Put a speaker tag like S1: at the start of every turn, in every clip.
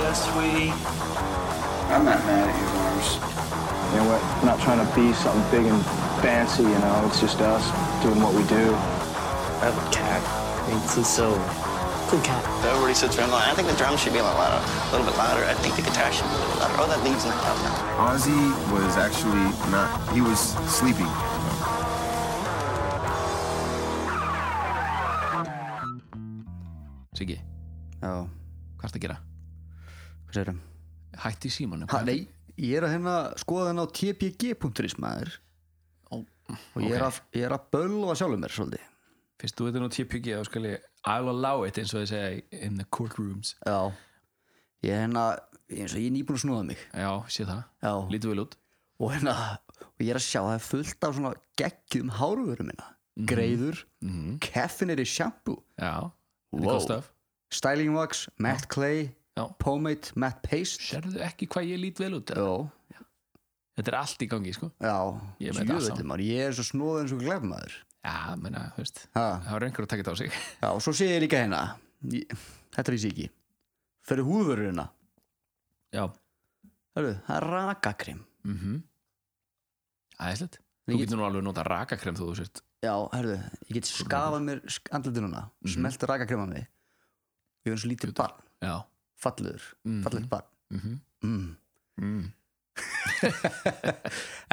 S1: Yeah, sweetie.
S2: I'm not mad at you, Mars.
S3: You know, we're not trying to be something big and fancy, you know, it's just us doing what we do.
S4: I have a cat. It's just so cool cat.
S5: Everybody sits around going, I think the drums should be a little louder, a little bit louder. I think the guitar should be a little louder. Oh, that lead's not loud enough.
S6: Ozzy was actually not, he was sleeping.
S7: Siggi,
S2: Já,
S7: hvað ertu að gera?
S2: hvað segir það?
S7: Hætti símanum
S2: Ha, nei, ég er að hérna skoða henn á tpg.is maður
S7: Ó,
S2: og ég er að, ég er að bölva sjálfum mér svolítið.
S7: Fyrst þú þetta nú TPG þá skal ég I'll allow it eins og þið segja in the courtrooms
S2: Já. Ég er hérna, eins og ég er nýbúin að snúða mig
S7: Já, sé það,
S2: Já.
S7: lítur vel út
S2: og hérna, og ég er að sjá að það er fullt af svona geggjum hárvörum minna.
S7: Mhm.
S2: Greiður, caffeinated shampoo,
S7: Já, þetta er
S2: Wow.
S7: góð stöf
S2: styling wax, matte clay,
S7: Já.
S2: pomade, matte paste.
S7: Serðu ekki hvað ég lít vel út? eða?
S2: Já.
S7: Þetta er allt í gangi, sko
S2: Já,
S7: Ég er með þetta allt
S2: djöfullinn,
S7: saman.
S2: maður, ég er svo snóðið eins og glefmaður
S7: Já, menna, þú veist
S2: ha.
S7: Það var einhver að taka þetta á sig
S2: Já, og svo sé ég líka hérna ég, Þetta vissi ég ekki Fyrir húðvörurina,
S7: Já
S2: hörru, það er rakakrem
S7: mm -hmm. Æðislegt Þú
S2: Ég get-
S7: getur nú alveg nota rakakrem þú þú sért
S2: Já, hörru, ég get skafað mér andliti núna, mm -hmm.
S7: Mhm.
S2: smelt rakakrem að mig Ég er eins og lítið barn
S7: Já
S2: Fallegur, mm
S7: Mhm.
S2: fallegt barn
S7: mm -hmm.
S2: mm.
S7: mm.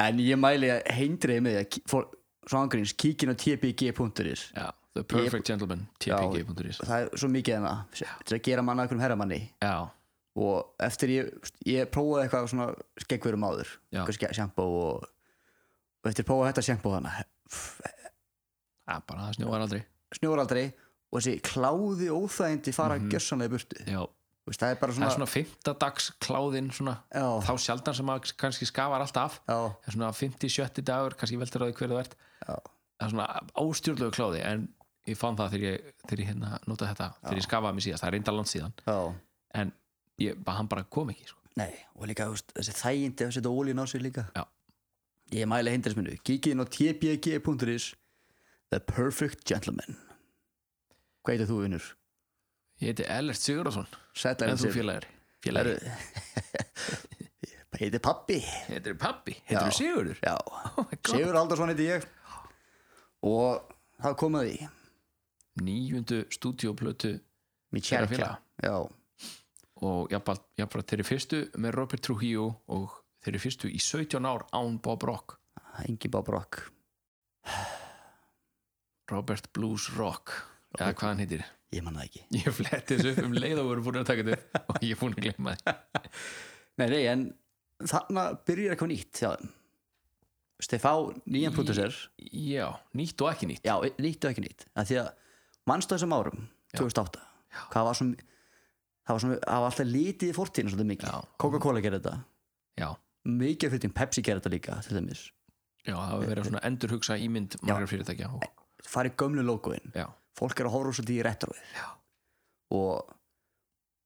S2: En ég mæli að heindriði með því að kí- fór, Svo angriðins, kíkin á tpg.is
S7: Já, The Perfect Gentleman tpg.is
S2: Það er svo mikið hérna Þetta er að gera manna einhverjum herramanni
S7: Já,
S2: og eftir ég, ég prófaði eitthvað svona skeggverum áður
S7: Já.
S2: eitthvað sjampo og, og eftir ég prófaði þetta sjampo þannig
S7: það er bara það snjóar aldrei
S2: snjór aldrei og þessi kláði óþægindi fara mm í burtu
S7: Já,
S2: Þú veist, það er bara
S7: það
S2: svona,
S7: Mhm. er svona fimmtadags kláðin svona
S2: já,
S7: þá sjaldan sem maður kannski skafar allt af
S2: já,
S7: það er svona 50-70 dagur, kannski veldur á því hver þú ert
S2: Já.
S7: það er svona óstjórnlegu kláði en ég fann það þegar ég, þegar ég hérna nota þetta, þegar ég skafaði mig síðast það er reynda langt síðan,
S2: já,
S7: en ég, bara- hann bara kom ekki sko.
S2: nei og líka þú veist, þessi þægindi að setja ólín á sig líka
S7: Já.
S2: ég mæli hindrisminu kíkið inn á tbg.is The Perfect Gentleman hvað heitir þú vinnur?
S7: ég heiti Ellert Sigurðarsson,
S2: Sætlar
S7: en þú félagir félagir,
S2: heitir pappi
S7: heitir pappi heitir
S2: Já.
S7: Sigurður
S2: já
S7: oh my God.
S2: Sigur Aldarsson heiti ég og það kom að því
S7: níundu stúdíoplötu
S2: mér
S7: þeirra
S2: tjekka
S7: félaga
S2: já,
S7: og jafnframt jafnframt þeirri fyrstu með Robert Trujillo og þeirri fyrstu í 17 ár án Bob Rock
S2: engi Bob Rock
S7: Robert Blues Rock eða hvað hann heitir
S2: ég man það ekki
S7: Ég fletti þessu upp um leið og voru búin að taka þetta upp og ég er búin að glemma það.
S2: nei, nei, en þarna byrjar eitthvað nýtt já. Stefá, nýjan
S7: Í-
S2: producer
S7: Já, nýtt og ekki nýtt.
S2: já, nýtt og ekki nýtt að því að mannstu þessum árum 2008 hvað var svona það var, svona, það var alltaf litið í fortíðin svolítið
S7: Já.
S2: mikið Coca-Cola gerði þetta
S7: Já,
S2: mikið fyrir tím Pepsi gerði þetta líka til dæmis
S7: já það hefur verið svona endurhugsa ímynd margar fyrirtækja. Og,
S2: farið gömlu logoinn
S7: já,
S2: fólk er að horfa svolítið í retroið
S7: Já.
S2: og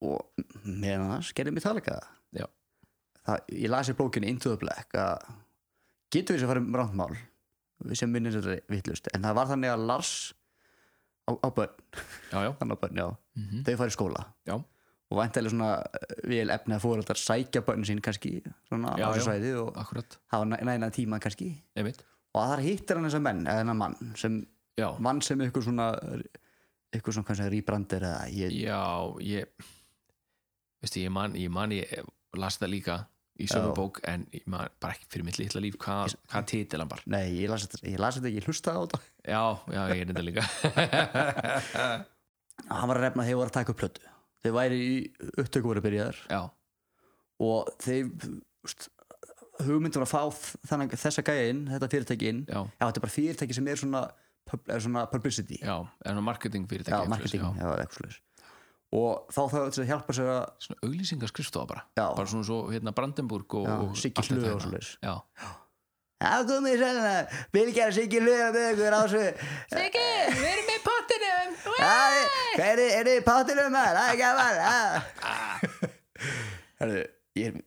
S2: og meðan annars gerði mér það líka
S7: Já.
S2: það, ég lasi bókinu Into the Black að getur við sem farum rántmál við sem minnum þetta vittlust en það var þannig að Lars á, á börn,
S7: já, já.
S2: hann á börn, já
S7: Mm
S2: þau farið skóla
S7: Já.
S2: og væntalega svona eh, vel efni að fóreldar sækja börn sín kannski svona
S7: Já,
S2: á þessu
S7: já.
S2: svæði og
S7: Akkurat,
S2: hafa næ- næna tíma kannski
S7: einmitt.
S2: og þar hittir hann þessa menn, eða þennan mann sem
S7: Já,
S2: mann sem ykkur svona ykkur svona kannski rýbrandir eða ég,
S7: já, ég, veistu, ég man, ég man, ég las það líka í sömu
S2: Já.
S7: bók en ég man bara ekki fyrir mitt litla líf hvað, hvað titil hann var.
S2: nei, ég las þetta ég las þetta ekki, ég hlustaði á þetta
S7: Já, já, ég er þetta líka.
S2: hann var að nefna að þeir voru að taka upp plötu þeir væri í upptöku voru byrjaðar
S7: já,
S2: og þeir úst, hugmyndum að fá f- þannig, þessa gæja inn, þetta fyrirtæki inn
S7: já,
S2: já, þetta er bara fyrirtæki sem er svona, pub- er svona publicity,
S7: já, er það marketing fyrirtækja.
S2: já, marketing já, eða eitthvað svoleiðis. og þá þarf þetta að hjálpa sér að
S7: Svona auglýsingaskristofa bara.
S2: Já.
S7: Bara svona svo, hérna, Brandenburg og...
S2: Já,
S7: og
S2: Siggi
S7: allt þetta
S2: Hlöðu og
S7: hérna.
S2: svoleiðis.
S7: Já,
S2: Það komið sérna, Bilgjar Siggi Luða með ykkur á þessu Siggi, við erum með pottinum Hvað er þið í pottinum maður? Það er gaman Herðu, ég er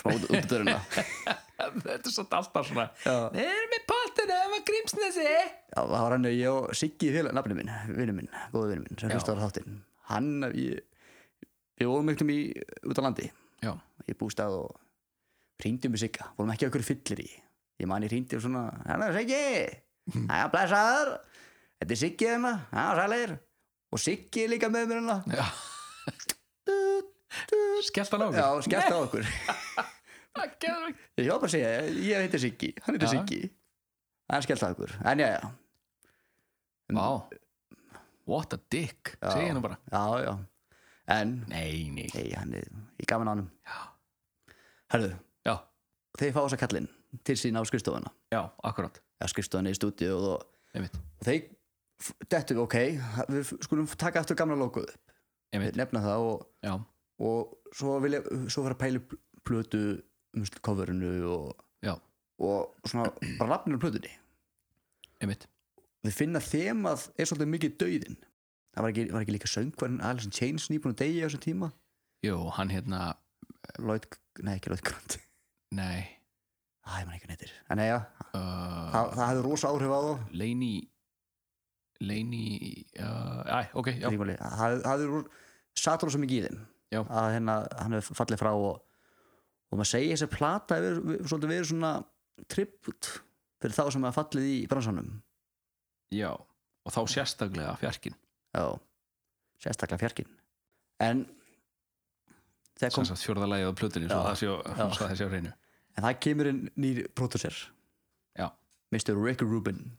S2: smá út út dörruna Já,
S7: Þetta er svolítið alltaf svona
S2: Já,
S7: Við erum með pottinu um að grímsnesi
S2: það var hann ég og Siggi félag, nafni minn, vinnu minn, góðu vinnu minn sem
S7: Já.
S2: hlustar á þáttinn Hann, ég, við vorum ykkur í út á landi
S7: já,
S2: í bústað og hringdum í sigga, vorum ekki okkur fyllir í ég man ég hringdi og svona hérna Siggi, hæja blessaður þetta er Siggi hérna, hæja sælir og Siggi er líka með mér hérna
S7: já. skellt hann á
S2: já,
S7: okkur
S2: skellt á okkur
S7: það getur ekki
S2: ég var bara að segja, ég heiti Siggi hann heiti
S7: Já.
S2: Siggi, hann skellt á okkur en já, já,
S7: Vá, what a dick segja hennu bara
S2: já, já en,
S7: Nei, nei
S2: nei, hann er ég gaman á hann
S7: Já,
S2: herðu,
S7: já,
S2: þeir fá þess að kallinn til sín á skrifstofuna
S7: já akkurat
S2: já, skrifstofuna í stúdíu og þó-
S7: Einmitt,
S2: og þeir f- dettu við, ok, við f- skulum taka aftur gamla logoð
S7: einmitt,
S2: nefna það og,
S7: já,
S2: og svo vilja svo fara að pæli plötu um coverinu og,
S7: já,
S2: og svona bara nafninu á plötunni
S7: einmitt
S2: þeir finna þeim að er svolítið mikið dauðin það var ekki, var ekki líka söngvarinn Alice in Chains nýbúin að deyja á þessum tíma
S7: Jú, hann hérna,
S2: Lloyd, nei ekki Lloyd Grant
S7: nei
S2: Æ, ég man ekki neytir en nei, já,
S7: uh,
S2: það, það hefði rosa áhrif á þá
S7: Leini Leini uh, Æ, ok, já,
S2: Ríkvali, það það hefði úr satur rosa mikið í þeim
S7: Já.
S2: að hérna, hann hefði fallið frá og, og maður segir þessi plata hefur hefur svolítið verið svona tribut fyrir þá sem hafa fallið í bransanum
S7: já Og þá sérstaklega fjarkinn
S2: já, sérstaklega fjarkinn en þegar kom,
S7: Sannsagt fjórða lagið á plötunni Svo
S2: Já,
S7: það sé á-
S2: já.
S7: svo það sé á hreinu
S2: en það kemur inn nýr pródusser,
S7: Já,
S2: Mr. Rick Rubin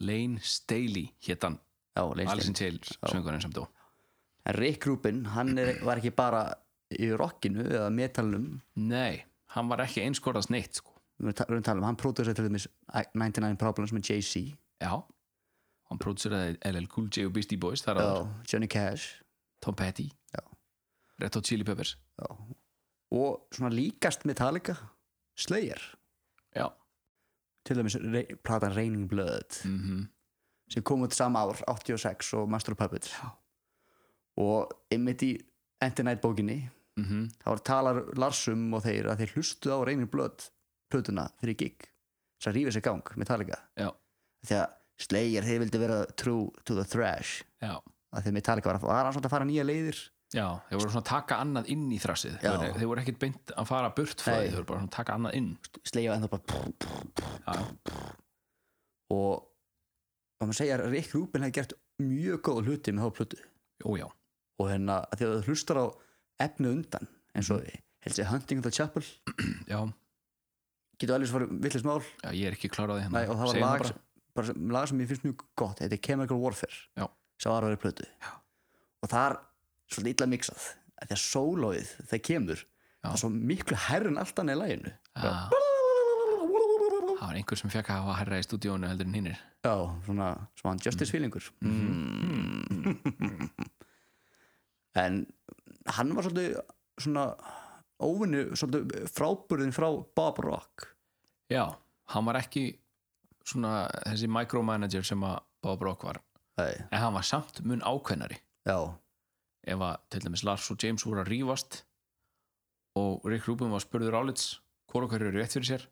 S7: Lane Staley hét hann
S2: já, Lane
S7: Alice in
S2: Staley.
S7: Chains söngurinn sem dó
S2: en Rick Rubin, hann er, var ekki bara í rockinu eða metalnum
S7: Nei, hann var ekki einskorðast neitt sko.
S2: við erum ta- við erum að tala um, hann pródusser til þeimis 99 Problems með Jay-Z
S7: Já Hann próduseraði LL Cool J og Beastie Boys þar að
S2: Já, Johnny Cash
S7: Tom Petty
S2: Já.
S7: Red Hot Chili Peppers
S2: já. og svona líkast Metallica Slayer
S7: Já,
S2: til dæmis rey, platan Raining Blood
S7: mm
S2: sem kom út sama ár, 86 og Master of Puppets já. og einmitt í Endenight bókinni
S7: mhm,
S2: þá var talar Larsum og þeir að þeir hlustu á Raining Blood plötuna fyrir gig þess að rífa sér gang Metallica
S7: já,
S2: því að Slayer þeir vildi vera true to the thrash
S7: já
S2: að þeir Metallica var að, var að, að fara nýja leiðir
S7: Já, þeir voru svona að taka annað inn í þrassið
S2: Já.
S7: þeir, þeir voru ekkert beint að fara burt frá
S2: Nei.
S7: því, þeir voru bara svona að taka annað inn
S2: Slayer var ennþá bara prr, prr,
S7: Já,
S2: og og maður segja að Rick Rubin hefði gert mjög góð hluti með þá plötu
S7: ó já,
S2: og hérna að því að þú hlustar á efni undan eins og mm. held sér Hunting of the Chapel
S7: já,
S2: getur alveg svarið villis mál
S7: já, ég er ekki kláraði hérna
S2: Nei, og það
S7: Mm.
S2: var
S7: Segðu
S2: lag,
S7: bara.
S2: bara. Bara, lag sem ég finnst mjög gott þetta er Chemical Warfare
S7: Já.
S2: sá aðraður plötu
S7: Já.
S2: og það er svolítið illa mixað af því að sólóið það kemur það er svo miklu herrin allt annað í læginu
S7: Já. Það var einhver sem fekk að hafa herra í stúdíónu heldur en hinnir
S2: Já, svona, svona
S7: Mm.
S2: justice feelingur En hann var svolítið svona óvinni, svolítið fráburðin frá Bob Rock
S7: Já, hann var ekki svona þessi micromanager sem að Bob Rock var
S2: Nei,
S7: en hann var samt mun ákveðnari
S2: Já,
S7: ef að til dæmis Lars og James voru að rífast og Rick Rubin var spurður álits hvort okkar eru rétt fyrir sér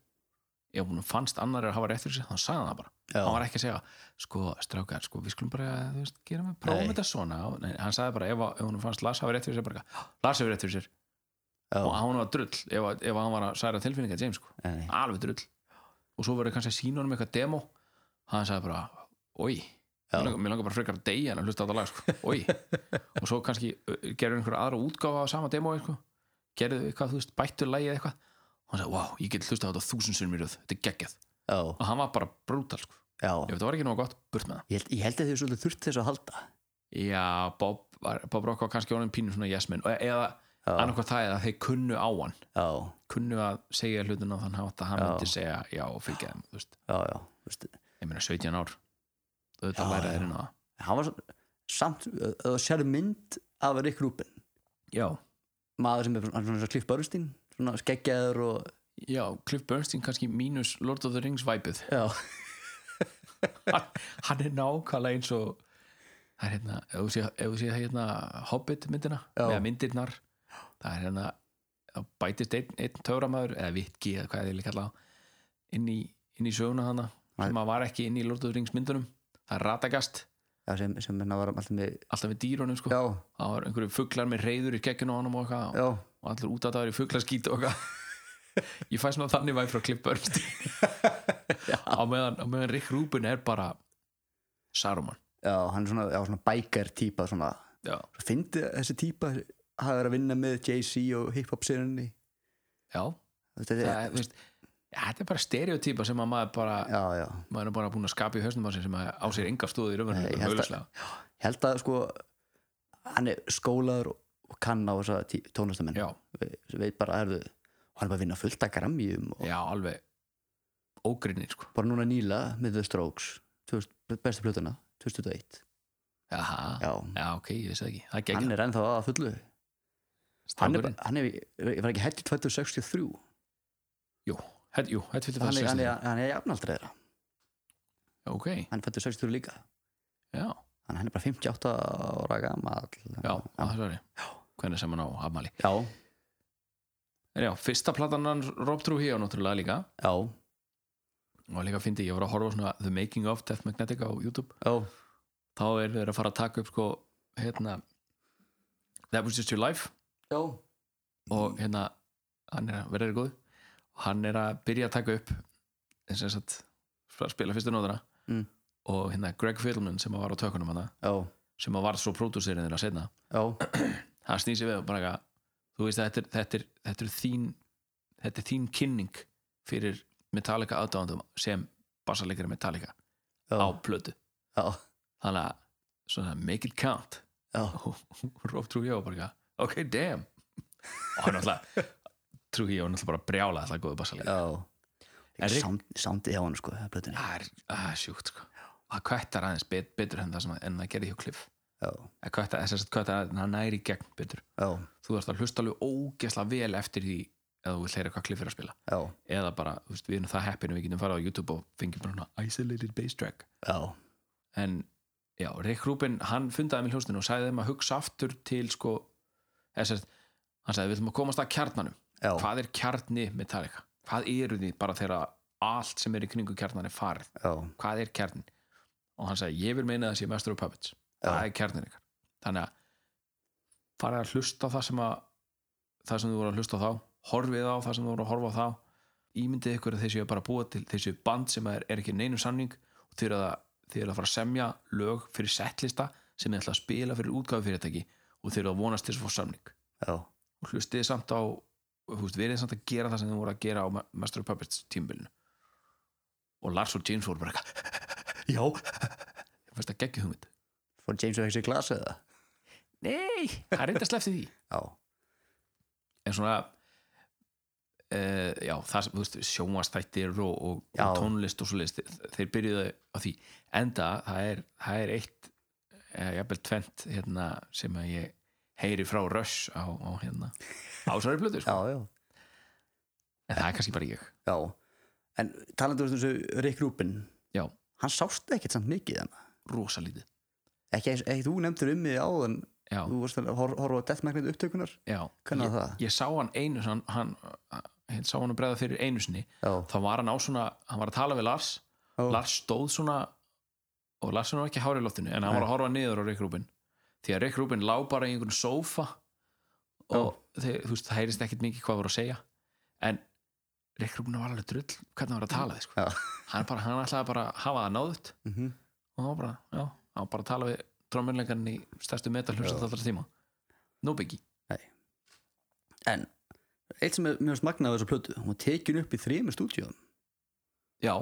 S7: ef hún fannst annar að hafa rétt fyrir sér þá sagði hann það bara,
S2: Já.
S7: hann var ekki að segja sko strákar, sko við skulum bara þú veist, gera með prófum
S2: Nei.
S7: þetta svona Nei, hann sagði bara ef, að- ef hún fannst Lars hafa rétt fyrir sér bara, eitthvað, Lars hefur rétt fyrir sér
S2: Já.
S7: og hann var drull ef, að- ef hann var að særa tilfinninga James sko.
S2: Nei.
S7: alveg drull og svo verður kannski að sína honum eitthvað demo hann sagði bara, oi mér langar, mér langar bara frekar að deyja en að hlusta á þetta lag sko. oi, og svo kannski ö, gerðu einhverja aðra útgáfa á sama demo sko. gerðu eitthvað, þú veist, bættu lagið eitthvað og hann sagði, wow, ég get hlusta á þetta þúsund sunn mér þetta er geggjað,
S2: já,
S7: og hann var bara brútal sko.
S2: já
S7: ef þetta var ekki nóg gott, burt með það
S2: Ég held, ég held að þau svolítið þurft þessu að halda
S7: já, Bob, var, Bob Rock var kannski honum pínu svona jesmin, eða
S2: Já.
S7: annarkvæð það eða þeir kunnu á hann
S2: Já,
S7: kunnu að segja hlutina á þann hátt að hann
S2: Já.
S7: myndi segja já og fylgja þeim þú veist,
S2: já, já Vist,
S7: ég meina 17 ár
S2: Já,
S7: auðvitað læra
S2: já.
S7: þeir inn á það
S2: Hann var svo- samt, ef þú sér mynd af Rick Rubin
S7: já,
S2: maður sem er svona, hann er svona klipp börnstinn svona skeggjaður og
S7: já, Cliff Bernstein kannski mínus Lord of the Rings væpið
S2: Já,
S7: hann, hann er nákvæmlega eins og það er hérna, ef þú sé, ef þú sé hérna Hobbit myndina,
S2: Já.
S7: eða myndirnar það er hérna þá bætist einn, einn töframæður eða vitki eða hvað ég vil kalla það inn í, inn í söguna hana sem að var ekki inn í Lord of the Rings myndunum það er Radagast
S2: já, sem, sem hann var alltaf með
S7: alltaf við dýrónum sko
S2: já,
S7: það var einhverju fuglar með reyður í kekkinu á honum og eitthvað
S2: já,
S7: og allir út að það er í fugglaskít og eitthvað ég fæ svona þannig væg frá Cliff Bernstein á meðan, á meðan Rick Rubin er bara Saruman
S2: já, hann er svona, já, svona bækar típa svona,
S7: já,
S2: svo fyndi þessi típa hafa verið að vinna með Jay-Z og hip-hop sinni
S7: já
S2: þetta
S7: það,
S2: er,
S7: þú veist, þetta er bara stereotýpa sem að maður bara
S2: já, já
S7: maður er bara búin að skapa í hausnum á sér sem að á sér enga stóði í
S2: Nei, ég
S7: raunverðinu
S2: held að-
S7: auðvitað
S2: Ég held að sko hann er skólaður og kann á þessa tí- tónlistamenn
S7: já,
S2: Ve- veit bara, herðu, og hann er bara að vinna fullt að gramjum og
S7: já, alveg ógrinni sko
S2: bara núna nýla með The Strokes 2000 bestu plötuna, 2001
S7: Aha.
S2: já,
S7: já, ok, ég vissi það ekki það
S2: hann
S7: gegn
S2: er ennþá að fullu hann er, bara- hann er, ég var ekki hætti 2063
S7: jú, hætt, jú, hætt fyrir það
S2: hann er, hann er,
S7: sextíu.
S2: hann er jafnaldrei þeirra
S7: ok,
S2: hann er 2063 líka,
S7: já,
S2: hann, hann er bara 58 ára gamall
S7: já, það er svari hvernig sem hann á afmæli
S2: já,
S7: en já, fyrsta platan hann Rob Trujillo náttúrulega líka
S2: já,
S7: og líka fyndi, ég var að horfa á svona The Making of Death Magnetic á YouTube
S2: já,
S7: þá er þeir að fara að taka upp sko hérna That Was Just Your Life
S2: já.
S7: og hérna hann er að verða góð og hann er að byrja að taka upp eins og þess að spila fyrstu nóðuna
S2: Mm.
S7: og hérna Greg Fiddleman sem að var á tökunum hana,
S2: já,
S7: sem að var svo pródúsirinn þeirra setna,
S2: já,
S7: hann snýsi við og bara eitthvað, þú veist að þetta er, þetta er, þetta er þín þetta er þín kynning fyrir Metallica aðdáðandum sem bassarleikari Metallica á
S2: já,
S7: plötu
S2: já,
S7: þannig að svona, make it count
S2: já.
S7: og Rob Trujillo bara eitthvað, ok, damn og hann alltaf Trujillo er alltaf bara brjála alltaf góðu bassalega
S2: Já
S7: En Rick-
S2: Sound, Soundið hjá hann sko á plötunni.
S7: það er það er sjúkt sko það kvættar aðeins bet, betur en það sem en það gerði hjá Cliff
S2: Já,
S7: það kvættar, þess að kvættar aðeins, hann næri í gegn betur
S2: já,
S7: þú þarfst að hlusta alveg ógesla vel eftir því eða þú vill heyra hvað Cliff er að spila
S2: já,
S7: eða bara, þú veist, við erum það heppinu við getum farið á YouTube og fengið bara svona isolated bass track
S2: já,
S7: en já, Rick Rubin, hann fundaði með hljóstinu og sagði þeim að hugsa aftur til sko, þess að hann sagði, við viljum að komast að kjarnanum
S2: já,
S7: hvað er kjarni Metallica hvað eru því bara þegar allt sem er í kringu kjarnan er farið,
S2: já,
S7: hvað er kjarnin og hann sagði, ég vil meina það sé Master of Puppets það
S2: Já.
S7: er kjarnin ykkar þannig að fara að hlusta á það sem að það sem þú voru að hlusta á þá horfið á það sem þú voru að horfa á þá ímyndið ykkur að þeir séu bara að búa til þeir séu band sem er, er ekki í neinum samning og þeir eru að, þeir eru að fara að semja lög fyrir settlista sem er ætla að spila fyrir útgáfi fyrirtæki og þeir eru að vonast til þess að fá samning
S2: já,
S7: og hlustið samt á húst, verið samt að gera það sem þið voru að gera á Ma- Master of Puppets tímbilinu og Lars og James voru bara eitthvað já, ég fannst að geggi hugmynd
S2: Fór James og Hexi glas eða?
S7: nei, það er eitthvað slefti því
S2: Já,
S7: en svona uh, já, það sem, þú veist, sjónvastættir og, og,
S2: Já.
S7: og tónlist og svo leist þeir byrjuðu á því enda, það er, það er eitt eh, jafnvel tvent hérna sem að ég heyri frá Rush á, á hérna ásværi blötu,
S2: já,
S7: sko.
S2: já,
S7: en það er kannski bara ég
S2: já En talandi um þessu Rick Rubin
S7: Já.
S2: Hann sást ekkert samt mikið hann
S7: rosa lítið
S2: Ekki, ekki þú nefndir um mig áðan
S7: já,
S2: Þú vorst að hor horfa á Death Magnet upptökunar
S7: já.
S2: Hvernig
S7: ég,
S2: var það?
S7: ég sá hann einu hann, hann, hann sá hann að bregða fyrir einu sinni
S2: Já,
S7: þá var hann á svona, hann var að tala við Lars
S2: já,
S7: Lars stóð svona og Lars var ekki hárið loftinu en hann var að horfa niður á Rick Rubin því að Rick Rubin lá bara í einhvern sófa og þeir, þú veist, það heyrist ekkit mikið hvað voru að segja en Rick Rubin var alveg drull hvernig hann var að tala þið sko.
S2: Já.
S7: hann, bara, hann ætlaði bara að hafa það náðut
S2: mhm,
S7: og hann var bara, já, hann var bara að tala við trómminleikarinn í stærstu metalhjómsveit allra tíma no biggie
S2: En Eitt sem er mjög smagnað af þessu plötu Hún var tekin upp í þremur stúdíum
S7: Já,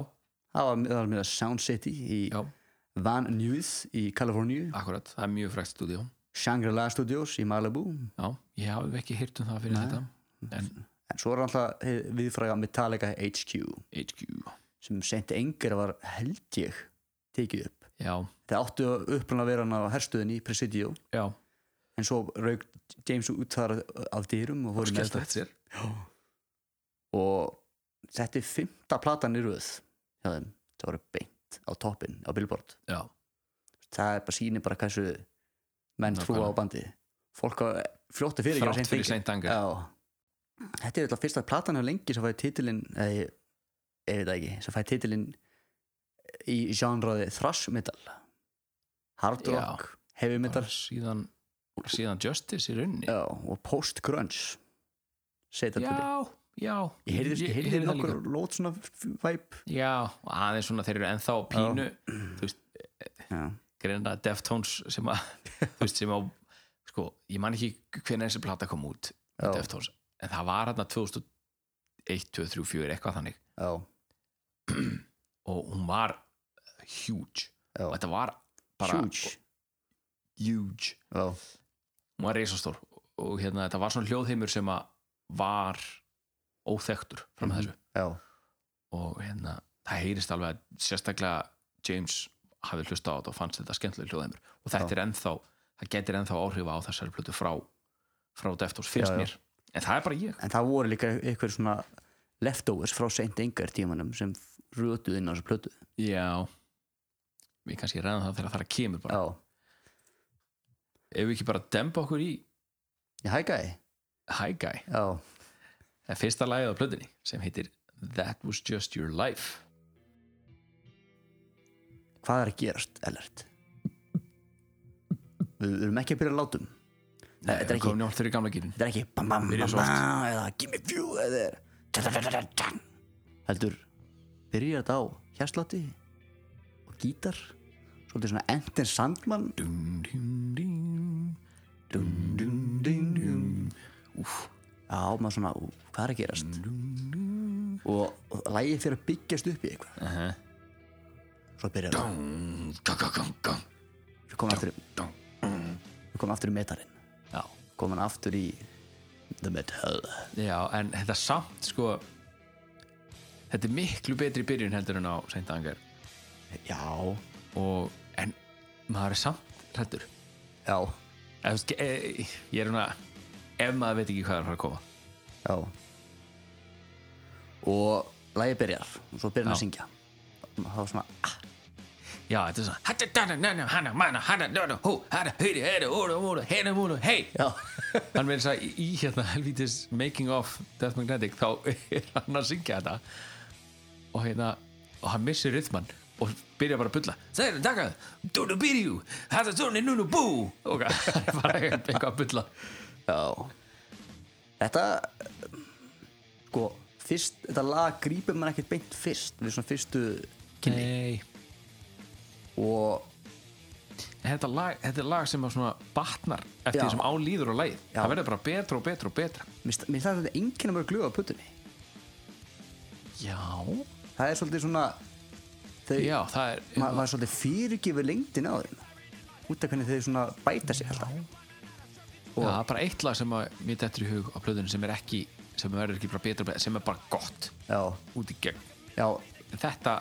S2: Það var meðal meðal Sound City í
S7: Já.
S2: Van Nuys í Kaliforníu
S7: akkurat, það er mjög frækt stúdíu
S2: Shangri-La Studios í Malibu
S7: Já, ég hafði ekki hýrt um það fyrir
S2: Nei.
S7: þetta En
S2: en svo er alltaf hið viðfræga Metallica HQ
S7: HQ
S2: sem sent engar var held ég tekið upp.
S7: Já,
S2: Það áttu upprunna að vera hann á herstuðinni í Presidio
S7: já,
S2: en svo rauk James út þar af dýrum og fór í
S7: skemmt
S2: meðferð.
S7: þetta sér
S2: og þetta er fymta platan í röð hjá þeim, það voru beint á toppin á Billboard.
S7: Já,
S2: Það er bara sýnir bara hversu menn trúa á
S7: Nákvæmlega.
S2: bandið. Fólk að fljóttu fyrir
S7: þrátt fyrir seint angar
S2: Já Þetta er alltaf fyrsta platan á lengi sem fæði titilinn eða ég, ég veit það ekki sem fæði titilinn í genraði thrash metal hard
S7: Já.
S2: rock, heavy metal
S7: síðan, síðan Justice í rauninni
S2: já, og post grunge setja til
S7: já, já
S2: ég heyrði, ég heyrði
S7: það
S2: nokkur
S7: líka.
S2: lót svona væp
S7: já, aðeins svona þeir eru ennþá pínu þú veist,
S2: já,
S7: greinlega Deftones sem að, þú veist, sem að sko, ég man ekki hvernig þessi plata kom út
S2: Já.
S7: með Deftones, en það var hérna 2001, 2, 3, 4 eitthvað þannig,
S2: já,
S7: og hún var huge,
S2: Já.
S7: og þetta var bara
S2: huge
S7: huge.
S2: já,
S7: hún var reisastór og hérna, þetta var svona hljóðheimur sem að var óþektur fram að þessu
S2: já,
S7: og hérna, það heyrist alveg að sérstaklega James hafi hlusta á þetta og fannst þetta skemmtilega hljóðheimur og þetta
S2: Já.
S7: er ennþá, það getur ennþá áhrifa á þessari plötu frá, frá Deftos finnst
S2: Já, já.
S7: mér, en það er bara ég
S2: en það voru líka einhver svona leftovers frá seint engar tímanum sem rötuð inn á þessu plötu
S7: já við kannski ræðum það þegar það kemur bara
S2: já,
S7: ef við ekki bara dempa okkur í
S2: ég hækkaði
S7: Hi Guy,
S2: já,
S7: það er fyrsta lagið á plötunni sem heitir That Was Just Your Life
S2: hvað er að gerast, Ellert? við við erum ekki að um. byrja að látum Nei, þetta er ekki-
S7: komin í allt fyrir gamla gýrin
S2: þetta er ekki bam bam
S7: Byrja
S2: bam
S7: svo oft.
S2: bam eða give me few eða er tja, tja, tja, tja, tja. heldur byrjar þetta á hérslátti og gítar svolítið svona Enten Sandman
S7: dun, dun, dun, dun, dun, dun, dun. Úf,
S2: já maður svona ú, hvað er að gerast og og lagið fyrir að byggjast upp í eitthvað
S7: uh -huh.
S2: svo byrjar það
S7: gang, gang, gang, gang.
S2: við komum aftur
S7: dum.
S2: við komum aftur í metarinn
S7: Já.
S2: komum hann aftur í the metal
S7: Já, en þetta samt sko þetta er miklu betri byrjun heldur en á seintangar
S2: já
S7: og en maður er samt hrættur
S2: já
S7: eh, ég er svona ef maður veit ekki hvað er að fara að koma
S2: já og lagið byrjar og svo
S7: Já.
S2: byrjar hann að syngja þá svona ah,
S7: Já, þetta er svona hætta, dana, nana, hana, mana, hana, dana, hú, hana, hýri, hýri, úru, úru, hýri, úru, hei
S2: já
S7: hann verður að í í hérna helvítis Making of Death Magnetic þá er hann að syngja þetta og hérna og hann missir rytman og byrja bara að bulla Sæður, taka, dúnu byrju Hætta tóni, núnu bú og hann er bara eitthvað að bulla
S2: Já Þetta sko, fyrst, þetta lag grípur mann ekkert beint fyrst við svona fyrstu kynni
S7: Nei,
S2: og
S7: þetta er lag, þetta er lag sem að svona batnar eftir
S2: Já.
S7: því sem álýður og lagið
S2: Já.
S7: það verður bara betra og betra og betra
S2: mér sta- mér það þetta enginn að vera glöða á puttunni
S7: Já,
S2: það er svolítið svona þau,
S7: já, það er
S2: ma maður svolítið fyrirgefur lengdin á þeim út af hvernig þau svona bæta sig alltaf
S7: Já, það er bara eitt lag sem að mitt eftir í hug á plöðunum sem er ekki sem verður ekki bara betra og betra, sem er bara gott
S2: já,
S7: út í gegn
S2: já,
S7: þetta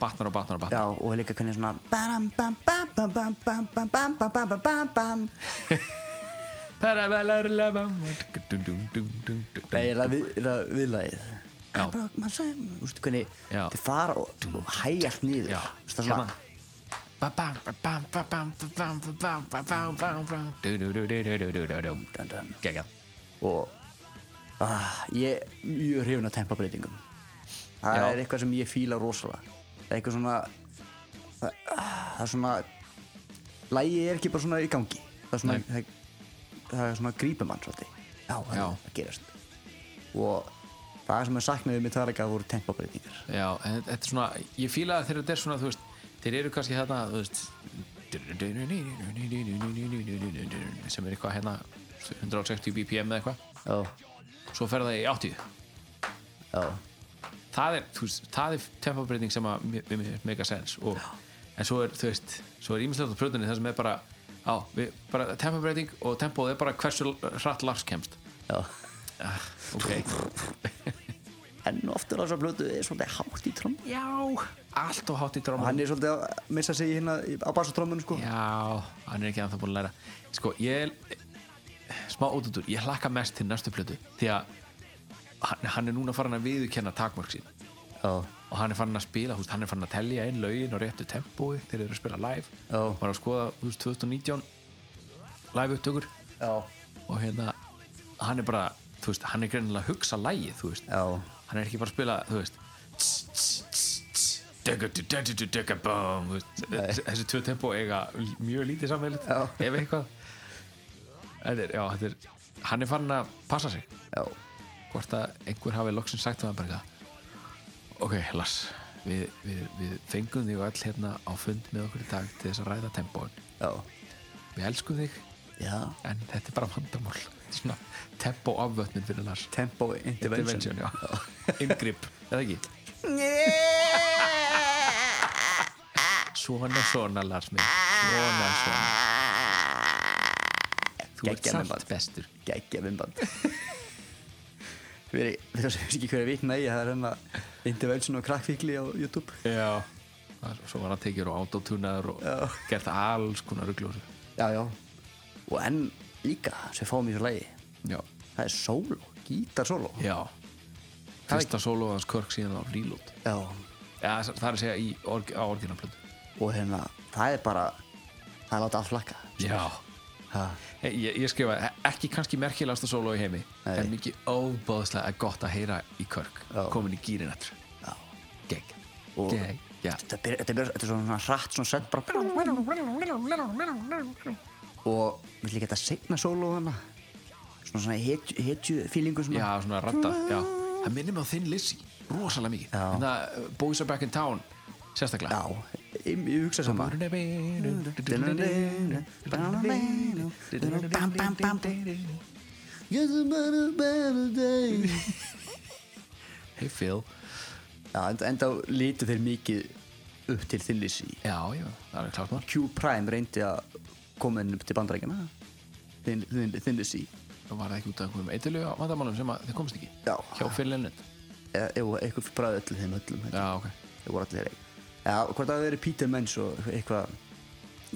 S7: batnar og batnar og
S2: já
S7: batnar
S2: og líka hvernig svona bam bam bam bam bam bam bam bam bam bam bam bam bam
S7: Parabalalalam. Dun, dun, dun, dun, dun.
S2: Nei, er það við- er það viðlagið
S7: Já.
S2: Þú veist hvernig
S7: Já.
S2: þið fara og, og hægjast niður
S7: Já,
S2: Þú veist, það er svona
S7: hérna. Ba- bam, ba- bam, ba- bam, ba- bam, ba- bam, ba- bam, bam, bam. Du- du- du- du- du- du- du- du- du.
S2: dun, dun.
S7: Geggjað.
S2: og ah, ég er mjög hrifin af tempabreitingum það
S7: Já.
S2: er eitthvað sem ég fíla rosalega það er eitthvað svona það, ah, það er svona lægi er ekki bara svona í gangi það er svona,
S7: Nei.
S2: það, það er svona grípumann svolítið já, það
S7: Já.
S2: er að gerast og það sem ég saknaði mér tala ekki að voru tempabreitingar
S7: Já, en þetta þetta er svona ég fíla að þegar þetta er svona, þú veist þeir eru kannski hérna, þú veist sem er eitthvað hérna 160 bpm eða eitthvað
S2: já,
S7: svo fer það í 80
S2: já,
S7: það er, þú veist, það er tempabreiting sem að mér- mér mér mega sens og, en svo er, þú veist, svo er ímislegt á plötunni það sem er bara, á, við, bara tempabreiting og tempóð er bara hversu hratt Lars kemst
S2: já
S7: ah, ok,
S2: en oftur á þessu blötu er svolítið hátt í trommu
S7: já allt og hátt í
S2: og
S7: dráma
S2: hann er svolítið að missa sig í hérna í- á basatrómmunum sko
S7: já, hann er ekki að það búin að læra sko, ég smá ótútur, ég hlakka mest til næstu plötu því að hann, hann er núna farin að viðurkenna takmörk sín
S2: já,
S7: og hann er farin að spila, húst, hann er farin að tellja inn lögin og réttu tempói þegar þeir eru að spila live
S2: Já.
S7: var að skoða húst, 2019 live upptökur
S2: já,
S7: og hérna hann er bara, þú veist, hann er greinilega að hugsa lægið, þú veist
S2: já,
S7: hann er ekki bara að spila, þú veist tss, tss, tss, tss, Dugga-du-dugga-du-dugga-bum, þú veist, þessi tvö tempó eiga mjög lítið samveilit
S2: Já.
S7: ef eitthvað þetta er, já, þetta er, hann er farin að passa sig
S2: já,
S7: hvort að einhver hafi loksins sagt það bara eitthvað ok, Lars við, við, við fengum þig all hérna á fund með okkur í dag til þess að ræða tempóin
S2: já,
S7: við elskum þig
S2: já
S7: en þetta er bara vandamál Þetta er svona tempó afvötnin fyrir Lars
S2: tempo intervention,
S7: Intervention, já. Ingrip, eða ekki? Svona, svona, Lars minn Svona, svona Þú ert
S2: Geggjað
S7: samt
S2: myndband.
S7: bestur
S2: geggja vimband við þess að ekki hverja vitna í það er hérna intervention og krakkfíkli á YouTube
S7: Já Svo var hann tekið og autotunaður og
S2: Já.
S7: gert alls konar rugljósu
S2: já, já, og enn líka sem fáum í þessu lagi,
S7: Já,
S2: það er solo gítarsolo,
S7: já Fyrsta sólóðans körk síðan á Reload
S2: já,
S7: Já, það er að segja í org, á orginarplötu
S2: og hérna það er bara, það er láta að flakka
S7: Já
S2: ha,
S7: Ég, ég skrifa e- ekki kannski merkilegasta sóló í heimi
S2: Nei.
S7: en mikið óbóðslega gott að heyra í körk
S2: Já.
S7: komin í gýrin eftir
S2: já,
S7: gegg
S2: Og-
S7: gegg, já
S2: þetta byrja- þetta byrja- þetta er svona hratt svona sett bara og við líka þetta segna solo hana svona svona hetju, hetju feelingu svona
S7: já, svona ratta, já það minnir mig á þinn Lizzy, rosalega mikið
S2: Já.
S7: þannig að Boys Are Back in Town sérstaklega
S2: Já, ég, ég hugsa sama
S7: Hey Phil
S2: Já, en- enda lítu þeir mikið upp til þillis í
S7: já, já, það er klart maður
S2: Q Prime reyndi að koma henni upp til bandarækjana þillis í
S7: og var það ekki út af einhverjum eitthvað á vandamálum sem að þið komst ekki
S2: Já.
S7: hjá Phil Lennett
S2: eða eða eitthvað bræði öllu þeim öllum
S7: já, ok
S2: það voru allir ekki Já, hvort það hafi verið Peter Mensch og eitthvað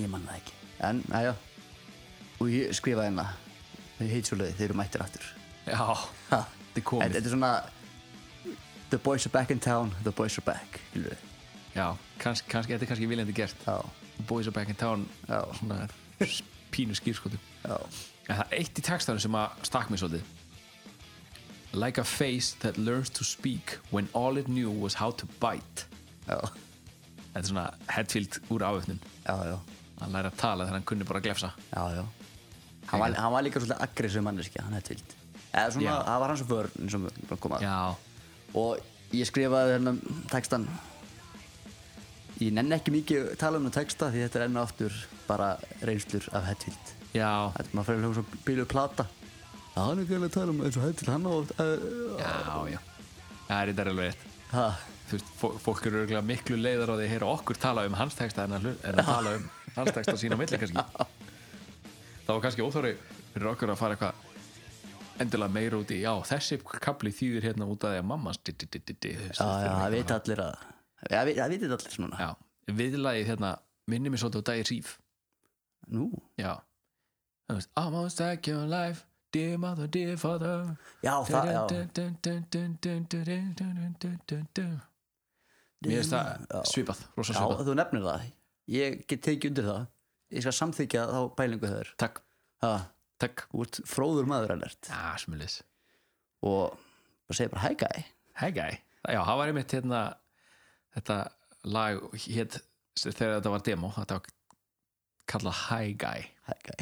S2: ég man það ekki en, aðja og ég skrifaði hérna, hennar við heit svo leiði, þeir eru mættir aftur
S7: já,
S2: Ha.
S7: þið
S2: En
S7: komið
S2: þetta er svona The boys are back in town, the boys are back skilurðu.
S7: já, kannski, kannski, þetta er kannski viljandi gert
S2: Já,
S7: Boys Are Back in Town
S2: Já.
S7: svona pínu skýrskotum
S2: já,
S7: En það er eitt í textanum sem að stakk mér svolítið Like a face that learns to speak when all it knew was how to bite
S2: já,
S7: Þetta er svona Hetfield úr aföfnun
S2: já, já,
S7: Hann læri að tala þegar hann kunni bara að glefsa
S2: já, já. Hann, var, hann var líka svolítið aggressiv manneskja, hann hefði tvild eða svona,
S7: Já.
S2: það var hans vörn eins og við erum að koma að.
S7: Já,
S2: og ég skrifaði hennan textan ég nenni ekki mikið að tala um það texta því þetta er enn og aftur bara reynslur af Hetfield
S7: já,
S2: þetta maður fyrir að hljóða svo bíluð plata Já, hann er ekki alveg að tala um eins og Hetfield hann á oft uh,
S7: já, já Það er þetta er alveg rétt
S2: ha,
S7: Þú veist, fó- fólk eru örugglega miklu leiðar á því að heyra okkur tala um hans texta en að, hlu- en að tala um hans texta sína á milli kannski Það var kannski óþóri fyrir okkur að fara eitthvað endilega meira út í já, þessi kapli þýðir hérna út af því að mamma já,
S2: Já, já, það veit allir að Já, vi- það veit allir svona
S7: já, viðlagið hérna minnir mér svolítið á dagir síf
S2: Nú,
S7: já, það veist almost like your life, dear mother, dear father
S2: já, það, já
S7: Mér finnst það svipað rosa
S2: Já,
S7: svipað
S2: þú nefnir það Ég get tekið undir það Ég skal samþykja þá pælingu þeir
S7: Takk,
S2: ha,
S7: takk
S2: Þú ert fróður maður ennert
S7: Já, smulis
S2: Og það segir bara hæ gæ
S7: Hey guy Já, það var einmitt hérna þetta lag hét þegar þetta var demo þetta var kallað Hi Guy
S2: Hæ gæ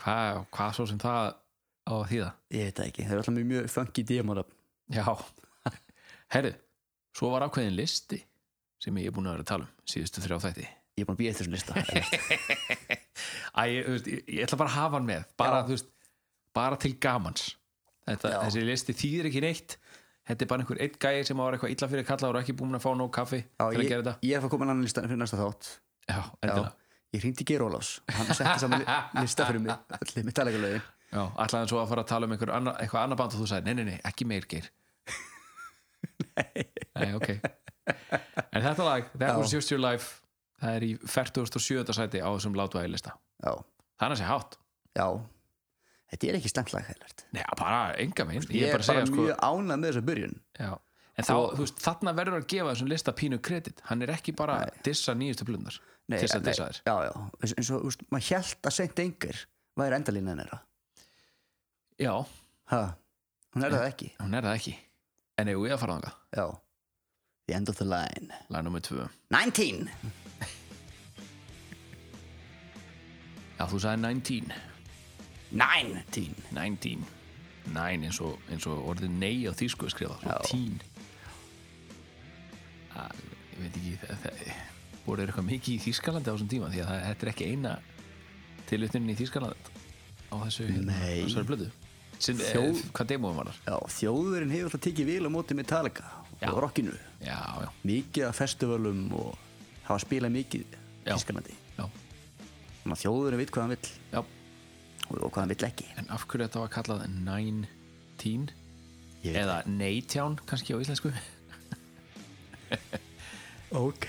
S7: Hvað hva svo sem það á að þýða?
S2: Ég veit það ekki, það er alltaf mjög, mjög funky dímar
S7: Já Herru, svo var ákveðin listi sem ég er búin að vera að tala um síðustu þrjá þætti
S2: Ég er búin að býja þessum lista Já,
S7: Æ, ég, þú veist, ég, ég ætla bara að hafa hann með bara, þú veist, bara til gamans Þetta,
S2: Já.
S7: þessi listi þýðir ekki neitt þetta er bara einhver einn gæi sem var eitthvað illa fyrir kalla og er ekki búin að fá nóg kaffi til að
S2: ég,
S7: gera þetta
S2: ég er að koma annan lista fyrir næsta þátt
S7: Já, endilega
S2: Ég hringdi í Geir Ólafs og Hann setti saman li- lista fyrir mig Allir mitt aðlega lögin
S7: Já, ætlaði hann svo að fara að tala um einhver anna, eitthvað annað band og þú sagði, nei, nei, nei, ekki meir geir Nei, ok En þetta lag, That
S2: Já.
S7: Was Just Your Life það er í 47. sæti á þessum látvæði lista
S2: Já,
S7: Þannig að sé hátt
S2: já Þetta er ekki slæmt lag heilert
S7: Nei, bara enga minn,
S2: Ég er bara,
S7: að segja sko
S2: mjög ánað með þessa byrjun
S7: já. En þá, þú veist, þarna verður að gefa þessum lista pínu kredit, hann er ekki bara að dissa nýjustu blundar,
S2: Nei,
S7: dissa
S2: nei,
S7: dissa þér
S2: já, já, eins, eins og, úst, maður held að seint engur væri endalínan þeirra
S7: Já,
S2: ha, hún er það ekki
S7: hún er það ekki En eigum við að fara þangað
S2: já, The end of the line
S7: lag nummer 2
S2: 19
S7: Já, þú sagði 19
S2: 19
S7: 19 9 eins og, eins og orðið nei á því sko skrifa
S2: Já.
S7: 10 Æ, Ég veit ekki það, það, voru þeir eitthvað mikið í Þýskalandi á þessum tíma því að það, þetta er ekki eina tilutnin í Þýskaland á þessu
S2: Nei.
S7: þessari blödu sem, Þjó...
S2: Þjóð-
S7: hvað demóðum var þar
S2: Já, þjóðurinn hefur alltaf tekið vil á móti Metallica
S7: Já.
S2: og rockinu
S7: Já, já,
S2: mikið af festivalum og hafa spilað mikið
S7: Já.
S2: Ískalandi
S7: já,
S2: þannig að þjóðurinn veit hvað hann vill
S7: já
S2: og, og hvað hann vill ekki
S7: En af hverju þetta var kallað 19
S2: Ég veit
S7: eða 19 kannski á íslensku
S2: Ok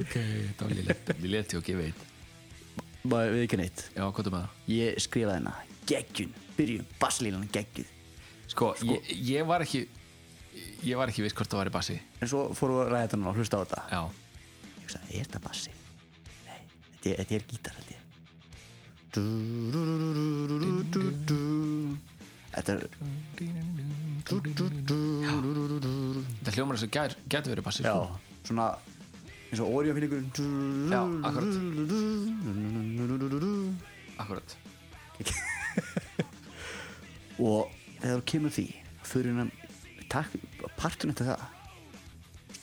S7: Ok, þetta var lillett Lillett, ok, ég veit
S2: Bara við ekki neitt
S7: Já, hvað er með það?
S2: Ég skrifaði hérna geggjun, byrjun, basslílan geggjun
S7: Sko, Ég, ég var ekki Ég var ekki viss hvort það var í bassi
S2: en svo fórum við að ræða þetta núna og hlusta á þetta
S7: Já,
S2: ég hugsaði, er þetta bassi? Nei, þetta er, þetta er gítar held ég Du-du-du-du-du-du-du. Þetta er
S7: þetta hljómar þess að gær, gæti verið bassi
S2: já,
S7: sko.
S2: svona eins og orðið fyrir
S7: Já,
S2: ykkur
S7: akkurat
S2: og þegar þú kemur því fyrir hann takk, partun eftir það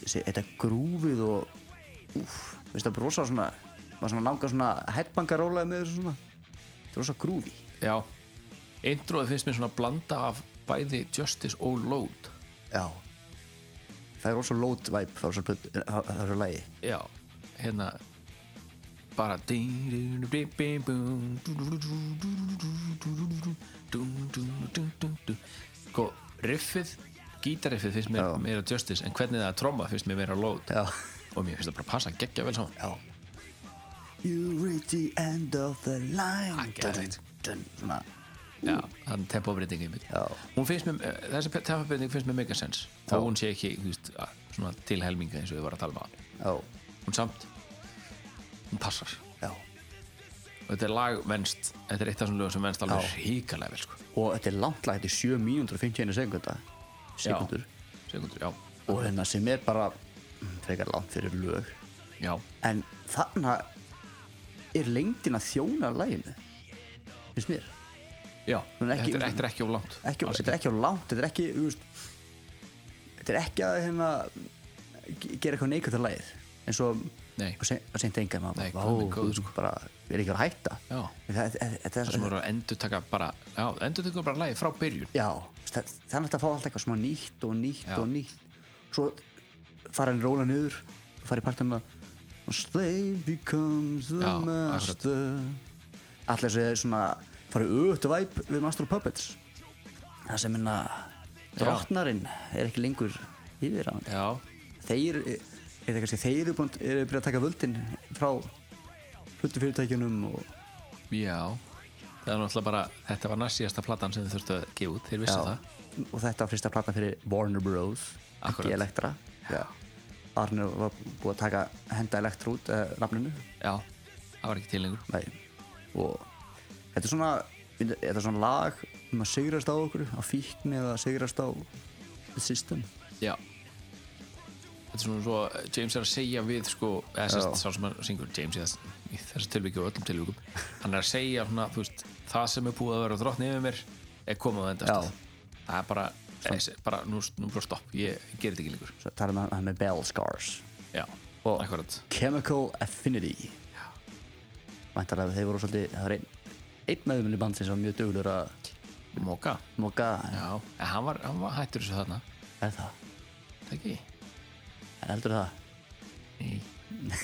S2: þessi, þetta grúfið og úf, veist það brosa svona maður svona langar svona headbangarólaði með þessu svona þetta er rosa grúfi
S7: Já, introið finnst mér svona blanda af bæði Justice og Load
S2: já það er rosa load vibe það er rosa, put- það það er rosa lægi
S7: Já, hérna bara Sko, riffið gítariffið finnst mér
S2: Já.
S7: meira Justice en hvernig það er tromma finnst mér meira Load
S2: já,
S7: og mér finnst það bara passa geggja vel saman
S2: já you reach the end of the line
S7: Akkurat.
S2: dun, svona
S7: Já, þann tempóbreytingi mitt
S2: Já.
S7: Hún finnst mér, eh, þessi pe- tempóbreyting finnst mér megasens þó
S2: Já.
S7: hún sé ekki, þú veist, að- svona til helminga eins og við varum að tala um hann
S2: já,
S7: Hún samt, hún passar
S2: já
S7: og þetta er lag venst, þetta er eitt af svona lögum sem venst alveg
S2: Já.
S7: ríkalega vel sko
S2: og þetta er langt lag, þetta er 7 mínútur og 51 sekundar sekundur
S7: Já, Sekundur, já,
S2: og hérna sem er bara mm, frekar langt fyrir lög
S7: já,
S2: en þarna er lengdin að þjóna læginu finnst mér
S7: já
S2: Hún er ekki-
S7: Þetta er- þetta er ekki of langt
S2: ekki,
S7: Alls
S2: þetta er ekki á langt, þetta er ekki þú veist, þetta er ekki að hérna, ge- gera eitthvað neikvægt að lægið eins og
S7: Nei.
S2: og seint- og seint enga
S7: Nei,
S2: maður bara,
S7: guð minn
S2: vá,
S7: góður,
S2: þú bara er ekki að hætta
S7: sko? Já.
S2: Það- það- þetta
S7: Það sem
S2: er
S7: voru að endur taka bara, já, endur taka bara lagi frá byrjun
S2: já, það- það er hægt að fá allt eitthvað smá nýtt og nýtt
S7: Já.
S2: og nýtt svo fara hann róla niður fara í partina og slave becomes the
S7: Já, akkurat.
S2: master allir þessi svona fara auðvitað væp við Master of Puppets það sem minna drottnarinn er ekki lengur yfir á hann
S7: Já,
S2: þeir, er það kannski þeir eru búin eru byrjað að taka völdin frá hlutufyrirtækjunum og
S7: já Það er náttúrulega bara, þetta var næstíðasta platan sem þið þurftu að gefa út, þeir vissi það
S2: og þetta var fyrsta platan fyrir Warner Bros
S7: Akkurat.
S2: ekki Elektra Já. Warner var búið að taka henda Elektra út eh, nafninu
S7: Já, það var ekki til lengur
S2: Nei. og þetta er svona þetta er svona lag um að sigrast á okkur á fíkni eða að sigrast á the system
S7: Já Þetta er svona svo, James er að segja við sko, eða sérst, sá sem að syngur James í þess, í þessu tilviki og öllum tilvikum hann er að segja svona, þú veist það sem er búið að vera drottni yfir mér er komið á enda
S2: Já.
S7: stað það er bara, eða, bara nú, nú bara stopp, ég gerir þetta ekki lengur
S2: svo talaðum við hann með Bell Scars
S7: Já,
S2: Og-
S7: akkurat
S2: Chemical Affinity væntar að þeir voru svolítið það var einn einn meðum í band sem var mjög duglur að
S7: Moka,
S2: moka
S7: já, en hann var, hann var hættur þessu þarna,
S2: er það,
S7: það ekki
S2: en heldur það
S7: Nei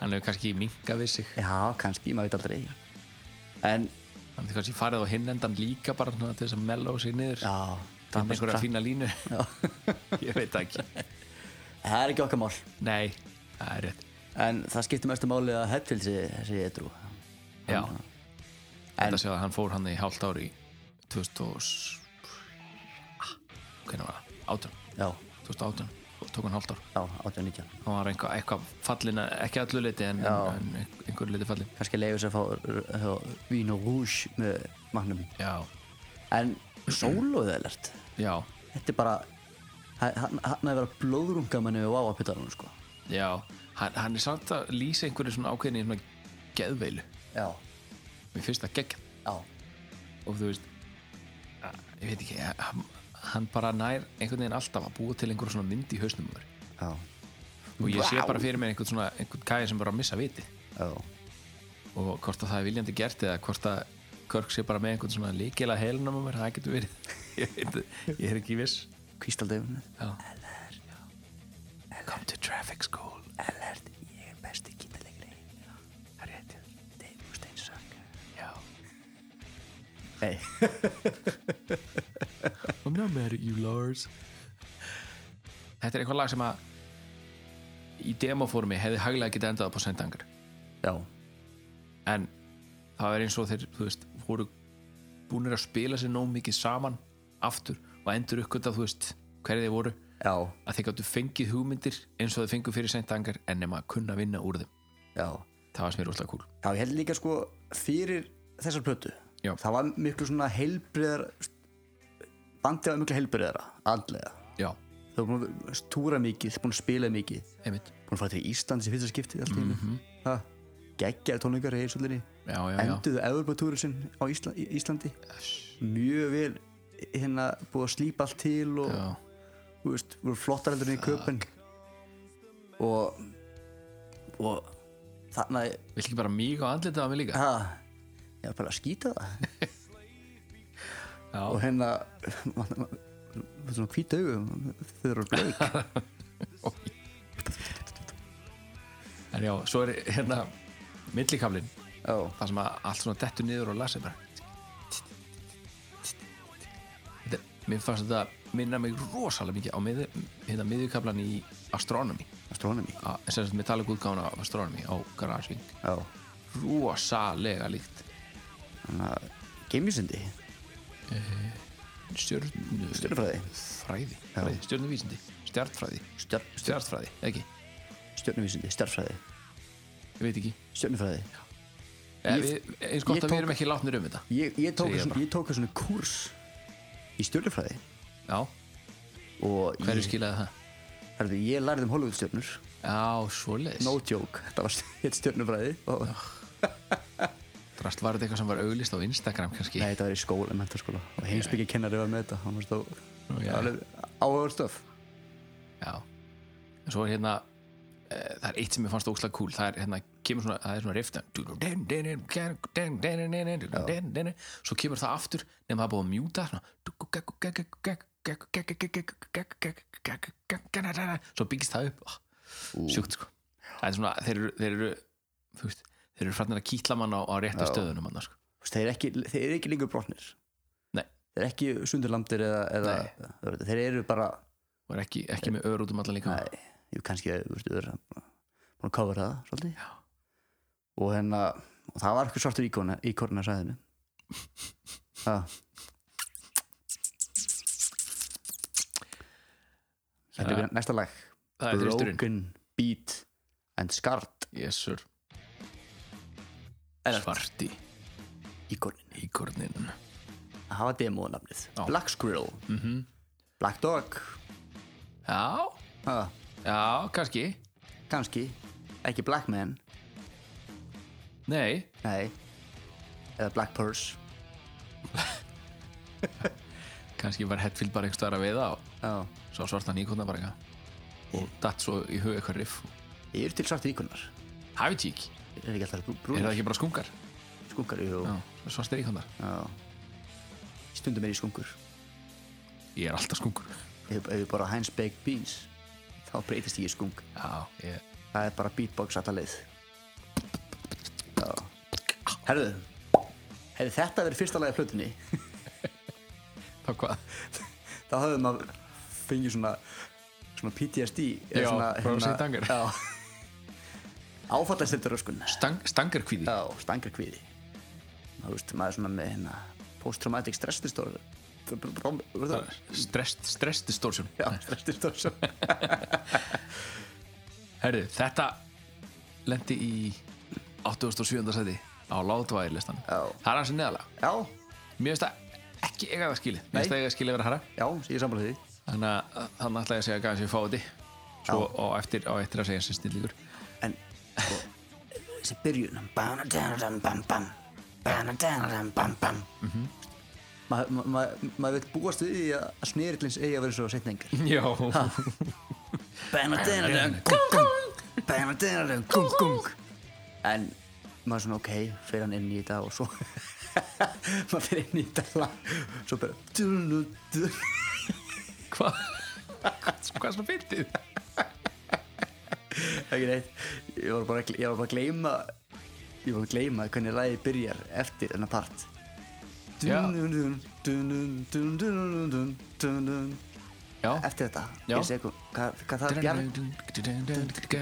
S7: Hann hefur kannski minkað við sig
S2: já, kannski, maður veit aldrei en
S7: hann hefur kannski farið á hinn endan líka bara svona til þess að mellow sig niður
S2: já,
S7: Það er
S2: bara
S7: einhverja
S2: svona-
S7: fína línu Ég veit það ekki
S2: það er ekki okkar mál
S7: Nei, það er rétt
S2: en það skiptir mestu máli að Hetfield sé, sé edru
S7: Já,
S2: en
S7: þetta sé að hann fór hann í hálft ári 2000 og s- Ah, Hvernig var það? 18
S2: já,
S7: 2018 og tók hann hálft ár
S2: já, 18-19
S7: Hann var eitthvað, eitthvað fallin, ekki allu leiti en,
S2: Já.
S7: en ein- einhverju leiti fallin
S2: kannski leiður sér að fá r- r- vín og rús með mannum
S7: Já,
S2: en sólóðeðlert
S7: já,
S2: þetta er bara hann hann- hann hefði verið að blóðrunga manni og áapitarunum sko
S7: Já, hann, hann er samt að lýsa einhverju svona ákveðinni svona geðveilu
S2: já,
S7: Mér finnst það geggjað
S2: já,
S7: og þú veist að- ég veit ekki, hann, hann bara nær einhvern veginn alltaf að búa til einhverju svona mynd í hausnum á þér.
S2: já,
S7: og ég sé bara fyrir mér einhvern svona einhvern kæði sem bara missa viti
S2: já.
S7: og hvort að það er viljandi gert eða hvort að Körk sé bara með einhvern svona líkila heilunum á mér, það getur verið ég, veit, ég er ekki viss
S2: kvístaldeifinu
S7: Já. Come to traffic school Alert, ég er besti kýtalegri Það er rétt Dave Steinsak Já
S2: Nei.
S7: I'm not mad at you, Lars Þetta er eitthvað lag sem að í demoformi hefði haglega getið endað upp á sendangar
S2: já,
S7: en það er eins og þeir þú veist, voru búinir að spila sér nóg mikið saman aftur og endur uppgötta, þú veist, hverju þeir voru
S2: já,
S7: að þeir gáttu fengið hugmyndir eins og þeir fengu fyrir sendangar en nema að kunna vinna úr þeim
S2: já
S7: það var sem er útla kúl
S2: já, ég held líka sko fyrir þessar plötu
S7: Já.
S2: það var miklu svona heilbriðar bandið var miklu heilbriðara andlega,
S7: já,
S2: þau voru búin að túra mikið búin að spila mikið,
S7: einmitt
S2: búin að fara til Íslands í fyrsta skipti allt í mm -hmm. geggjaði tónleikar í Eilsöllinni
S7: Mhm. já, já, já,
S2: enduðu Evropatúrið sinn á Ísla, í- Íslandi mjög vel hérna búið að slípa allt til og
S7: já.
S2: þú veist, voru flottar heldur en í köpen og og þarna
S7: vill ekki bara mig og andlita á mig líka
S2: ha, ég var bara að skýta það
S7: Já.
S2: og hérna man- man- með svona hvít augu þau eru bleik
S7: en já, svo er hérna millikaflin,
S2: já,
S7: það sem að allt svona dettur niður og lasi bara þetta, mér fannst þetta minna mig rosalega mikið á miður, hérna miðurkaflan í Astronomy,
S2: astronomi
S7: að- sem sagt metallic útgána af Astronomy á GarageBand
S2: já,
S7: rosalega líkt
S2: þannig að geimvísindi,
S7: stjörnu
S2: stjörnufræði
S7: fræði, fræði stjörnuvísindi, stjartfræði
S2: Stjörn, stjörn,
S7: stjartfræði, ekki,
S2: stjörnuvísindi, stjörnfræði
S7: ég veit ekki
S2: stjörnufræði
S7: Eh,
S2: Ég-
S7: við, eins gott
S2: ég
S7: að við
S2: tók-
S7: erum ekki látnir um þetta
S2: ég, ég tók
S7: Segi ég
S2: svona-
S7: bara.
S2: ég tók svona kurs í stjörnufræði
S7: já,
S2: og
S7: hverju
S2: ég,
S7: skilaði það?
S2: herrðu, ég lærði um Hollywoodstjörnur
S7: já, svoleiðis
S2: no joke, þetta var hitt stjörnufræði og
S7: drast var þetta eitthvað sem var auglist á Instagram kannski
S2: nei, þetta var í skóla, mentaskóla og heimsbyggja kennari var með þetta hann var stó
S7: já.
S2: áhugaður stöf
S7: já, en svo er hérna eh, það er eitt sem ég fannst óslag cool það er hérna, kemur svona, það er svona rifta svo kemur það aftur nema það er búið að mjúta svona svo byggist það upp sjúkt sko það er svona, þeir eru þeir eru, þú veist, þeir eru frætnir að kýtla mann á, á réttu stöðunum mann, sko.
S2: þeir eru ekki, þeir eru ekki lengur brotnir
S7: Nei.
S2: þeir eru ekki sundurlamdir eða, eða þeir eru bara
S7: og er ekki, ekki með ör út um allan líka
S2: Nei, jú, kannski þú veist, við erum búin að cover það svolítið Já. og hérna og það var eitthvað svartur íkona, íkorna sæðinu það hérna er næsta lag
S7: það er þristurinn
S2: Broken Beat and Scarred
S7: yes sir svarti
S2: íkornin
S7: íkornin
S2: það var demóðnafnið
S7: Já. Mhm.
S2: Black Squirrel -hmm. Black Dog
S7: já,
S2: ha,
S7: já, kannski
S2: kannski, ekki Black Man
S7: nei,
S2: nei eða Black Purse
S7: kannski var Hetfield bara einhvers staðar að veiða og
S2: Já.
S7: svo svartan íkorna bara eitthvað og datt svo í huga eitthvað riff
S2: ég er til svartur íkonar
S7: það veit ég ekki,
S2: er ekki alltaf brú-
S7: er
S2: brúnar
S7: það ekki bara skungar
S2: skunkar jú,
S7: já, svartir íkornar,
S2: já. stundum er ég skunkur
S7: ég er alltaf skungur
S2: ef ef ég bara Heinz Baked Beans þá breytist ég í skunk
S7: já, ég,
S2: það er bara beatbox alla leið já. herðu hefði þetta verið fyrsta lagi af plötunni
S7: þá hvað
S2: þá höfðum maður fengið svona svona PTSD eða hérna-
S7: Já, frá St. Anger.
S2: já áfallastendur öskun
S7: Stang, stangarkvíði,
S2: já, stangar kvíði þú veist, maður er svona með hérna post-traumatic stress disorder
S7: stress, stress distortion
S2: já, stress disorder
S7: herðu, þetta lendi í 87. seti á látværi listan
S2: Já.
S7: það er hans neðalega
S2: já,
S7: mér finnst það ekki eiga það skilið mér
S2: Nei.
S7: finnst það eiga það skilið að vera herra
S2: já, ég er sammála því
S7: þannig að þannig ætla ég að segja að gæða sér fáti svo á eftir, á eftir að segja sér snillíkur
S2: en sko, þessi byrjun
S4: Ba-na-da-da-bum-bum.
S2: maður ma, ma, ma vill búast við því að snerillins eigi að vera svo setna yngur
S7: já,
S2: en maður er svona ok, fyrir hann inn í þetta og svo maður fyrir inn í þetta lag svo bara dunu, dunu.
S7: hvað hvað er svona fyndið
S2: ekki neitt ég var bara, ég var bara að gleyma ég var að gleyma hvernig lagið byrjar eftir þennan part
S7: Já.
S2: dun, dun, dun, dun, dun, dun, dun, dun, dun.
S7: já,
S2: eftir þetta
S7: Já.
S2: ég segi hvað, hvað, hvað það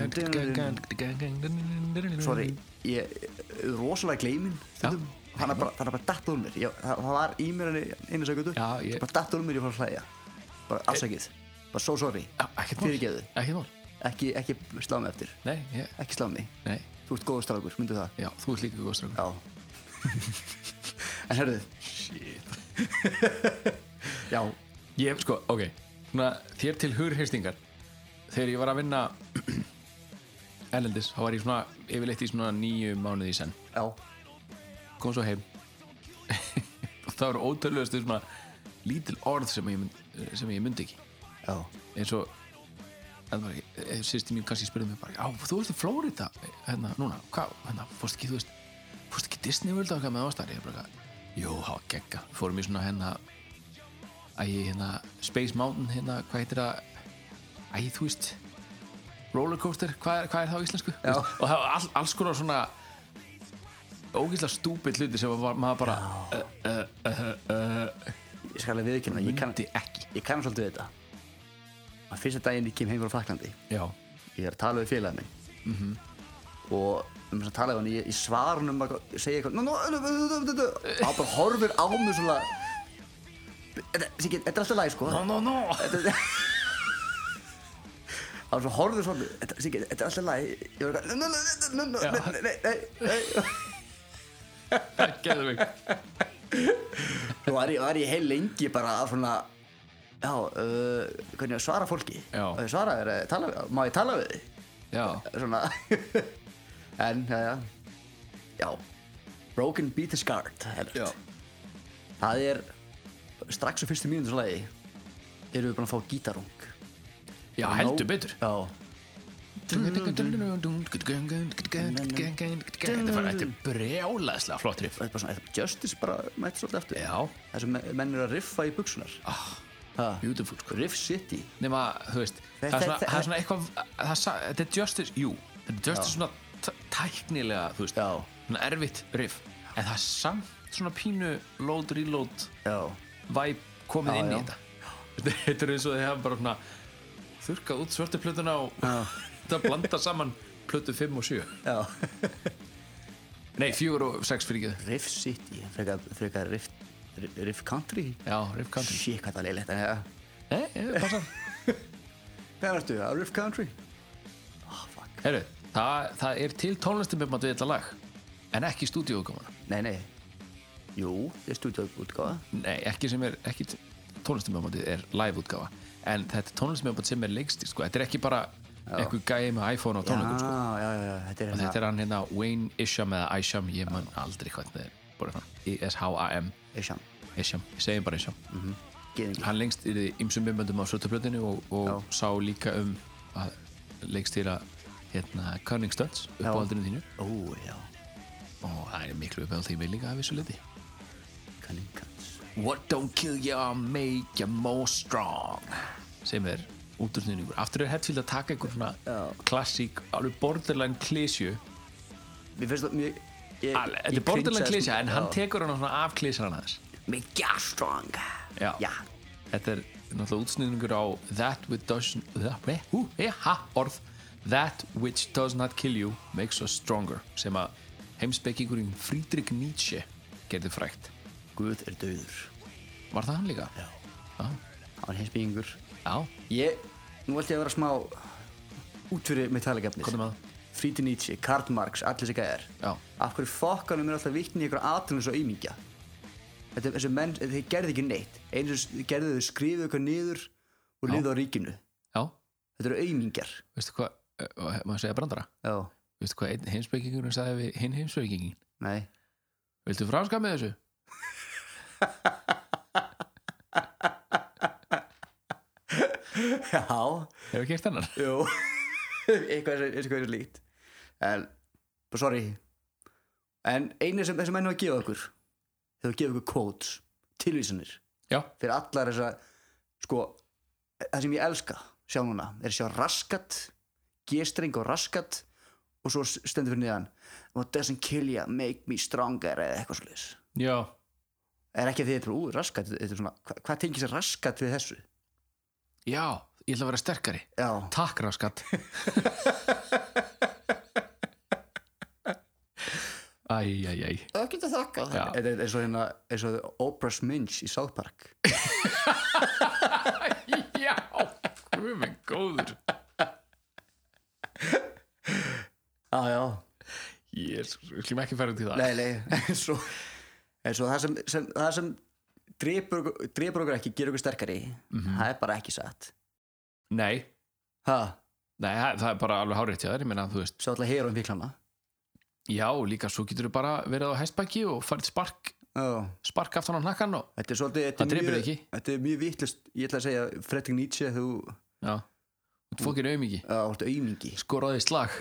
S2: er bjarg sorry,
S7: Mm.
S2: ég er rosalega gleyminn stundum. hann er bara, hann er bara datt úr mér ég, það, það var í mér henni einu sekundu
S7: Já, ég- Eh.
S2: bara datt úr mér ég fór að hlæja bara afsakið, bara so sorry
S7: Já, ekkert mál,
S2: Fyrirgefðu.
S7: ekkert mál
S2: ekki, ekki slá mig eftir,
S7: nei, ég,
S2: ekki slá mig
S7: nei,
S2: þú ert góður strákur, myndu það
S7: já, þú ert líka góð strákur
S2: já en herðu já,
S7: Ég, sko, ok Svona, Þér til hugreistingar Þegar ég var að vinna Erlendis, þá var ég svona yfirleitt í svona nýju mánuði í senn
S2: já,
S7: Kom svo heim Og það voru ótrúlegastu svona lítil orð sem ég, mynd- sem ég myndi ekki
S2: já
S7: eins og en bara, sýsti mín kannski spurði mig bara, já, þú veist í Flórida hérna, núna, hvað, hérna, fórst ekki, þú veist fórst ekki Disney World og hvað með ástæri ég bara, jú, hafa gegga fórum í svona hérna æ, hérna, Space Mountain, hérna, hvað heitir það æ, þú veist Rollercoaster, hvað er, hvað er það á íslensku Þú veist, og það var all, alls konar svona ógeðslega stúpid hluti sem var, maður bara
S2: ég skal alveg viðkynna,
S7: Mm.
S2: ég kann,
S7: myndi ekki
S2: ég kann svolítið þetta að fyrsta daginn ég kem heim frá Fraklandi
S7: já,
S2: ég er að tala við félagið minn
S7: Mhm.
S2: og um þess að tala við hann ég, ég svara hann um að segja eitthvað "Nú, nú, nú, nú, nú, nú, nú." og hann bara horfir á mig svona þetta Siggi, þetta er alltaf læg sko
S7: no, no, no
S2: Þetta- hann svo horfir svona "Þetta- Siggi, þetta er alltaf læg ég var eitthvað "Nú, nú, nú, nú, nú,
S7: Já.
S2: nú, nei, nei, nei."
S7: geðum við
S2: Svo var ég, var ég heil lengi bara að svona já, uh, hvernig að svara fólki
S7: Já.
S2: og ég svara þér, eh, tala við- má ég tala við þig
S7: já,
S2: svona en, já, já já, Broken Beat is Scarred Herbert.
S7: Já.
S2: það er strax á fyrstu mínútur svo lagi erum við búin að fá gítarung
S7: já, heldur betur
S2: já,
S7: Þetta var þetta brjálaðislega flott riff
S2: þetta er bara svona, þetta er Justice bara mætt svolítið aftur
S7: Já,
S2: þessum menn eru að riffa í buksunar ah,
S7: beautiful sko
S2: Riff City
S7: Nefna, þú veist, það er svona, það er svona eitthvað það er sa- Þetta er justice, jú Þetta er justice svona t- tæknilega, þú veist
S2: Já.
S7: Svona erfitt riff En það er samt svona pínu load, reload
S2: já,
S7: Vibe komið
S2: Já,
S7: inn í
S2: já.
S7: þetta Þetta er eins og þið hafa bara svona Þurkað út svörtu plötuna og Þetta blanda saman plötu 5 og 7
S2: já
S7: Nei, 4 og 6 fyrir ekki
S2: Riff City, frekar, frekar riff, riff Country
S7: Já, riff country
S2: shit hvað það er leiligt en eh. já
S7: Nei, ég, passa
S2: hvað ertu, að Riff Country? ah, fuck
S7: Heru, það, það er til tónlistabimmat við þetta lag en ekki stúdíóutgáfana
S2: nei, nei jú, þetta er stúdíóutgáfa
S7: Nei, ekki sem er ekki tónlistabimmatið er live útgáfa en þetta er tónlistabimmat sem er leikst sko. þetta er ekki bara einhver gæi með iPhone á tónleikum sko.
S2: Já, já, já, já, þetta er
S7: og
S2: hérna
S7: þetta er hann hérna Wayne Isham eða Isham, ég man aldrei hvernig það er bara hann, I-S-H-A-M
S2: Isham,
S7: Isham, ég segi bara Isham
S2: Mhm. geðingi
S7: hann lengst yfir ímsum bimböndum á Sötublöðinu og, og
S2: Já.
S7: sá líka um að lengst til að hérna, Cunning Stunts
S2: Já.
S7: uppáhaldinu þínu
S2: Ó, já,
S7: og það er miklu uppáhald því mig líka að vissu liti
S2: kanningkans
S7: What don't kill you make you more strong sem er útursnýningur aftur er Hetfield að taka einhver svona klassík, alveg borderline klísju
S2: Mér finnst það, mér ég-
S7: þetta
S2: ég
S7: er borderline
S2: cringeaði
S7: klísja
S2: smá-
S7: en hann
S2: já.
S7: tekur hann svona af klísjan hans
S2: Með Gjastong
S7: Já.
S2: Já,
S7: þetta er náttúrulega útsnýningur á That which doesn't that, eh, hú, eh, ha, orð, that which does not kill you makes us stronger sem að heimspekingurinn Friedrich Nietzsche gerði frækt
S2: Guð er döður
S7: var það hann líka? Já, já,
S2: Hann er hinsbyggingur
S7: já.
S2: Ég, nú ætti ég að vera smá út fyrir metallegafnis
S7: Komdu með það.
S2: Fríti Nietzsche, Karl Marx, allir þessi gæjar
S7: Já.
S2: Af hverju fokkanum er alltaf vittni í einhverja aðtunum svo ímingja Þetta er þessi menn, þeir gerðu ekki neitt Einu sem gerðu þau skrifuðu eitthvað niður og
S7: Já.
S2: lifðu á ríkinu
S7: já,
S2: þetta eru aumingjar
S7: veistu hvað eh, og maður segja brandara,
S2: já,
S7: veistu hvað einn heimspekingurinn sagði við hinn heimspekingin
S2: nei
S7: viltu franska með þessu?
S2: já,
S7: hefur ekki eitt annar?
S2: jú eitthvað er eitthvað er líkt en, bara sorry en einu sem þessi menn var að gefa okkur þau gefa okkur quotes tilvísanir
S7: já,
S2: fyrir allar þess að sko, það sem ég elska sjá núna, er að sjá raskat gestreng og raskat og svo stendur fyrir niðan what doesn't kill you, make me stronger eða eitthvað svolítið
S7: já,
S2: er ekki að því þetta er bara, ú, raskat þetta er svona, hva, hvað tengir sér raskat við þessu
S7: já ég ætla að vera sterkari,
S2: já,
S7: takk raskat æj, æj, æj
S5: Ekki til þakka
S7: já,
S2: þetta er eins og hérna eins og Oprah's Minch í South Park
S7: já guð minn góður
S2: já, já,
S7: jésus, við skulum ekki fara út í það
S2: nei, nei eins og, eins og það sem, sem það sem drepur, okkur- drepur okkur ekki gerir okkur sterkari, það er bara ekki satt
S7: nei,
S2: Mhm. ha,
S7: Nei, það það er bara alveg hárétt hjá þér, ég meina, þú veist,
S2: svo alltaf hér um fíklana
S7: já, líka svo getur þú bara verið á hestbæki og farið spark,
S2: já
S7: spark aftan á hnakkan og,
S2: Þetta er svolítið
S7: Það
S2: þetta er
S7: drepur
S2: mjög-
S7: ekki.
S2: Þetta er mjög vittlust Ég ætla að segja Fredrik Nietzsche Þú
S7: já, þú fókir auðmiki,
S2: átt aumingi
S7: skoraði slag.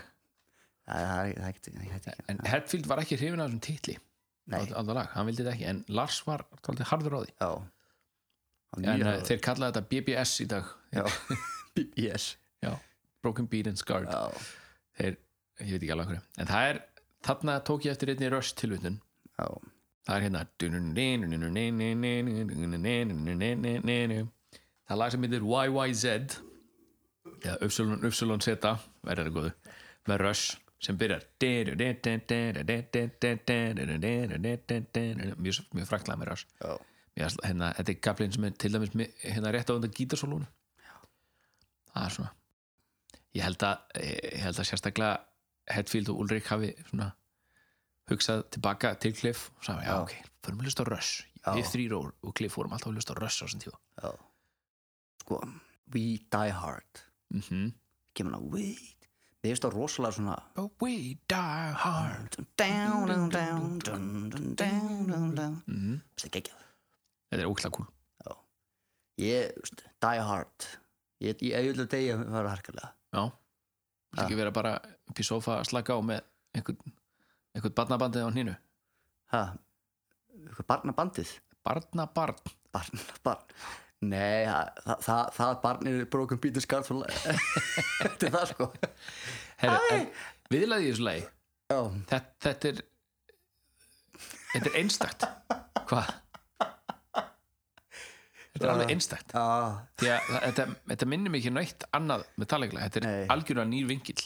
S2: Það það er það er ekki Það er ekki
S7: En Hetfield var ekki hrifin af þessum titli,
S2: Nei
S7: alltaf lag, hann vildi þetta ekki, en Lars var alltaf harður á því.
S2: Já
S7: En uh, þeir kallaði þetta BBS í dag,
S2: þeir Yes
S7: já, Broken Beat and Scarred,
S2: Já
S7: þeir, ég veit ekki alveg hverju, en það er, þarna tók ég eftir einni röst tilvitnun,
S2: Já
S7: það er hérna það er lag sem heitir YYZ eða Upsilon Upsilon Zeta verður það góðu með Rush sem byrjar mjög, mjög fræklaði með Rush
S2: Já
S7: Mér fannst hérna, þetta er gablin sem er til dæmis mi- hérna rétt á undan gítarsólun það er svona ég held að, ég held að sérstaklega Hetfield og Ulrik hafi svona hugsað tilbaka til Cliff og sagði, já,
S2: Já.
S7: ok, förum við lust á Rush við þrýr og, og Cliff vorum alltaf að lust á Rush á þessum tíu
S2: Já Sko We Die Hard
S7: mm
S2: Kemur hana Wait Mér finnst það rosalega svona
S7: but we die hard
S2: Down, down, down Down, down, down, down Það er geggjað
S7: Mhm. þetta er óklæð kúl
S2: Ég þú veist, Die Hard Ég ég- ég vil að degja Það var harkalega
S7: já, það ekki vera bara upp í sofa að slaka á með einhvern, einhvern barnabandið á hnínu
S2: Ha Eitthvað barnabandið
S7: barnabarn
S2: barn, barn Nei, það, það, það, það barn er broken beat and scarred for life Þetta er það sko
S7: Herru, viðlaði í þessu lagi
S2: Já,
S7: þetta, þetta er þetta er einstakt hvað? þetta er
S2: Ah.
S7: alveg einstakt
S2: já,
S7: því að það- þetta, þetta minnir mig ekki neitt annað með talegla, þetta
S2: Nei.
S7: er algjörlega nýr vingill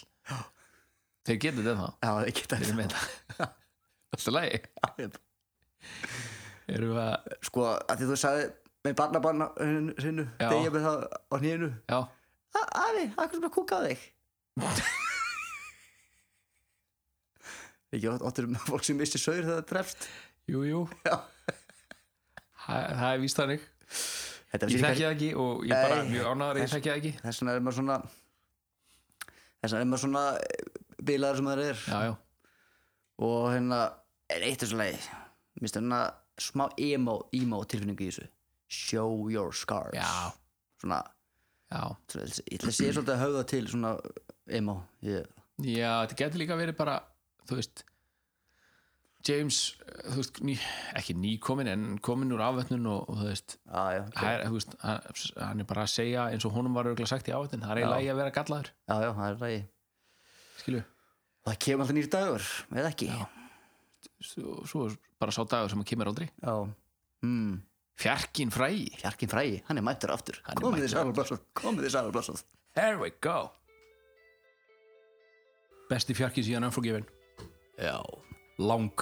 S7: þeir getur þetta þá
S2: já, ég geta
S7: þeir eru með þetta alltaf lagi erum við að,
S2: Sko, að því þú sagði með barnabarn sinnu,
S7: Já.
S2: degja með það á hnýðinu
S7: já,
S2: Afi, akkur sem að kúka á þig Ekki átt- áttur um fólk sem missti sögur þegar það drefst
S7: jú, jú
S2: Já.
S7: það, það er víst þannig
S2: Þetta
S7: ég
S2: vissi
S7: þekki
S2: ekki-
S7: það ekki og ég er bara
S2: Nei.
S7: mjög ánæður ég
S2: Þess-
S7: þekki það ekki
S2: Þess vegna er maður svona Þess vegna er maður svona eh, bilaður sem það er
S7: já, já,
S2: og hérna er eitt þessu lagi minnst hérna smá emo, emo tilfinningu í þessu show your scars
S7: Já.
S2: svona,
S7: já
S2: svona ég ætla að sé svolítið að höfða til svona emo ég,
S7: Já, þetta getur líka verið bara þú veist James, eh, þú veist, ný, ekki nýkomin en komin úr afvötnun og, og þú veist,
S2: á, já,
S7: okay. er, þú veist hann, hann er bara að segja eins og honum var örgulega sagt í afvötnun, það er eiginlega í að vera gallaður
S2: já, já, það er lagi
S7: skilu,
S2: það kemur alltaf nýr dagur, eða ekki já,
S7: svo, svo er bara sá dagur sem að kemur aldrei
S2: já. Mm,
S7: Fjarkin frægi,
S2: Fjarkin frægi, hann er mættur aftur
S7: Hann er
S2: komið
S7: mættur
S2: þið sæl og blásað komið þið sæl og blásað
S7: there we go Besti fjarkin síðan Unforgiven Já Lang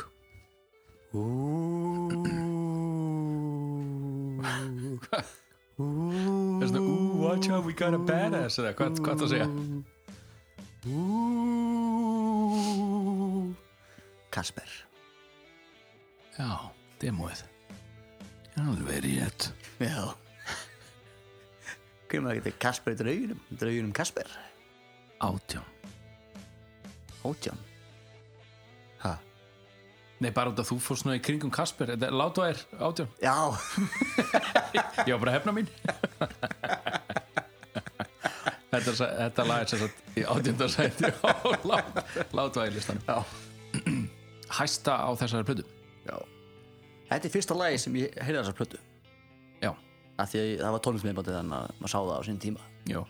S7: Þess að, ooh, watch out, we got a badass eða hvað, hvað það segja
S2: Kasper
S7: Já, demóið Alveg rétt
S2: já Hvernig maður getur Kasper í draugunum? Draugunum Kasper?
S7: Átján
S2: Ótján. Hæ?
S7: Nei, bara út að þú fórst svona í kringum Kasper Þetta- Látu að er átján
S2: Já,
S7: Ég var bara að hefna mín Þetta, er sa- þetta lag er sem sagt í átjöndarsæti á Látu að er listanum
S2: já.
S7: Hæsta á þessari plötu
S2: já. Þetta er fyrsta lagi sem ég heyrði þessar plötu.
S7: Já,
S2: Af því að ég- það var tónlismiðbáttið þannig að maður sá það á sín tíma.
S7: já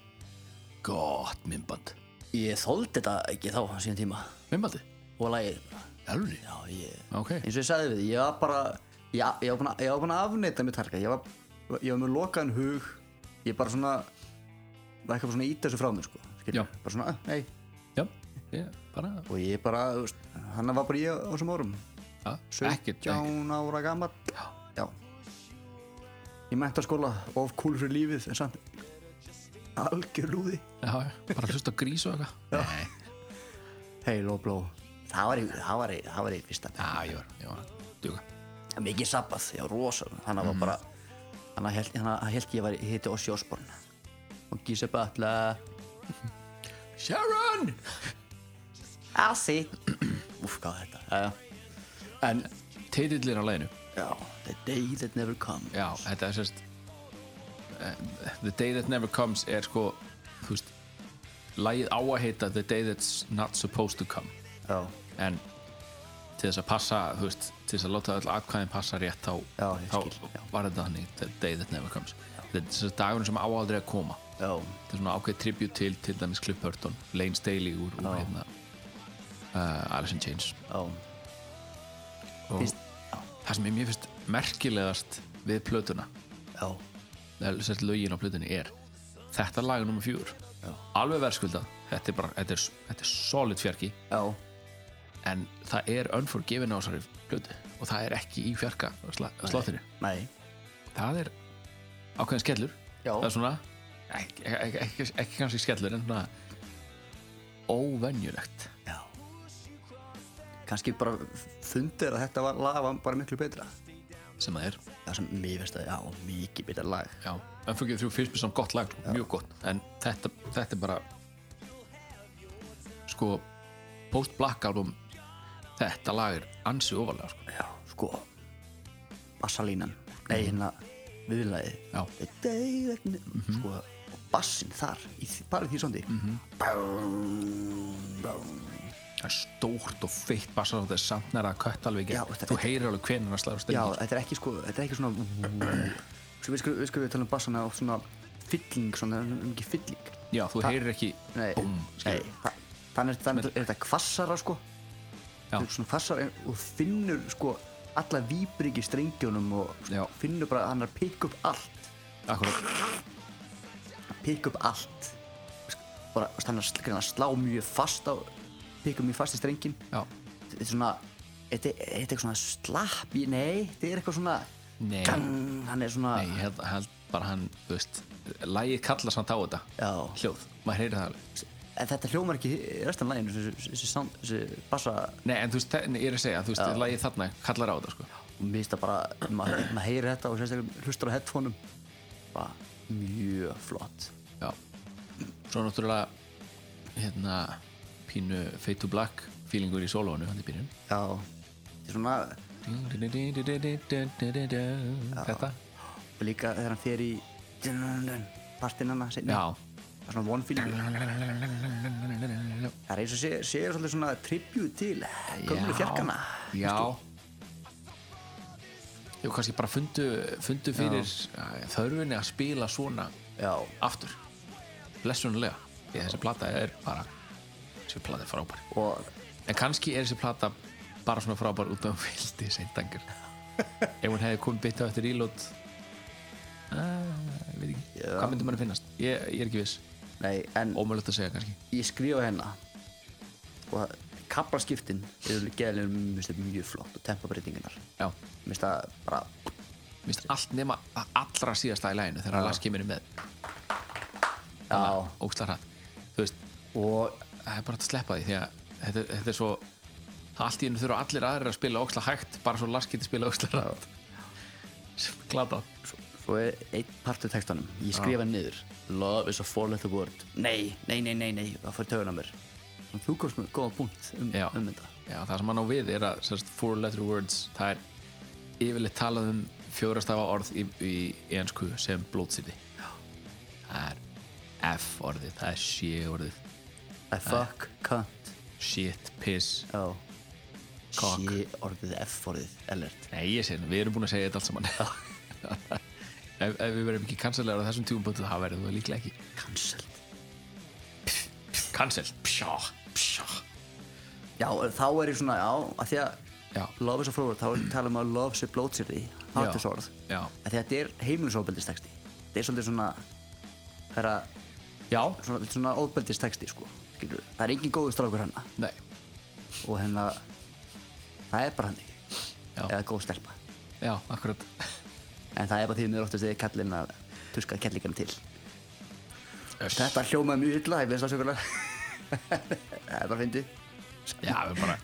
S7: Gott minnband
S2: Ég þóldi þetta ekki þá á sín tíma.
S7: Minnbandið?
S2: Og lagið,
S7: Elvunni?
S2: já, ég...
S7: Ok
S2: eins og ég sagði við, þig, ég var bara ég, ég var búinn að- ég var búin að afneita mér targa ég var, ég var með lokaðan hug ég bara svona var eitthvað svona ít þessu frá mér sko skilur.
S7: Já.
S2: bara svona, nei,
S7: Já, ég bara
S2: og ég bara þú veist, hann var bara ég á þessum árum
S7: ja, Ekkert, ekkert
S2: 17 ára gammal já. ég menta skóla of cool fyrir lífið en samt algjör lúði
S7: Já, já, bara hlusta á grís og eitthvað
S2: heil og bló það var í, það var í, það var í fyrsta
S7: Já, ég var, ég var að Duga
S2: mikið sabbað, já, rosa þannig
S7: Mhm.
S2: að mm. bara þannig að held- þannig að held ég var hitti Ossi Osborn og Gísa Bötla
S7: Sharon!
S2: Asi Úf, hvað þetta já, já. en,
S7: Teitillir á læginu
S2: já, the day that never comes
S7: Já, þetta er sérst eh, The Day That Never Comes er sko þú veist lagið á að heita The Day That's Not Supposed To Come
S2: já,
S7: en til þess að passa þú veist, til þess að láta öll atkvæðin passa rétt þá,
S2: Já, ég
S7: þá
S2: skil, já.
S7: var þetta þannig The Day That Never Comes þetta er sérst dagurinn sem á aldrei að koma
S2: já,
S7: þetta er svona ákveð tribut til til dæmis Cliff Burton, Lane Staley úr, úr hérna uh, Alice in Chains
S2: já
S7: og
S2: Fyrst-
S7: það sem ég mér finnst merkilegast við plötuna
S2: já,
S7: eða sett lögin á plötunni er þetta lag nummer fjúr alveg verðskuldað, þetta er bara þetta er, þetta er solid fjarki
S2: já,
S7: en það er unforgiven á þessari plötu og það er ekki í fjarka sla- slottinu,
S2: nei
S7: það er ákveðin skellur
S2: Já.
S7: það er svona ekki, ekki, ekki, ekki kannski skellur en svona óvenjulegt
S2: já kannski bara fundir að þetta var lag var bara miklu betra
S7: sem það er
S2: það sem mér veist að, já, mikið betra lag
S7: Já, Unforgiven 3 finnst mér samt gott lag, sko, mjög gott en þetta, þetta er bara sko post-black album þetta lag er ansi ofalega sko.
S2: já, sko bassalínan, nei hérna viðlæði
S7: Mhm. Já. Mhm.
S2: mm -hmm. sko, og bassin þar í, því- bara í því sondi mm -hmm.
S7: það er stórt og feitt bassar þetta er samt næra að kött alveg í
S2: Já,
S7: gegn.
S2: þetta-
S7: þú heyrir alveg hvenær að slæður
S2: já,
S7: stengið
S2: þetta er ekki sko þetta er ekki svona sko, við skulum við, skur, við tala um bassana og svona fylling, svona mikið fylling
S7: já, þú heyrir ekki
S2: nei,
S7: búm,
S2: nei þa- þannig er, þannig er þetta kvassara sko
S7: Já.
S2: Þetta er svona kvassara en- og finnur sko alla víbringi strengjónum og
S7: Já.
S2: finnur bara að hann er að pikka upp allt
S7: akkurat,
S2: pikk upp allt bara þú veist, hann er að sl- hann er að slá mjög fast á pikk upp mjög fast í strengin
S7: já
S2: þetta er svona þetta þetta er eitthvað svona slapp í nei, þetta er eitthvað svona
S7: Nei.
S2: gang, hann er svona
S7: nei, ég held, held bara hann, þú veist lagið kallar samt á þetta
S2: Já.
S7: hljóð, maður heyrir það alveg
S2: en þetta hljómar ekki í restan læginu þessi, þessi, sound- þessi bassa
S7: nei, en þú veist, þe- nei, ég er að segja, þú veist, lagið þarna kallar á þetta sko.
S2: og mér finnst það bara maður ma heyrir þetta og sérstaklega hlustar á headphoneum bara mjög flott
S7: Já Svo náttúrulega hérna pínu Fade to Black feelingur í sólónu hann í byrjun
S2: já þetta er svona
S7: Þetta
S2: og líka þegar hann fer í partinn hann það
S7: Já
S2: er svona one feeling Það er eins og sé, séu svolítið svona tribut til gömlu fjarkana
S7: Já Jú, kannski bara fundu, fundu fyrir já. þörfinni að spila svona
S2: Já,
S7: aftur blessunlega því að þessi plata er bara þessi plata er frábær
S2: og
S7: En kannski er þessi plata bara svona frábær út af hún vildi seintangur Ef hún hefði komið bytta eftir ílót ah, ég veit ekki, hvað myndi manni finnast? Ég, ég er ekki viss,
S2: nei, en
S7: ómögulegt að segja kannski
S2: ég skrifa hérna og kaplaskiptin eru geðalegum mjög flott og tempabreitingunar
S7: Já,
S2: mér finnst það bara
S7: minnst allt nema að allra síðasta í læginu þegar Lars kemur inn með
S2: já,
S7: óksla hratt Þú veist,
S2: og
S7: það er bara hægt að sleppa því því að þetta, þetta er svo allt í hennu þurfa allir aðrir að spila óksla hægt bara svo Lars getur spila óksla hratt Glatað
S2: svo, og einn partur textanum ég skrifa niður Ah. love is a four letter word nei, nei, nei, nei, nei, það fyrir töðun á mér En þú komst með góða punkt um,
S7: Já.
S2: um þetta
S7: Já, það sem hann á við er að sérst, four letter words, það er yfirleitt talað um fjórastafa orð í, í, í ensku sem blótsýrði það er F orðið, það er she orðið
S2: I fuck, cunt,
S7: shit, piss
S2: oh
S7: Cock.
S2: she orðið, f orðið, alert
S7: Nei, ég segir, við erum búin að segja þetta allt saman ef, ef við verðum ekki cancelar á þessum tíumböndu, það verðum við líklega ekki
S2: cancelled
S7: cancel, pjá, pjá
S2: já, þá er ég svona, já, að því að
S7: Já.
S2: love is a four word, þá er- talum við að love sé blótsir því, hattis orð
S7: Já,
S2: að því að þetta er heimilisofbeldistexti þetta er svolítið svona það er að,
S7: já,
S2: svona, þetta er svona ofbeldistexti sko, skilur það er engin góður strákur hana
S7: nei
S2: og hérna það er bara hann ekki
S7: Já.
S2: eða góð stelpa
S7: Já, akkurat
S2: en það er bara því mér oftast þegar kallin að tuska kellingan til þetta hljómaði mjög illa ég veist það sjökulega það er bara fyndi
S7: Já, við bara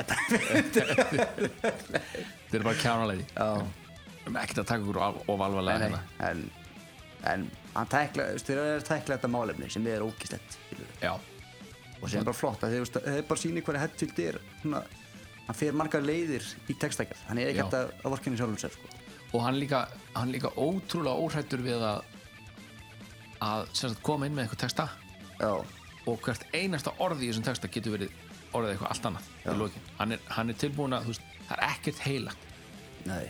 S7: Þeir eru bara kjánalegði Já Við erum ekkert að taka okkur al- of alvarlega
S2: en,
S7: hérna
S2: en, en hann tækla, þú veist, þegar það er tækla þetta málefni sem er ógislegt
S7: Já,
S2: og sem er bara flott að þeir, veist, þeir bara sýni hverja Hetfield er svona, hann fer margar leiðir í textækjað hann er ekki
S7: Já.
S2: hægt að, að vorkinni sjálfum sér sko.
S7: og hann líka, hann líka ótrúlega óhrættur við að að sem sagt, koma inn með eitthvað texta
S2: já,
S7: og hvert einasta orð í þessum texta getur verið orðið eitthvað allt annað í lokin. hann er, hann er tilbúin að, þú veist, það er ekkert heilagt
S2: nei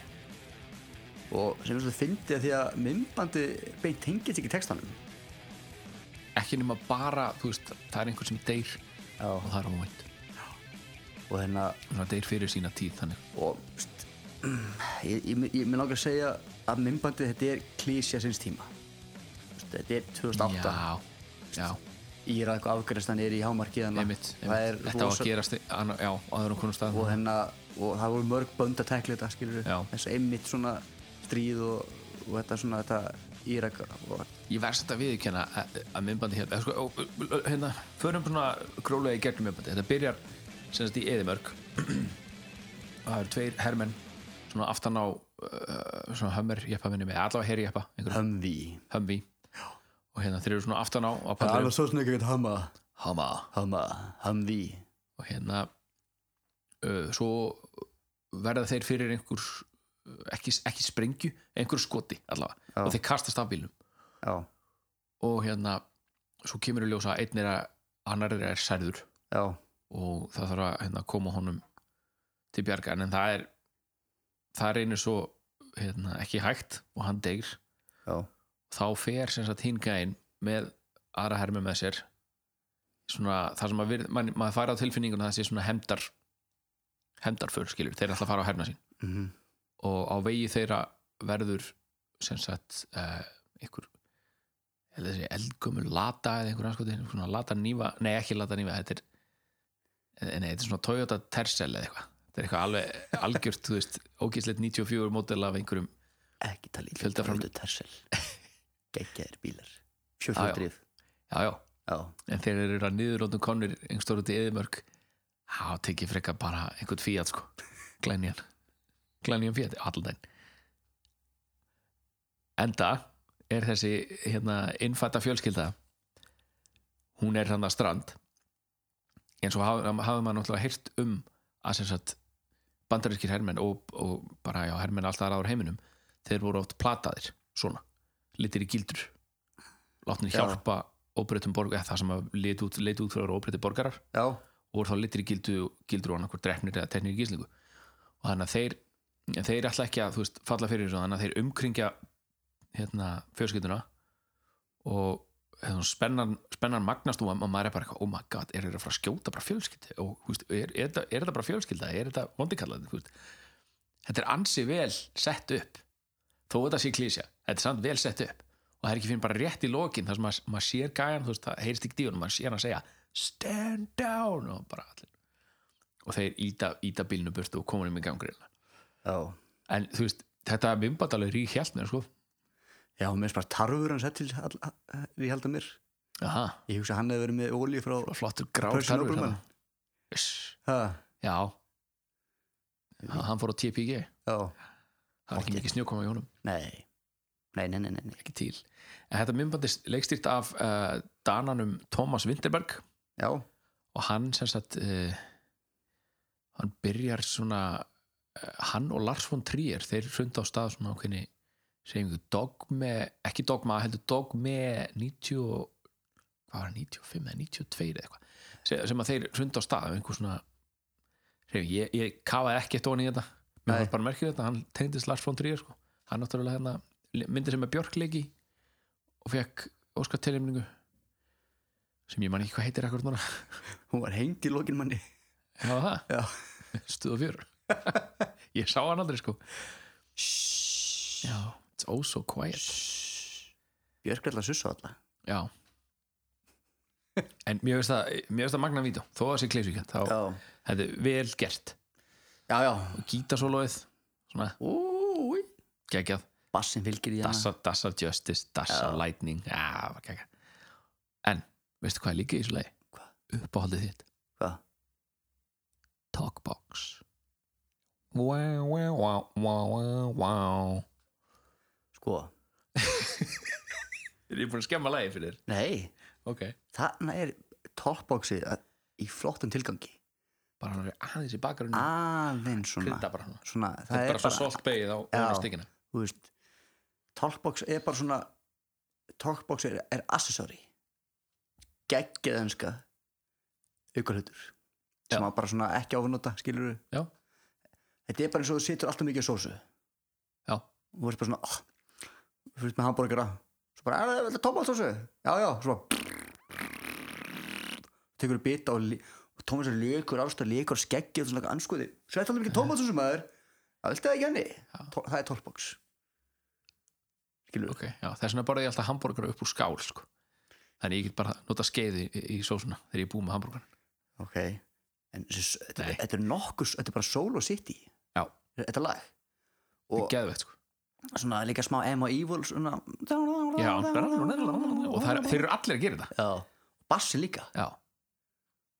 S2: og sem er svolítið fyndið að því að myndbandi beint tengist ekki textanum
S7: ekki nema bara, þú veist, það er einhver sem deyr
S2: Já.
S7: og það er óvænt
S2: og hérna
S7: svona deyr fyrir sína tíð þannig
S2: og st, ég, ég, ég mér langar að segja að myndbandið þetta er klísja sinns tíma St, þetta er 2008
S7: Já, já,
S2: Íra eitthvað afgræstan er í hámarki þarna.
S7: einmitt,
S2: Það
S7: einmitt.
S2: er
S7: þetta var
S2: rosa-
S7: að gerast í- anna- já, áður um konum stað
S2: og hérna og það voru mörg bönd að tekla þetta skilur
S7: Já.
S2: þess að einmitt svona stríð og, og þetta svona þetta Írak og
S7: Ég verðs þetta viðkjöna að, að myndbandi hérna, eða sko, ó, ó, hérna förum svona grólega í gegnum myndbandi þetta byrjar sem sagt í Eðimörk það eru tveir hermenn svona aftan á uh, svona hömmur jeppa minni með allavega herri jeppa
S2: hömði
S7: hömmi og hérna þeir eru svona aftan á á
S2: Það er
S7: pallinum.
S2: alveg svo svona ekki að hama
S7: Hama
S2: hama, hömði
S7: og hérna uh, svo verða þeir fyrir einhver uh, ekki, ekki sprengju, einhver skoti allavega
S2: Já.
S7: og þeir kastast af bílum
S2: já,
S7: og hérna svo kemur í ljósa einn er að annar er særður
S2: já,
S7: og það þarf að hérna, koma honum til bjargar en það er það reynir svo hérna, ekki hægt og hann degir
S2: já
S7: þá fer sem sagt hingæin með aðra hermi með sér svona það sem að við, man, maður færa á tilfinninguna það sé svona hemdar hemdarför skilur, þeir ætla að fara á herna sín
S2: mm -hmm.
S7: og á vegi þeirra verður sem sagt uh, einhver eða þessi eldgömmul lata eða einhver anskoti, svona lata nýfa nei ekki lata nýfa, þetta er eh, nei, þetta er svona Toyota Tercel eða eitthvað þetta er eitthvað alveg algjört, þú veist ógæslegt 94 mótel af einhverjum
S2: ekki tala í
S7: Fjölda fram-
S2: tersel geggjaðir bílar fjórfjöldrif,
S7: já, já,
S2: já,
S7: en þeir eru að niðurlótum konur einhver stóru til eðimörk þá tekið frekka bara einhvern fíat sko glænjan glænjan fíat, alldæn enda er þessi hérna innfætta fjölskylda hún er hann að strand en svo hafði hafði maður náttúrulega heyrt um að sem sagt bandarískir hermenn og, og bara já, hermenn alltaf aðraður heiminum þeir voru oft plataðir, svona litir í gildur látnir
S2: Já.
S7: hjálpa óbreytum borgar, það sem að leit út, leit út frá óbreyti borgarar
S2: já,
S7: og voru þá litri gildu, gildur og annarkur drefnir eða teknir í gíslingu og þannig að þeir, en þeir ætla ekki að þú veist, falla fyrir þessu, þannig að þeir umkringja hérna, fjölskylduna og hérna, spennan, spennan magnast og ma- maður er bara eitthvað, oh my god, er þetta frá að skjóta bara fjölskyldu og þú veist, er, er, þetta- er þetta bara fjölskylda er þetta vondikallandi, þú veist þetta er ansi vel sett upp þó þetta sé klísja, þetta er samt vel sett upp og það er ekki fyrir bara rétt í lokin þar sem maður, maður sér gæjan, þú veist, það heyrist ekki díunum maður sér hann að segja, stand down og bara allir og þeir íta, íta bílnu burtu og koma um í gangrið
S2: já
S7: en þú veist, þetta er mimbandalegi rík hjælt mér, sko
S2: já, mér finnst bara tarfur hans til við held að mér
S7: Aha,
S2: ég hugsa að hann hefði verið með olíu frá
S7: og flottur grár
S2: Percy
S7: tarfur
S2: Nobleman.
S7: þarna. Uss,
S2: ha,
S7: já Ha- hann fór á TPG það
S2: já,
S7: var ekki mikið snjókoma í honum
S2: nei nei, nei, nei, nei, nei.
S7: ekki til en þetta myndbandist leikstýrt af uh, dananum Thomas Winterberg
S2: já,
S7: og hann sem sagt uh, hann byrjar svona uh, hann og Lars von Trier þeir hrunda á stað svona ákveðni segjum við dogme, ekki dogma heldur dogme 90 og- hvað var það, 95 eða 92 eða eitthvað, sem, sem að þeir hrunda á stað af einhver svona segjum, við, ég, ég kafaði ekki eftir honum í þetta
S2: Nei.
S7: mér var bara merkið þetta, hann tengdist Lars von Trier sko. hann náttúrulega hérna myndir sem er Björk leiki og fekk Óskar tilhemningu sem ég man ekki hvað heitir akkur núna
S2: hún var hengd í lokin manni
S7: Já, það?
S2: Já.
S7: Stuð og fjör. ég sá hann aldrei, sko. Já, it's oh so quiet.
S2: Björk er alltaf sussu alltaf
S7: Já. En mér finnst það, mér finnst það magna vító, þó að það sé kleysvíkjönd, þá
S2: já,
S7: þetta er vel gert.
S2: já, já.
S7: Gítasólóið, svona,
S2: Úi.
S7: geggjað,
S2: bassin fylgir í hana
S7: dassa, dassa justice, dassa
S2: Já.
S7: lightning, já, var geggjað. En, veistu hvað er líka í þessu lagi?
S2: Hvað?
S7: Uppáhaldið þitt,
S2: Hvað?
S7: talkbox. Wow, wow, wow, wow, wow.
S2: sko,
S7: Er ég búin að skemma lagi fyrir þér?
S2: nei,
S7: Ok.
S2: þarna er toppboxið að- í flottum tilgangi
S7: bara hann er aðeins í
S2: Mm.
S7: bakgrunni
S2: aðeins svona
S7: krydda bara hann
S2: svona, Ah. það,
S7: það er bara svo
S2: bara,
S7: solt beigð á
S2: Já.
S7: ofan á stikina
S2: þú veist talkbox er bara svona talkbox er, er accessory geggjað önska aukarhutur sem
S7: Já.
S2: að bara svona ekki áfnota skilur
S7: Já.
S2: þetta er bara eins og þú situr alltaf mikið á sósu
S7: Já.
S2: og þú veist bara svona oh, þú veist með hambúrgara svo bara, er þetta tómat sósu? já, já, svo bara tekur bita og, lí- og tómat sósu lökur ástæð lökur skeggið og svona anskuði sveit alltaf mikið tómat sósu maður það viltu það ekki henni Tó- það er talkbox skilur
S7: okay, já, þess vegna borði ég alltaf hambúrgar upp úr skál sko. þannig ég get bara nota skeiði í, í sósuna þegar ég er búið með hambúrgar
S2: ok en þessi- þetta,
S7: Nei.
S2: þetta er nokkus, þetta er bara solo city
S7: Já.
S2: þetta
S7: það
S2: lag
S7: er
S2: og
S7: geðvegt sko.
S2: svona líka smá Emma Evil svona
S7: já. og það er, þeir eru allir að gera þetta
S2: já bassi líka
S7: já.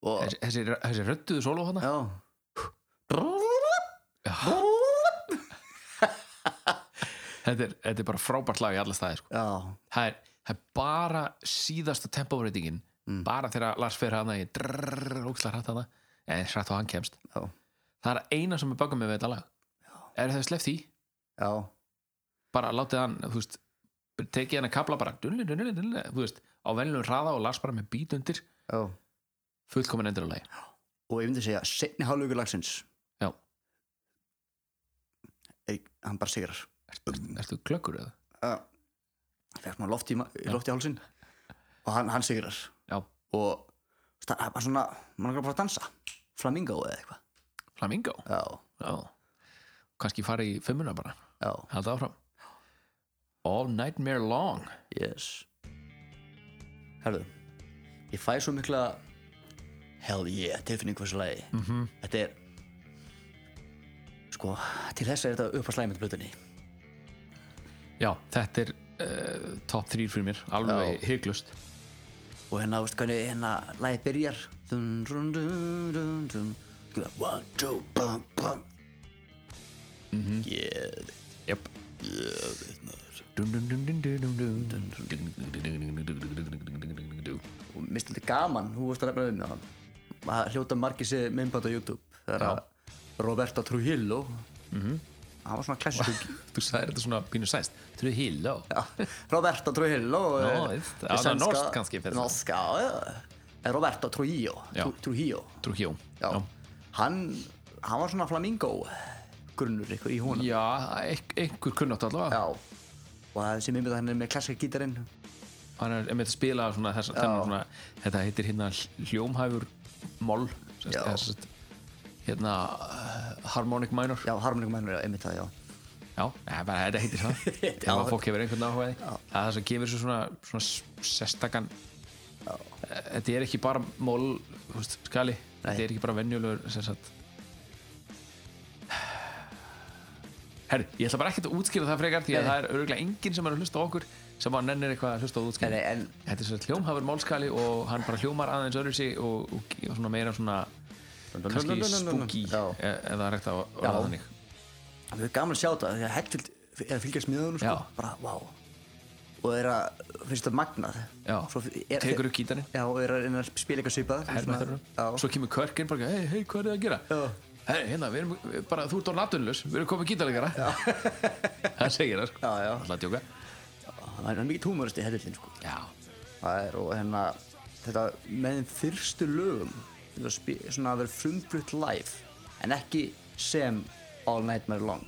S2: og
S7: þessi, þessi, þessi rödduðu sóló hana
S2: já
S7: þetta er, þetta er bara frábært lag í alla staði sko.
S2: já
S7: það er, það er bara síðasta tempóbreytingin
S2: Mm.
S7: bara þegar Lars fer hana í drrrr, ókslar hrætt hana en hrætt og hann kemst
S2: Já.
S7: það er eina sem er baka með við þetta lag er það sleppt því,
S2: já
S7: bara látið hann þú veist, tekið hann að kapla bara dunli, dunli, dunli, þú veist, á venlum hraða og Lars bara með bít undir,
S2: já
S7: fullkomin endur á lagi
S2: og ég myndi segja setni hálfleikur lagsins
S7: Já.
S2: er, hann bara sigrar
S7: ertu, ertu klökkur eða?
S2: fekk maður loft í, ma- loft í hálsin og hann, hann sigrar
S7: Já.
S2: og það er bara svona mann er bara að dansa flamingo eða eitthvað
S7: Flamingo?
S2: já,
S7: Já kannski fara í fimmuna bara,
S2: já,
S7: halda áfram All Nightmare Long
S2: yes herðu ég fæ svo mikla hell yeah tilfinningu þessu lagi -hmm. þetta er sko, til þess er þetta upp að slæmið blöðinni
S7: já, þetta er uh, top 3 fyrir mér, alveg hygglust
S2: og hérna, veist hvernig, hérna, lagið byrjar dun, dun, dun, dun, dun Skilja, one, two, bum, bum
S7: Mhm.
S2: mm -hmm. yeah
S7: Jöp
S2: og mér finnst þetta gaman, þú veist að nefna um það að hljóta margir sér myndbætt á YouTube þegar að Roberto Trujillo
S7: Mhm.
S2: hann var svona klassík
S7: Þú sagðir þetta svona pínu sæst Trú híla
S2: Roberto Trujillo
S7: Já,
S2: eh,
S7: veist.
S2: í
S7: Já, það er
S2: sænska-
S7: norskt kannski fyrir það.
S2: norska, já, já. Eh, Roberto Trujillo
S7: Já.
S2: Tru- Trujillo
S7: Trú hjó
S2: já. hann, hann var svona flamingo grunnur ykkur í honum
S7: Já, ein- einhver kunnátt allavega
S2: já. og það er sem myndbætt hann er með klassík gítarinn
S7: Hann er með að spila svona þess þennan svona Þetta heitir hérna hljómhæfur Moll sem sagt-
S2: Já.
S7: eða sem sagt, Hérna uh, Harmonic minor
S2: já, harmonikum ennur, einmitt það, já
S7: Já, ja, bara þetta heitir það Ef að fólk hefur einhvern áhugaði Það er það sem gefur svo svona, svona s- sérstakan Eh, Þetta er ekki bara mól veist, skali, þetta er ekki bara venjulegur sem sagt Herri, ég ætla bara ekkert að útskýra það frekar því að það er örgulega enginn sem er að hlusta á okkur sem að nennir eitthvað að hlusta á útskýra
S2: Nei, en-
S7: Þetta er svona hljómhafur málskali og hann bara hljómar aðeins öðru sig og, og, og svona meira svona kannski spooky
S2: já.
S7: e- eða er ekkert að orða
S2: Já.
S7: þannig
S2: það er gaman að sjá það því að hægt er að fylgjast miðunum sko.
S7: Já.
S2: bara, vá, wow. og þeir að, finnst það magnað
S7: Já,
S2: Svo er-
S7: tekur upp gítarinn
S2: já, og þeir að reyna að spila eitthvað svipað svona- já.
S7: svo kemur Körkinn bara, hei, hei, hvað er það að gera
S2: Já.
S7: hei, hérna, við erum við- bara, þú ert orðin atvinnlaus við erum komið gítarleikara það segir það, sko.
S2: Já, já.
S7: alltaf að djóka
S2: það er mikið túmurist í hellillin sko.
S7: já,
S2: það er og hérna þetta með þeim fyrstu lögum þetta spi, svona að vera frumflutt live en ekki sem All Nightmare Long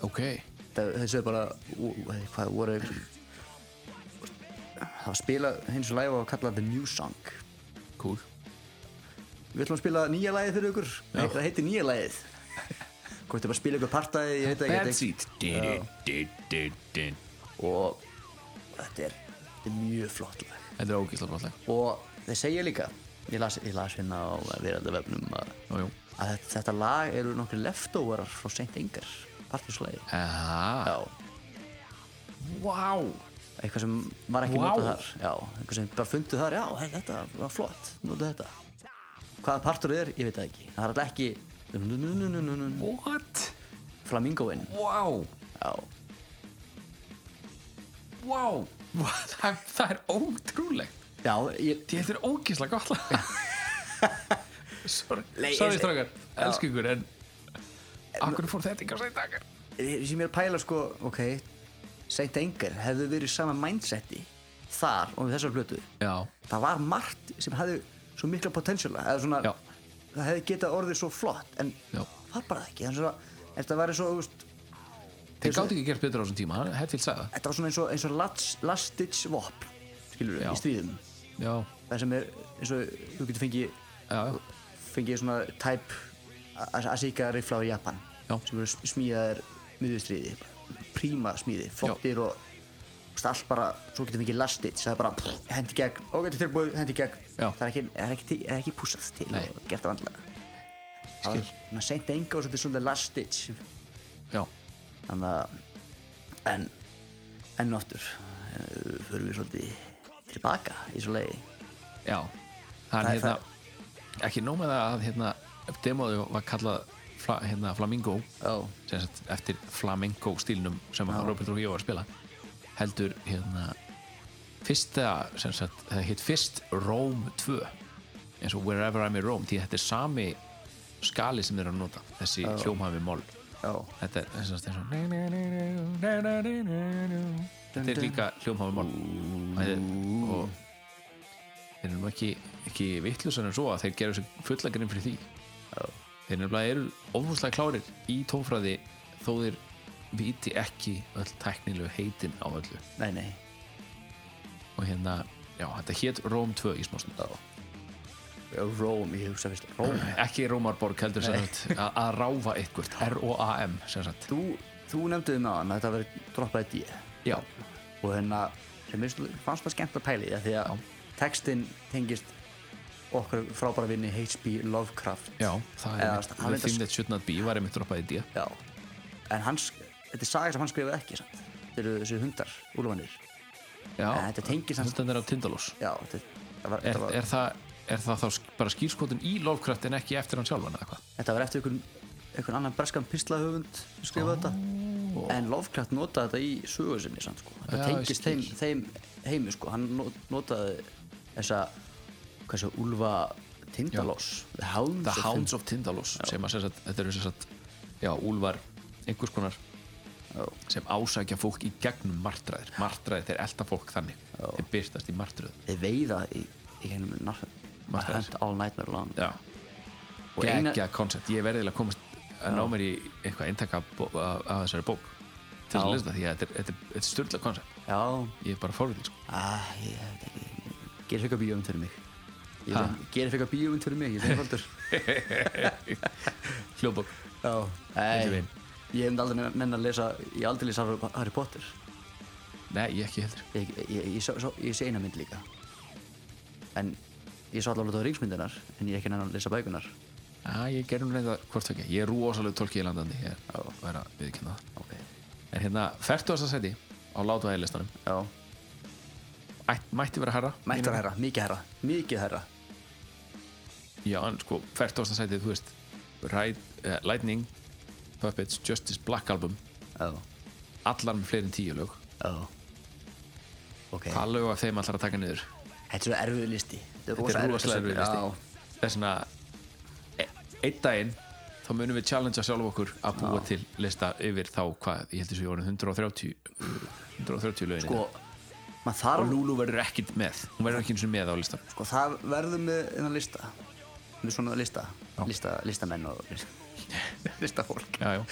S7: ok
S2: það, þessu er bara ú- ú- hvað voru það var spila hins og live og kalla The New Song
S7: cool,
S2: við ætlum að spila nýja lagið fyrir ykkur Nei, það heitir nýja lagið hvort þið bara að spila ykkur partæði ég veit ekki
S7: bad
S2: þetta er-
S7: seat Din, din, din, din.
S2: og þetta er, þetta er mjög flott lag
S7: þetta er ógísla brotleg
S2: og þeir segja líka ég las, ég las hérna á verandavefnum að,
S7: Jú, jú.
S2: að þetta, þetta lag eru nokkri leftoverar frá Saint Ingar partíslæði
S7: aha, wow
S2: eitthvað sem var ekki
S7: Vá.
S2: notað þar já, eitthvað sem bara fundu þar, já, he- þetta var flott notað þetta hvaða partur þið er, ég veit það ekki það er alltaf ekki
S7: what,
S2: flamingoinn
S7: wow
S2: já,
S7: wow, það, það er ótrúlegt
S2: já ég,
S7: Því þetta er ógísla gott lag Sorry,
S2: Nei,
S7: sorry
S2: ég-
S7: strákar Elsku ykkur en Akkur fór þetta ykkur sætt akkur
S2: ég, sem ég er að pæla sko, ok Saint Ingar hefðu verið í sama mindseti þar og við þessar plötu
S7: Já,
S2: það var margt sem hafði svo mikla potensiala eða svona,
S7: Já.
S2: það hefði getað orðið svo flott en
S7: Já.
S2: var bara það ekki þannig að þetta var eins og þú veist,
S7: þeir gátt ekki gert betur á þessum tíma hann- Hetfield sagði
S2: þetta var svona eins og, eins og last, last ditch vop skilur
S7: Já.
S2: í stríðum
S7: það Já,
S2: það sem er eins og þú getur fengið
S7: já,
S2: fengið svona type as- Asika rifla á Japan
S7: Já.
S2: sem eru sm- smíðaðir miðustríði príma smíði, flottir og þú veist, allt bara, svo getur fengið last ditch það er bara pff, hendi gegn, ok, þetta er tilbúið hendi gegn,
S7: Já.
S2: það er ekki, það er ekki, til- það er ekki púsað til
S7: Nei.
S2: og gert það vandlega það er svona seint enga og svo þetta er svona last ditch
S7: já
S2: þannig að en, enn og aftur eh, förum við svolítið tilbaka í svo leiði
S7: Já, það er
S2: Það er
S7: hérna Ekki nóg með það að hérna Demóðu var kallað fla, hérna, Flamingo
S2: Já.
S7: sem sagt, Eftir Flamingo stílnum sem að Robert Rúi var að spila Heldur hérna Fyrsta, sem sagt, það hitt fyrst Rome 2 eins og Wherever I'm in Rome því þetta er sami skali sem þeir eru að nota þessi oh. hljómhæmi mól
S2: Já.
S7: þetta er eins og eins og þetta er líka hljómhæmi mól og þeir eru nú ekki, ekki vittlusan en svo að þeir gera þessu fulla grinn fyrir því þeir nefnilega eru ofúslega klárir í tófræði þó þeir viti ekki öll tæknilegu heitin á öllu
S2: nei, nei,
S7: og hérna, já, þetta hétt Róm 2 í smástund
S2: Róm, ég hugsa fyrst Róm,
S7: ekki Rómarborg heldur sem sagt að að ráfa eitthvert, R-O-A-M sem sagt,
S2: þú, þú nefnduði með hann að þetta verið droppaði D
S7: já,
S2: og hérna, sem mér fannst það skemmt að pæli því að því að textinn tengist okkur frábæra vinni H.P. Lovecraft
S7: já það
S2: Eða,
S7: er
S2: veist,
S7: mitt,
S2: hann
S7: the
S2: reyndar
S7: thing that should not be var einmitt droppað í D
S2: Já, en hans, þetta er saga sem hann skrifaði ekki sant? þetta eru þessi hundar, úlfanir
S7: já,
S2: En þetta tengist hans-
S7: hundan er á Tindalós
S2: já, þetta þetta
S7: er,
S2: var, þetta var,
S7: er, það, er það þá sk- bara skýrskotin í Lovecraft en ekki eftir hann sjálfan eða hvað
S2: þetta var eftir einhvern, einhvern annan breskan pislahöfund skrifaði þetta en Lovecraft notaði þetta í sögu sinni sant, sko. þetta
S7: Já, ég
S2: tengist
S7: skil.
S2: þeim, þeim heimi sko. hann no- notaði þessa hversu úlfa tindalós The Hounds,
S7: The Hounds of Tindalós sem að sem sagt, þetta eru sem sagt, já, úlvar einhers konar sem ásækja fólk í gegnum martræðir martræðir þeir elta fólk þannig þeir byrtast í martröð
S2: þeir veiða í, í hennum
S7: Martraðir.
S2: narfum All Nightmare Long
S7: já,
S2: Og eina-
S7: geggja koncept ég verði að komast að ná mér í eitthvað eintaka af þessari bók til að
S2: Já.
S7: lesa því að þetta er, þetta er, þetta er styrla koncept
S2: já,
S7: ég er bara fórvitið sko.
S2: ah, ég veit ekki gerir fyrir bíómynd fyrir mig Ég
S7: Ha?
S2: sem- gerir fyrir bíómynd fyrir mig, ég er einfaldur
S7: hljóðbók
S2: já,
S7: Eins og
S2: ei,
S7: vin.
S2: ég hef aldrei menn að lesa ég hef aldrei lesa Harry Potter
S7: nei, ég ekki heldur
S2: ég, ég, ég, ég, sá- sá- ég sé eina mynd líka en ég sá allavega það ringsmyndinar en ég er ekki nefn að lesa bækunar
S7: Já, ég gerði nú reynda hvort ekki ég er rosalega tólkið í landandi ég er að vera viðkynna það
S2: ok,
S7: en hérna, 40. seti á látuæðilistanum
S2: já,
S7: mætti vera herra
S2: mættur herra, mikið herra mikið herra,
S7: Já, en sko, 40. sætið, þú veist Ride, uh, Lightning Puppets, Justice, Black Album
S2: já,
S7: allar með fleiri en tíu lög
S2: já ok
S7: Hvað lög af þeim allar að taka niður?
S2: Þetta er svo erfiðu listi Þetta
S7: Þetta
S2: rosa
S7: er rosalega erfið
S2: Já.
S7: listi. Það er svona e- einn daginn þá munum við challengea sjálf okkur að búa til lista yfir þá hvað ég held þessu jórnum 130 uh, 130 lögin
S2: Sko, maður þarf
S7: og Lulu verður ekkit með hún verður ekki eins og með á listan
S2: sko, það verðum við innan lista með svona lista, lista listamenn og listafólk
S7: já, já.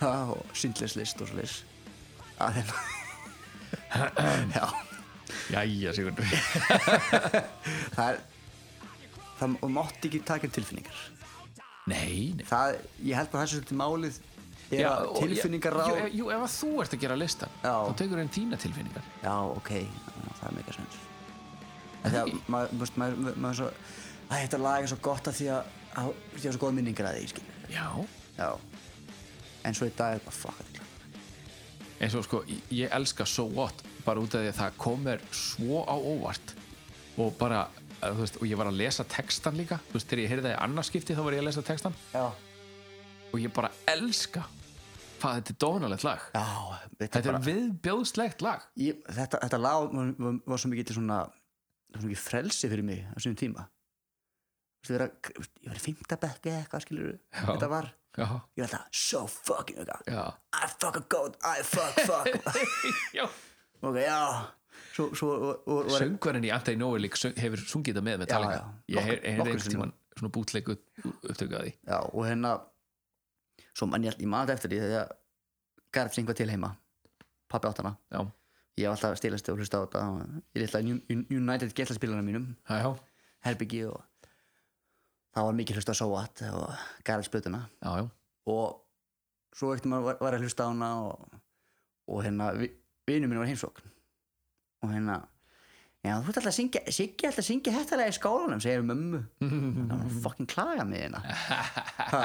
S2: Já, og syndlislist og slis að þeim já,
S7: Jæja, Sigurður
S2: það er það og mátti ekki taka um tilfinningar
S7: Nei, nei
S2: það, ég held að það sé svolítið málið er
S7: Já,
S2: að
S7: og-
S2: tilfinningar
S7: Jú,
S2: ráð
S7: ef- Jú, ef að þú ert að gera listan
S2: Já.
S7: þá tekur einn þína tilfinningar
S2: já, ok, já, það er mega sens þegar maður, maður, maður, maður, maður svo, æ, þetta lag er svo gott að því að að- því að það er svo góð minningar að því, skil
S7: Já
S2: já, en svo í dag er bara fuck it
S7: eins og sko, ég elska So What bara út af því að það komir svo á óvart og bara eh, þú veist, og ég var að lesa textan líka þú veist, þegar ég heyrði það í annarskipti þá var ég að lesa textan
S2: já,
S7: og ég bara elska hvað þetta er dónalegt lag
S2: já, þetta
S7: þetta er viðbjóðslegt lag
S2: ég, þetta, þetta lag var, var, var svo mikið svona, svo mikið frelsi fyrir mig á sínum tíma Þú veist, vera, ég var í fymta bekki eða eitthvað skilur
S7: Já.
S2: þetta var,
S7: já,
S2: ég var alltaf so fucking eitthvað,
S7: já,
S2: I fuck a goat I fuck fuck,
S7: já.
S2: ok já svo, svo og, og, og,
S7: söngvarinn í Antti Nóelík hefur sungið það með með
S2: Já,
S7: talinga
S2: já.
S7: ég
S2: Nokkur-
S7: heyr- heyrði
S2: nokkur
S7: einhvern
S2: sinnum.
S7: tímann svona bútleik upptökaði
S2: já, og hérna svo mann ég, ég mann þetta eftir því þegar Garð syngvað til heima pappi átt hana,
S7: já,
S2: ég var alltaf stilast og hlusta á þetta og ég litla United getlaspilarna mínum
S7: já, já,
S2: herbyggi og það var mikið hlusta á Soat og Garðsblötuna
S7: já, já.
S2: og svo eftir maður var, var að hlusta á hana og, og hérna vinnu minn var í heimsókn og hérna já þú ert alltaf að syngja Siggi er alltaf að syngja hættalega í skólanum segir mömmu það var að fucking klaga mig hérna Ha.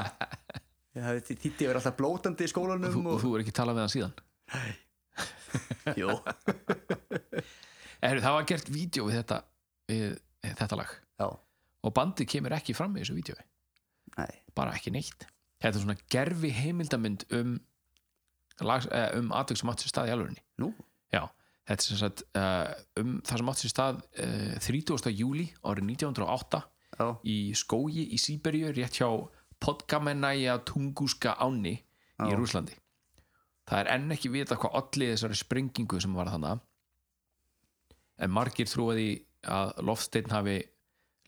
S2: ég hafði þý- þýtti að vera alltaf blótandi í
S7: Og,
S2: skólanum
S7: þú, og þú er ekki talað með hann síðan
S2: jú,
S7: Heru, það var gert vídeo við þetta, við þetta lag
S2: já,
S7: og bandið kemur ekki fram í þessu vídjói
S2: nei,
S7: bara ekki neitt þetta er svona gerfi heimildamynd um lag, eh, um atvik sem átt sér stað í alvörinni
S2: nú
S7: já, þetta er sem sagt eh, um það sem átt sér stað eh, 30. júli árið 1908
S2: já,
S7: í skógi í Sýberíu rétt hjá Podgamenæja Tunguska áni í
S2: Já.
S7: Rúslandi það er enn ekki vita hvað allir þessari sprengingu sem var þannig en margir trúaði að loftsteinn hafi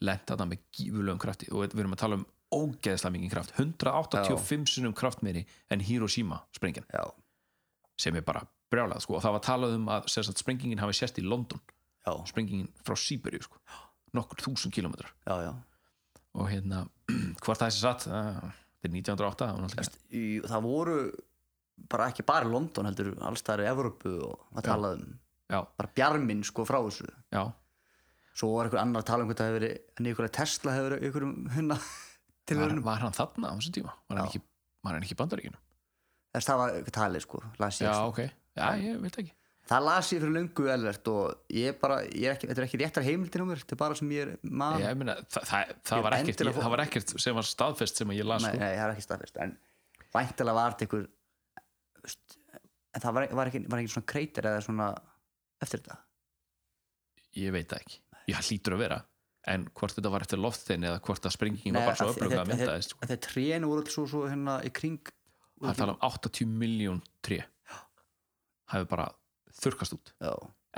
S7: lent þarna með gífulegum krafti og við erum að tala um ógeðslega mikið kraft 185 sinnum kraftmeiri en Hiroshima sprengjan
S2: já,
S7: sem er bara brjálað sko. og það var talað um að sem sagt, sprengingin hafi sérst í London
S2: já,
S7: sprengingin frá Sýberíu sko. nokkur þúsund kilometrar
S2: já, já.
S7: og hérna hvort það er sér satt það þetta er 1908 það var náttúrulega ekki-
S2: Í, það voru bara ekki bara í London heldur allstæðar í Evrópu og að tala um
S7: já,
S2: bara bjarminn sko frá þessu
S7: já,
S2: svo var einhver annar að tala um hvernig það hefur verið að Nikola Tesla hefur verið einhverjum hunna til
S7: var,
S2: verðinum
S7: var hann þarna á þessum tíma var hann,
S2: Já.
S7: ekki, var hann ekki í bandaríkinu
S2: þess það var eitthvað talið sko las ég,
S7: já,
S2: sko.
S7: ok, já, ég veit ekki
S2: það las ég fyrir löngu elvert og ég bara, ég er ekki, þetta er ekki réttar heimildin á mér þetta er bara sem ég er maður
S7: ég meina, það, það, það,
S2: Ah. Ég
S7: var ekkert,
S2: endilega
S7: ég,
S2: fór-
S7: það var ekkert sem var staðfest sem ég las
S2: nei,
S7: sko.
S2: nei, það er ekki staðfest en væntalega var þetta einhver veist, en það var, var, ekki, var ekki svona kreitir eða svona eftir þetta
S7: ég veit það ekki, já, hlýtur að vera en hvort þetta var eftir loftinn eða hvort að sprengingin var
S2: Nei,
S7: bara svo
S2: að-
S7: öfluga
S2: að-
S7: að mynda sko.
S2: að þegar trénu voru alls svo, svo hérna í kring
S7: það er að tala um 80 miljón tré hafi bara þurkast út
S2: já.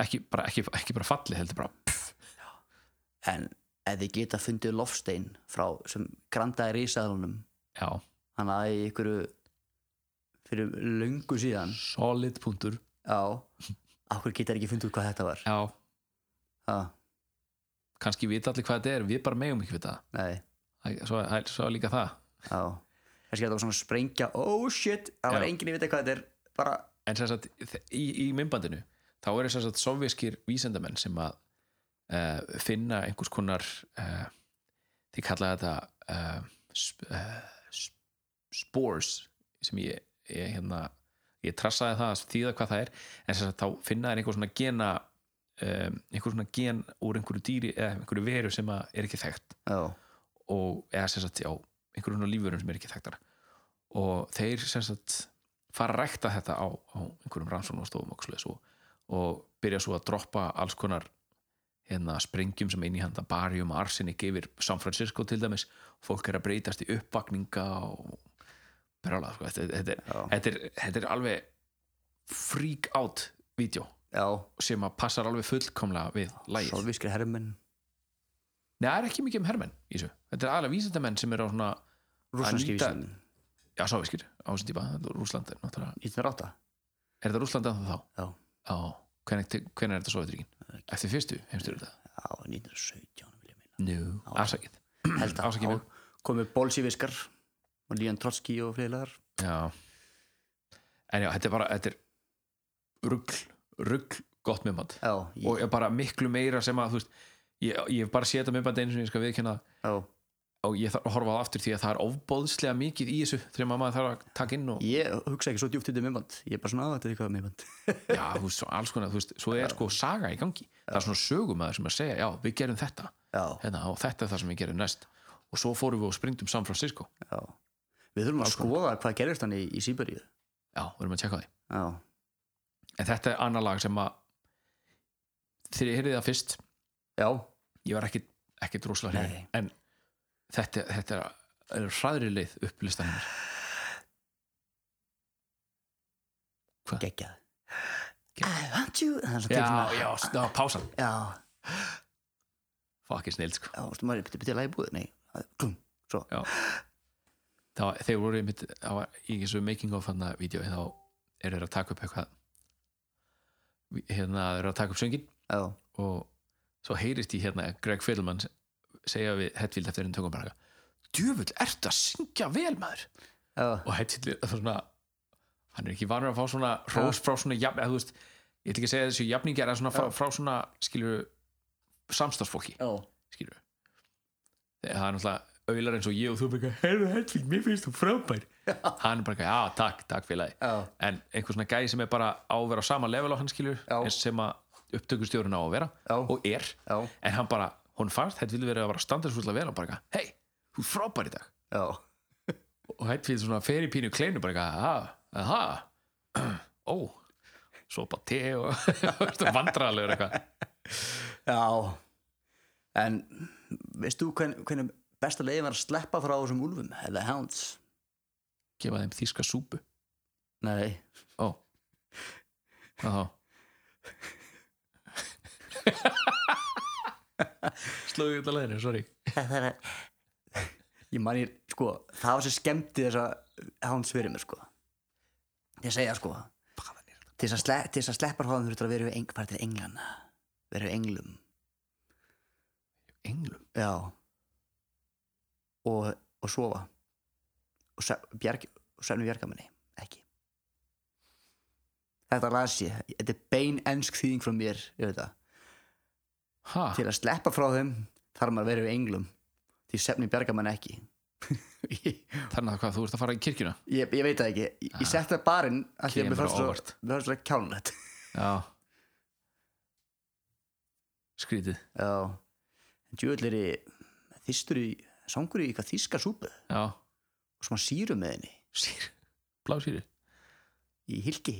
S7: ekki bara, ekki, ekki bara fallið heldur bara
S2: en ef þið geta fundið lofstein frá sem grandaði risaðunum
S7: já,
S2: hann að í einhverju fyrir löngu síðan
S7: solid punktur
S2: já, okkur getur ekki fundið út hvað þetta var
S7: já,
S2: ha,
S7: kannski vita allir hvað þetta er við bara megum ekki við það
S2: nei,
S7: svo, það er- svo er líka það
S2: já kannski þetta var svona sprengja, oh shit það var
S7: Já.
S2: enginn að vita hvað þetta er bara,
S7: en sem sagt, þ- í, í myndbandinu þá eru sem sagt sovjískir vísendamenn sem að uh, finna einhvers konar uh, því kalla þetta uh, sp, uh, spores sem ég, ég hérna ég trassaði það að þýða hvað það er en sem sagt, þá finna þeir einhver svona gena um, einhver svona gen úr einhverju dýri eða einhverju veru sem að er ekki þekkt
S2: já,
S7: og eða sem sagt já, einhverjum svona lífurum sem er ekki þekktar og þeir sem sagt fara að rækta þetta á, á einhverjum rannsóknum og stofum og, svoleiðis og, og byrja svo að droppa alls konar hérna, sprengjum sem inn í handa barjum og arsinni gefir San Francisco til dæmis fólk er að breytast í uppvakninga og brjála sko. þetta, þetta, er,
S2: Já.
S7: þetta, er, þetta er alveg freak out vídeo
S2: já,
S7: sem að passar alveg fullkomlega við lægið
S2: solvískri hermenn
S7: Nei, það er ekki mikið um hermenn í þessu. Þetta er aðlega vísindamenn sem eru á svona
S2: rússanski
S7: nýta-
S2: vísindin,
S7: Já, sávískir, á þessum típa þetta er Rússland er náttúrulega
S2: 1908
S7: Er þetta Rússland ennþá þá?
S2: Já.
S7: Já, hvernig, hvernig er þetta Sovjetríkin? Eftir fyrstu heimstur þetta?
S2: já, 1917 vil ég meina.
S7: Nú, afsakið
S2: held að
S7: Ásakið
S2: þá
S7: mig.
S2: komu bolsjeviskar og Líon Trotski og fleiraðar
S7: Já En já, þetta er bara, þetta er rugl, rugl gott minnband
S2: já,
S7: og
S2: ég,
S7: er bara miklu meira sem að, þú veist ég, ég hef bara séð þetta minnband einu sem ég skal viðkynna
S2: já,
S7: og ég þarf að horfa á það aftur því að það er ofbóðslega mikið í þessu þegar maður þarf að taka inn og
S2: ég hugsa ekki svo djúpt í þetta minnband ég er bara svona að þetta er eitthvað um minnband
S7: já, þú veist, svo alls konar, þú veist, svo er sko saga í gangi, það er svona sögumæður sem er að segja já, við gerum þetta,
S2: já,
S7: hérna, og þetta er það sem við gerum næst, og svo fórum við og springdum San Francisco,
S2: já, við þurfum að skoða hvað gerist hann í, í Sýberíu
S7: já, við erum að tjekka á því
S2: já,
S7: en þetta er annar lag sem að þegar ég heyrði það fyrst
S2: já,
S7: ég var ekkit, ekkit rosalega
S2: Nei.
S7: hrifinn en þetta, þetta er, er hræðri leið upp listanir
S2: geggjað I want you það er svo
S7: já,
S2: tekið
S7: já,
S2: svona-
S7: s- já, pásan
S2: já,
S7: fucking snill, sko
S2: já, þú maður byrja að lægi búið nei, að- klum, svo,
S7: Já. það, var- þeir voru einmitt það var í þessu making of hana vídeo þá eru þeir að taka upp eitthvað hérna þeir eru að taka upp söngin
S2: já,
S7: og svo heyrist í hérna Greg Fiddleman segja við Hetfield eftir enn tökum bara djöfull, ertu að syngja vel maður
S2: já
S7: og Hetfield, það var svona hann er ekki vanur að fá svona hrós frá svona jafn, eða þú veist, ég ætla ekki að segja þessu jafningjar en svona frá, frá svona, skilur samstagsfólki
S2: já,
S7: skilur Þegar það er náttúrulega auðlar eins og ég og þú bara, heyrðu Hedvig, mér finnst þú frábær hann er bara, eitthvað, já, takk, takk félagi
S2: Já.
S7: en einhver svona gæði sem er bara á að vera á sama level á hann skilur,
S2: Já.
S7: eins sem að upptökustjórun á að vera
S2: Já.
S7: og er,
S2: Já.
S7: en hann bara hún fannst, þetta vilja verið að vera standarsfúslega vel og bara, eitthvað, hei, þú er frábær í dag
S2: já,
S7: og Hedvig svona fer í pínu kleinu bara, eitthvað, aha, aha ó, svo bara te og vandrarlegur eitthvað
S2: já en veistu hvern, hvernig besta leiði var að sleppa frá þessum úlfum eða hounds
S7: gefa þeim þíska súpu
S2: nei,
S7: Ó, hvað þá? Slóðu út að leiðinu, sorry
S2: ég man ég, sko, það var sem skemmti þess að hans fyrir mér, sko ég segja, sko til þess að, sle til þess að sleppa hróðum þurftur að vera við eng bara til englana, vera við englum
S7: Englum?
S2: já og, og sofa og, sef- bjarg, og svefnu bjargamanni ekki þetta las ég, þetta er bein ensk þýðing frá mér, ég veit það
S7: Ha?
S2: til að sleppa frá þeim þarf maður að vera við englum því svefni bjargar mann ekki ég,
S7: Þannig að hvað, þú ert að fara í kirkjuna?
S2: ég veit það ekki ég, ég setti það barinn að því að
S7: Kemur
S2: mér fannst svo,
S7: óvart.
S2: mér fannst svo kjálnett
S7: Já Skrítið
S2: já en djúvel er þýstur í sangur í eitthvað þýska súpu og
S7: Já
S2: sem hann sýru með henni
S7: Sýr Blá sýri
S2: í hilki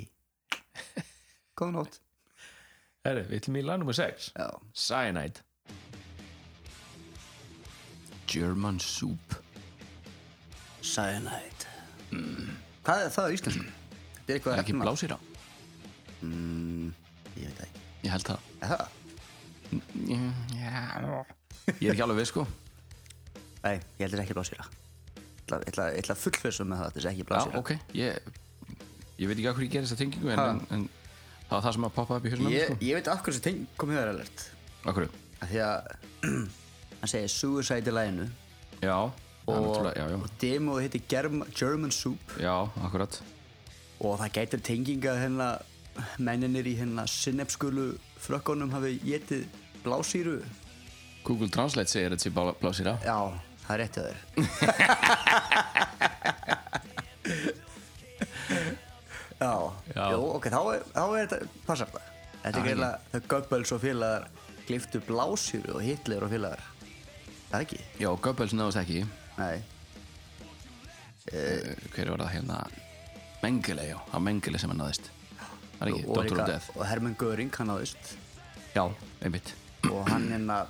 S2: góða nótt
S7: Herri, við ætlum í lag nummer 6
S2: já,
S7: Cyanide German soup
S2: cyanide hvað er það á íslensku? þetta er
S7: Mm.
S2: eitthvað
S7: Er ekki
S2: efna-
S7: blásýra?
S2: ég veit það ekki
S7: Ég held það
S2: Er það?
S7: Ég er ekki alveg við sko
S2: nei, ég held þess ekki blásýra Ég ætla- ég ætla ég ætla að fullfessum með það þetta er ekki
S7: Já,
S2: blásýra
S7: ok, ég, ég veit ekki að hverju ég gerði þessa tengingu en,
S2: Ha.
S7: en, en það var það sem að poppa upp í hjóðum
S2: ég,
S7: sko.
S2: ég veit af hverju þessi teng kom hjá þér alert
S7: Af hverju?
S2: af því að hann segir suicide í læginu
S7: Já,
S2: og,
S7: og, já, já,
S2: og demoð heiti Germ, German Soup
S7: já, akkurat
S2: og það gætir tenginga hérna menninir í hérna synepskulu frökkunum hafi getið blásýru
S7: Google Translate segir þetta sé bara blásýra
S2: já, það er rétt hjá þér já,
S7: Já.
S2: Jú, ok, þá er, þá er þetta passar það þetta er
S7: Já,
S2: gæla þau Goebbels og félagar gliftu blásýru og Hitler og félagar það er ekki,
S7: Já, Goebbels náðist ekki
S2: nei
S7: Hver var það hérna? Mengele, já, það var Mengele sem að náðist Það það er ekki,
S2: og,
S7: Dr.
S2: líka-
S7: Death
S2: og Hermann Göring hann áðist
S7: já, einmitt,
S2: og hann hérna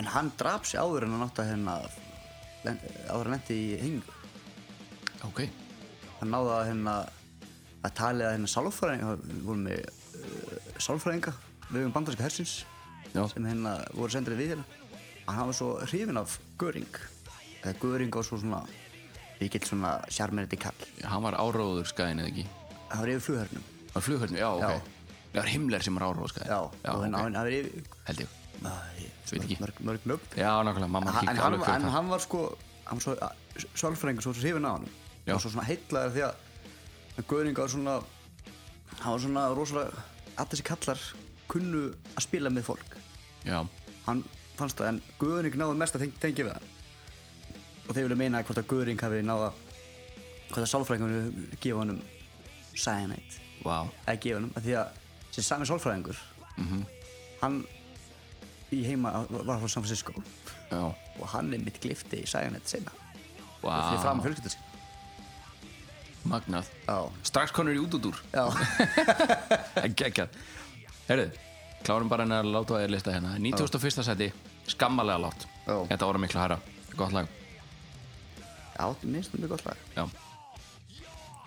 S2: en hann draf sig áður en hann átti að hérna len- áður en lendi í hengu
S7: ok
S2: hann náði að hérna að talið að hérna sálfræðinga við vorum með uh, sálfræðinga við um bandarska hersins
S7: Já.
S2: sem hérna voru sendrið við hérna að hann var svo hrifin af Göring eða Göring og svo svona mikill svona sjarmerandi kall
S7: hann var áróður skæðin eða ekki
S2: hann var yfir flughörnum
S7: var flughörnum, já, ok
S2: Já.
S7: það var Himmler sem var áróður skæðin
S2: já, og hérna
S7: ok,
S2: hann var yfir
S7: held ég
S2: Æ,
S7: Veit ekki.
S2: mörg, mörg nöfn
S7: já, nákvæmlega, mamma
S2: Ha- en
S7: kíkti
S2: hann,
S7: alveg
S2: en
S7: fyrir það
S2: hann var sko hann var svo sálfræðingur svo hrifin af hann
S7: Já.
S2: og svo svona heitlaður því að Göring var svona hann var svona rosalega allir þessi kallar kunnu að spila með fólk
S7: já,
S2: hann fannst það en Göring náði mest að teng- tengja við hann og þeir vilja meina hvort að Göring hafi náða hvort að sálfræðingur gefa honum cyanide
S7: vá, Mhm.
S2: eða gefa honum að því að þessi sami sálfræðingur hann í heima var frá San Francisco
S7: já,
S2: og hann er mitt glifti í cyanide sena fyrir fram
S7: vá
S2: fjölskyldu sín
S7: magnað,
S2: Já,
S7: strax konur í útudúr
S2: já,
S7: geggjað Herðu, klárum bara hennar að láta þér lista hérna 91. seti, skammalega látt
S2: Já.
S7: Þetta voru miklu hæra, gott lag
S2: já minnst um mjög gott lag
S7: Já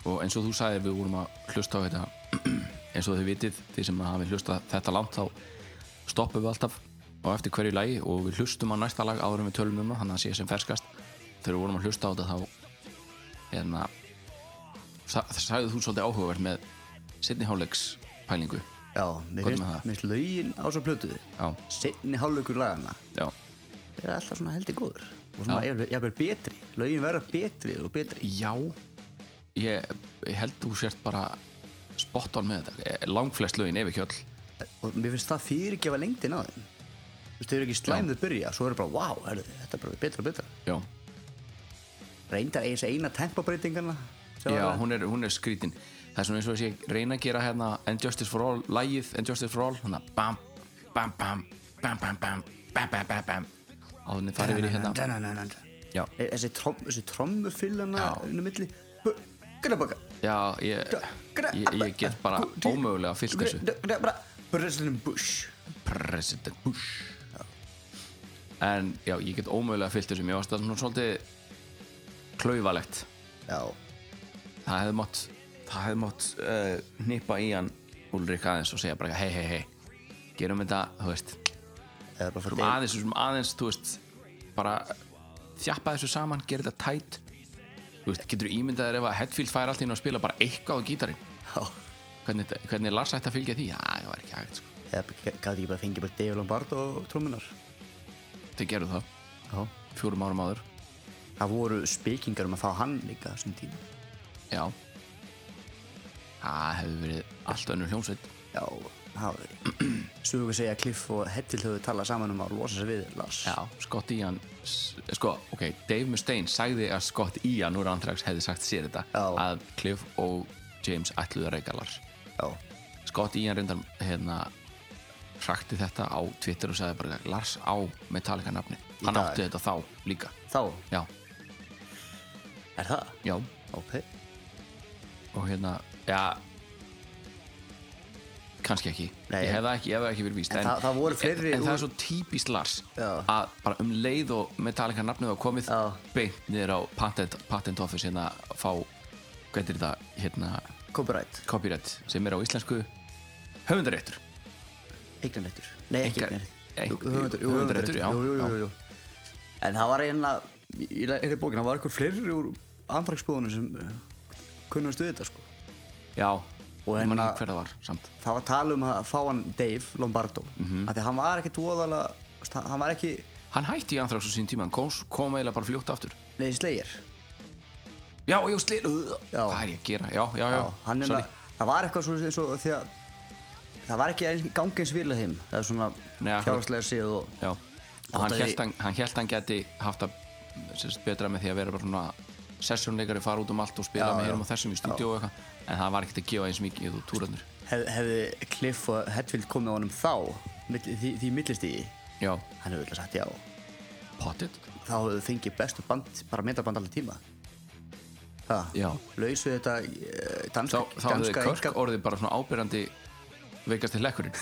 S7: Og eins og þú sagðir við vorum að hlusta á þetta eins og þið vitið, þið sem hafið hlustað þetta langt þá stoppum við alltaf á eftir hverju lagi og við hlustum á næsta lag áður en við tölum um það, þannig að það sé sem ferskast þegar við vorum að hlusta á þetta þá hérna það sagði þú svolítið áhugavert með setni hálfleiks pælingu
S2: Já, mér
S7: Hvað
S2: finnst,
S7: með það?
S2: mér finnst lögin á svo plötu
S7: Já,
S2: Seinni hálfleikur lagana
S7: já
S2: er alltaf svona heldig góður og svona
S7: Já.
S2: jafnvel jafnvel betri, lögin verða betri og betri
S7: Já Ég, ég held þú sért bara spot on með þetta Eh, langflest lögin ef ekki öll
S2: og mér finnst það fyrirgefa lengdin á þeim Þú veist, þau eru ekki slæmðu að byrja svo eru bara, wow, herri, þetta er bara betra og betra
S7: Já,
S2: Reyndar eins eina tempabreitingana
S7: já hún, er, hún er skrítin Það er svona eins og þess ég reyna að gera hérna And Justice for All, lagið And Justice for All Þannig að bam, bam, bam, bam, bam, bam, bam, bam, bam, bam Áðunni farið við í hérna
S2: hérna
S7: Já,
S2: Þessi, trom, þessi trommufyllana
S7: Já.
S2: inn á milli Grabaka
S7: já ég, ég, ég get bara ómögulega fyllt þessu
S2: President Bush
S7: President Bush En já, ég get ómögulega fyllt þessu Mér varst það svona svolítið klaufalegt
S2: Já,
S7: það hefði mátt það hefði mátt uh, nippa í hann Ulrik aðeins og segja bara hei hei hei gerum þetta, þú veist
S2: eða bara
S7: um aðeins, um aðeins, þú veist bara þjappa þessu saman, gera þetta tætt þú veist, getur ímyndað þér ef að Hetfield fær allt inn og spila bara eitthvað á gítarinn
S2: Já,
S7: hvernig, þetta- hvernig Lars ætti að fylgja því, já, það var ekki hægt sko.
S2: eða gæti ekki bara fengið bara Dave Lombardo og trómunar
S7: þau gerðu það,
S2: Já
S7: fjórum árum áður
S2: Það voru spekingar um að fá hann líka á þessum tíma
S7: já það hefði verið allt önnur hljómsveit
S2: Já, það Sugur segja að Cliff og Hettil höfðu talað saman um að losa sér við Lars
S7: Já, Scott Ian s- sko, ok, Dave Mustaine sagði að Scott Ian úr Anthrax hefði sagt sér þetta
S2: Já.
S7: að Cliff og James ætluðu að reyka Lars
S2: Já,
S7: Scott Ian reyndar hérna hrakti þetta á Twitter og sagði bara Lars á Metallica nafni
S2: Í
S7: hann
S2: dag.
S7: átti þetta þá líka
S2: þá
S7: já,
S2: er það
S7: já,
S2: Ok
S7: og hérna já kannski ekki,
S2: Nei.
S7: ég hefði ekki, ég hefði ekki verið víst
S2: En það- það voru
S7: en,
S2: fleiri
S7: en það
S2: úr-
S7: er svo típist Lars
S2: Já.
S7: að bara um leið og Metallica nafnið var komið
S2: Já.
S7: beint niður á patent, patent office hérna að fá, hvað er þetta hérna,
S2: Copyright,
S7: copyright sem er á íslensku höfundaréttur
S2: eignarrettur Nei, ekki
S7: Einkar- Ein-
S2: eignarrettur Höfundur, jú,
S7: höfundarréttur,
S2: höfundarréttur,
S7: já,
S2: jú, jú,
S7: já.
S2: jú, jú, jú. En það var eiginlega, í þeirri bókina, var eitthvað fleiri úr andragsbúðunum sem uh, kunnustu við þetta, sko
S7: já,
S2: Og
S7: ég man
S2: hérna-
S7: ekki hver það var samt
S2: það var tal um að fá hann Dave Lombardo
S7: Mhm.
S2: af því að hann var ekki tóðalega hann var ekki
S7: hann hætti í anþráks á sín tíma, hann kom, kom eiginlega bara fljótt aftur
S2: neði slegir
S7: já, já, slið hvað er ég að gera, já, já, já,
S2: hann er
S7: sorry.
S2: að það var eitthvað svo eins og því að það var ekki eins- gangi eins vilja þeim það er svona
S7: Nei, akkurat.
S2: fjárhagslega síð og
S7: Já, og hann
S2: Áttaði-
S7: hélt hann, hann hélt hann geti haft að sérst, betra með því að vera bara svona sessjónleikari fara út um allt og spila
S2: Já,
S7: með
S2: já.
S7: hérum og þessum í stúdíu og eitthvað en það var ekkert að gefa eins mikið þú túrarnir
S2: hef, hefði Cliff og Hetfield komið á honum þá milli, því, því millistigi
S7: Já,
S2: hann hefur öll sagt já
S7: pottit
S2: þá hefur þau fengið bestu band bara metaband allir tíma það,
S7: Já.
S2: lausu þetta eh,
S7: þá,
S2: danska,
S7: þá hefði
S2: danska
S7: Körk
S2: einka-
S7: orðið bara svona ábyrjandi veikast til lekkurinn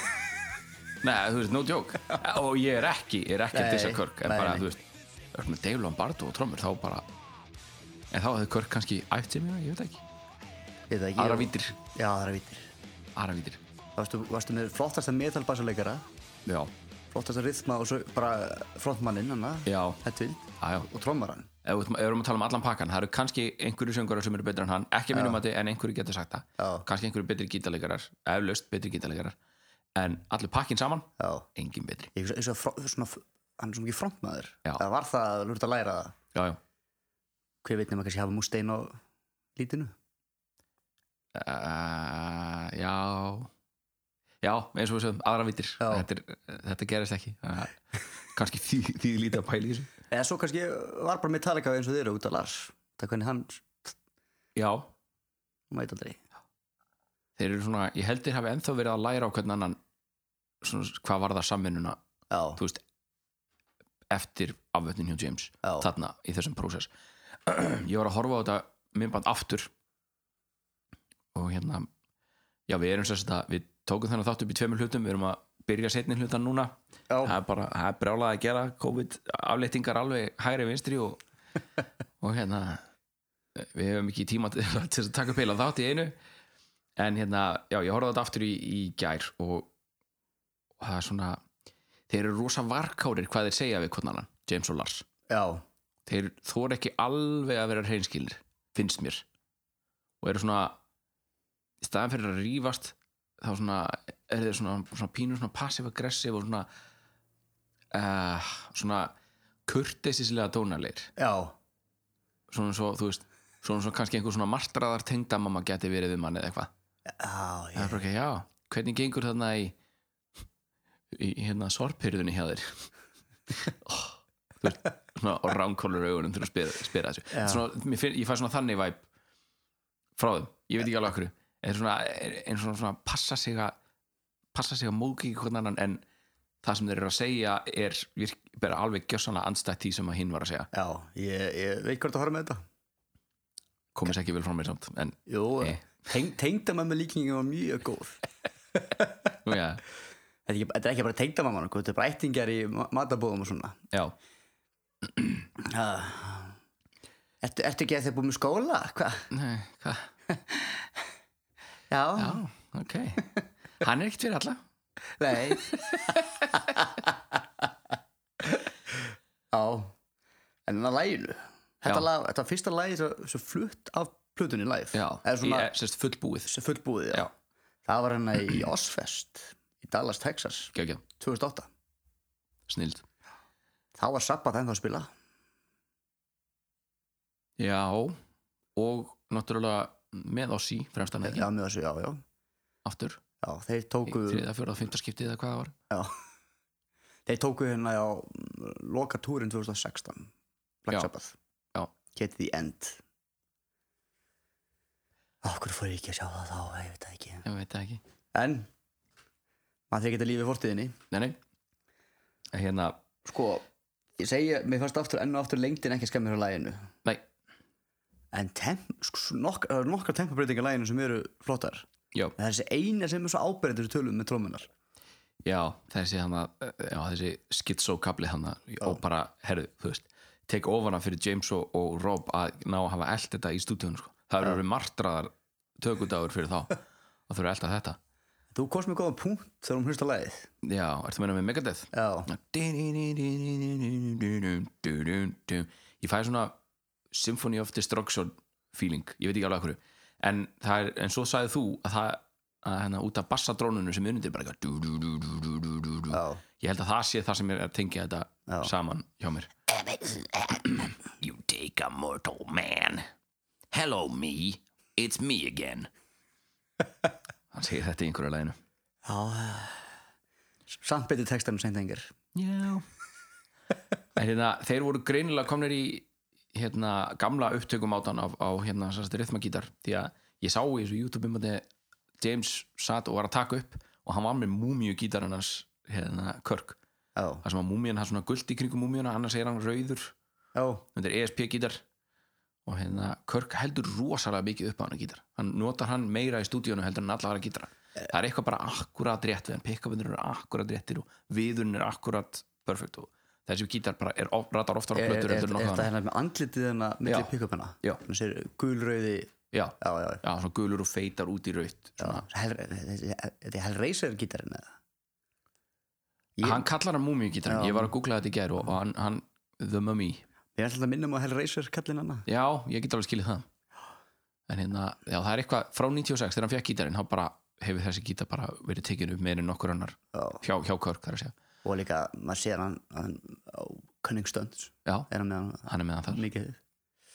S7: Nei, þú veist, no joke og ég er ekki, ég er ekki að
S2: Nei,
S7: dissa Körk en
S2: nei,
S7: bara,
S2: nei.
S7: þú veist, þú veist með Dave Lombardo og trommur, þá bara en þá hefði Körk kannski ætti mér, ég veit það ekki
S2: Ég veit það ekki,
S7: aðra
S2: ég-
S7: vítir,
S2: Já, aðra vítir
S7: aðra vítir
S2: Varstu, varstu með flottasta metalbassaleikara
S7: Já,
S2: flottasta rithma og svo bara frontmanninn hann að
S7: já,
S2: Hetfield
S7: aðjá
S2: og trommaran
S7: ef við ef við erum að tala um allan pakkan, það eru kannski einhverju söngurar sem eru betri en hann, ekki að mínum mati en einhverju getur sagt það,
S2: Já.
S7: kannski einhverju betri gítarleikarar eflaust betri gítarleikarar en allir pakkin saman,
S2: Já,
S7: engin betri
S2: ég hugsa eins og fro- svona hann er svo mikið frontmaður
S7: Já.
S2: það var það að lúrt að læra það
S7: já, já,
S2: hver veit nema kannski hafa Mustaine á lítinu
S7: uh, já já, eins og við sögum, aðra vitir
S2: Já.
S7: þetta, er, þetta gerist ekki Þannig að kannski því, því lítið að pæla í þessu
S2: eða svo kannski var bara Metallica eins og þeir eru út af Lars það er hvernig hann
S7: já,
S2: mæt aldrei
S7: þeir eru svona, ég heldur hafi ennþá verið að læra á hvern annan svona, hvað var það samvinnuna
S2: já,
S7: þú veist eftir afvötnin hjá James
S2: já,
S7: þarna í þessum prósess ég var að horfa á þetta myndband aftur og hérna já við erum sérst að við tókum þennan þátt upp í tveimur hlutum við erum að byrja setni hlutan núna
S2: já,
S7: það er bara, það er brjálað að gera COVID afleitingar alveg hægri vinstri og, og hérna við hefum ekki tíma til til þess að taka upp heila þátt í einu en hérna, já, ég horfði á þetta aftur í, í gær og, og það er svona þeir eru rosa varkárir hvað þeir segja við konanan, James og Lars
S2: já,
S7: þeir þóra ekki alveg að vera hreinskilir finnst mér og eru svona í staðan fyrir að rífast þá svona er þeir svona, svona pínu svona passiv-aggressiv og svona uh, svona kurteisislega dónalegir
S2: já,
S7: svona svo, þú veist svona svo kannski einhver svona martraðar tengdamamma geti verið við mann eða eitthvað
S2: já,
S7: það
S2: já.
S7: er bara ekki, já, hvernig gengur þarna í, í hérna sorpyrðunni hjá þér oh, þú veist, svona og ránkólur augunum til að spyra, spyra þessu
S2: Já.
S7: svona, mér finn, ég fæ svona þannig væp frá þeim, ég veit ekki alveg okkur en svona, en svona, svona passa sig að passa sig að móki ekki hvernig annan en það sem þeir eru að segja er virk, bara alveg gjössanlega andstætt því sem að hinn var að segja,
S2: já ég, ég veit hvort að horfa með þetta
S7: komist ekki vel frá mér samt en,
S2: jú,
S7: Eh.
S2: teng, tengdamamma líkingin var mjög góð
S7: nú já,
S2: þetta er ekki, þetta er ekki bara tengdamamma sko, þetta er bara ættingar í ma- matabóðum og svona
S7: já
S2: uh, ertu, ertu ekki að þeir búið með skóla? Hva?
S7: nei, hvað
S2: Já,
S7: Já, ok Hann er ekkert fyrir alla
S2: nei Já en það læginu þetta,
S7: Já.
S2: lag, þetta fyrsta lagi svo, svo flutt af plutunni live eða svona
S7: Ég er sérst fullbúið
S2: sem fullbúið já.
S7: Já,
S2: það var hérna í Osfest í Dallas, Texas,
S7: geggjum,
S2: 2008
S7: snild
S2: þá var Sabbath ennþá að spila
S7: Já, og náttúrulega með Ossi fremst hann ekki,
S2: já, með þessu, já, já,
S7: aftur
S2: já þeir
S7: í
S2: tóku
S7: þriða, fjórða, fymta skiptið eða hvað það var
S2: Já Þeir tóku hérna á loka túrin 2016 Black
S7: Já.
S2: Sabbath
S7: Já.
S2: Get the End Okkur fór ég ekki að sjá það þá, ég veit það ekki
S7: Ég veit það ekki
S2: En, maður þeir geta lífið fortíðinni
S7: Nei, nei, En hérna,
S2: Sko, ég segja, mér fannst aftur enn og aftur lengdin ekki skemmir á læginu
S7: nei,
S2: En temp, sko, nokk, það eru nokkra tempabreitingar á læginu sem eru flottar
S7: já,
S2: En það er þessi eina sem er svo ábyrðið tölum með trómunar
S7: já þessi hann að, já, þessi skitsókabli hann að, og bara, herðu, þú veist tek ofana fyrir James og, og Rob að ná að hafa eld þetta í stúdíun sko. það eru verið martraðar tökudagur fyrir þá og þau eru elda þetta
S2: Þú kost mér góða punkt þegar hún hlusta lægið
S7: Já, ertu að meina með Megadeth?
S2: Já,
S7: Ég fæ svona Symphony of Destruction feeling ég veit ekki alveg hverju en, það er, en svo sagði þú að það að hérna, út af bassadrónunum sem unundir bara eitthvað dú, dú, dú, dú, dú, dú, dú, dú.
S2: Já.
S7: ég held að það sé það sem er að tengja þetta
S2: Já.
S7: saman hjá mér You take a mortal man Hello me It's me again Hann segir þetta í einhverju læginu
S2: samt betið textanum seint engir
S7: Já En hérna, þeir voru greinilega komnir í hérna, gamla upptökum átan á, á hérna, sérst, rithmagítar því að ég sá í þessu YouTube umbandi James satt og var að taka upp og hann var með múmíu gítarinn hans hérna, Körk,
S2: Já,
S7: það sem að múmíun hann svona guld í kringum múmíuna, annars er E hann rauður
S2: já
S7: þetta er ESP gítar og hérna Kirk heldur rosalega mikið upp á hann að gítar hann notar hann meira í stúdíunum heldur en allara gítara það er eitthvað bara akkurat rétt við hann pick-upinir eru akkurat réttir og viðurinn er akkurat perfect og þessi gítar bara er of- ratar oftar á
S2: Er, er,
S7: plötur
S2: er,
S7: heldur en
S2: þetta
S7: okkar
S2: hérna með andlitið hérna milli
S7: Já.
S2: pick-upina?
S7: Já.
S2: Þannig sér gulröði,
S7: já,
S2: já, já,
S7: já, svona gulur og feitar út í raut
S2: já. Hel- þessi- Þetta er Hellraiser gítarinn eða? Ég-
S7: hann kallar hann múmi gítar
S2: Já.
S7: ég var að googla þetta í gær og og hann, hann The Mummy
S2: Ég ætla að minna mig á Hellraiser kallinn hana.
S7: já, ég get alveg skilið það en hérna, já það er eitthvað frá 96 þegar hann fekk gítarinn, þá bara hefur þessi gítar bara verið tekinu meir en nokkur annar
S2: Já.
S7: hjá, hjá Körk þar að segja
S2: Og líka, maður sér hann, hann á Cunningstönds,
S7: já,
S2: er hann með hann
S7: hann er með hann þar
S2: mikið.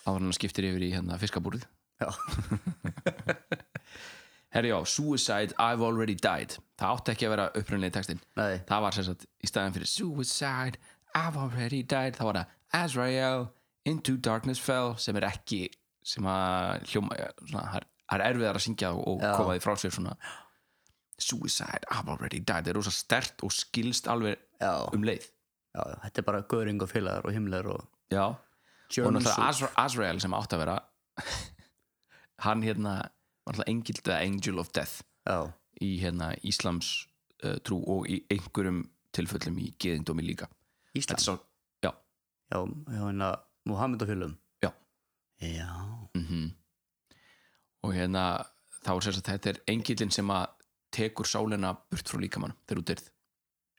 S7: áður en hann skiptir yfir í hérna fiskabúrið
S2: Já.
S7: herri já, Suicide I've Already Died það átti ekki að vera upprunni í textin
S2: Nei,
S7: það var sem sagt í staðan fyrir Suicide, I've already died það var það Azrael Into Darkness Fell sem er ekki sem að hljóma svona, það er- það er erfiðar að syngja og, og
S2: Já.
S7: koma því frá sér svona Suicide, I've already died það er rosa stert og skilst alveg
S2: já,
S7: um leið
S2: já, já, þetta er bara Göring og félagar og himlar og
S7: já, og náttúrulega Azra Azrael sem átt að vera hann hérna náttúrulega engil, eða Angel of Death
S2: Já,
S7: í hérna Íslams uh, trú og í einhverjum tilfellum í geðindómi líka Þetta er
S2: Íslands.
S7: svo, já
S2: Já, já, hérna, Mohamed og félum.
S7: Já.
S2: Já,
S7: og hérna þá er sérst að þetta er engillin sem að tekur sálina burt frá líkamann þegar þú dyrð,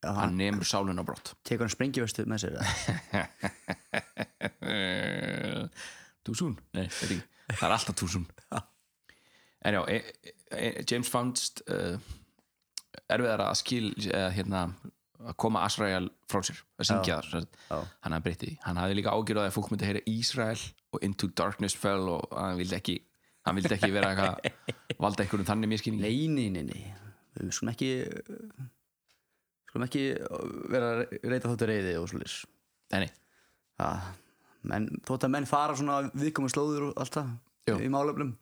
S2: já, hann
S7: hann nemur sálina á brott
S2: tekur hann sprengivestu með sér. eða?
S7: túsún, nei, þetta er ekki það er alltaf túsún en já, e, e, James fannst uh, erfiðara að skil eða hérna að koma Asrael frá sér, að syngja þar sem sagt.
S2: Já.
S7: hann hafði breytti, hann hafði líka ágjörðað að fólk myndi heyra Ísrael og Into Darkness Fell og hann vildi ekki hann vildi ekki vera eitthvað valda einhverjum þannig miskilning
S2: Nei, nei, nei, nei. Við skulum ekki, skulum ekki uh, vera að reyta þáttu reyði og svolítið.
S7: Nei, nei.
S2: Já, menn, þótt að menn fara svona viðkomum slóður og allt það
S7: Jú.
S2: í málefnum,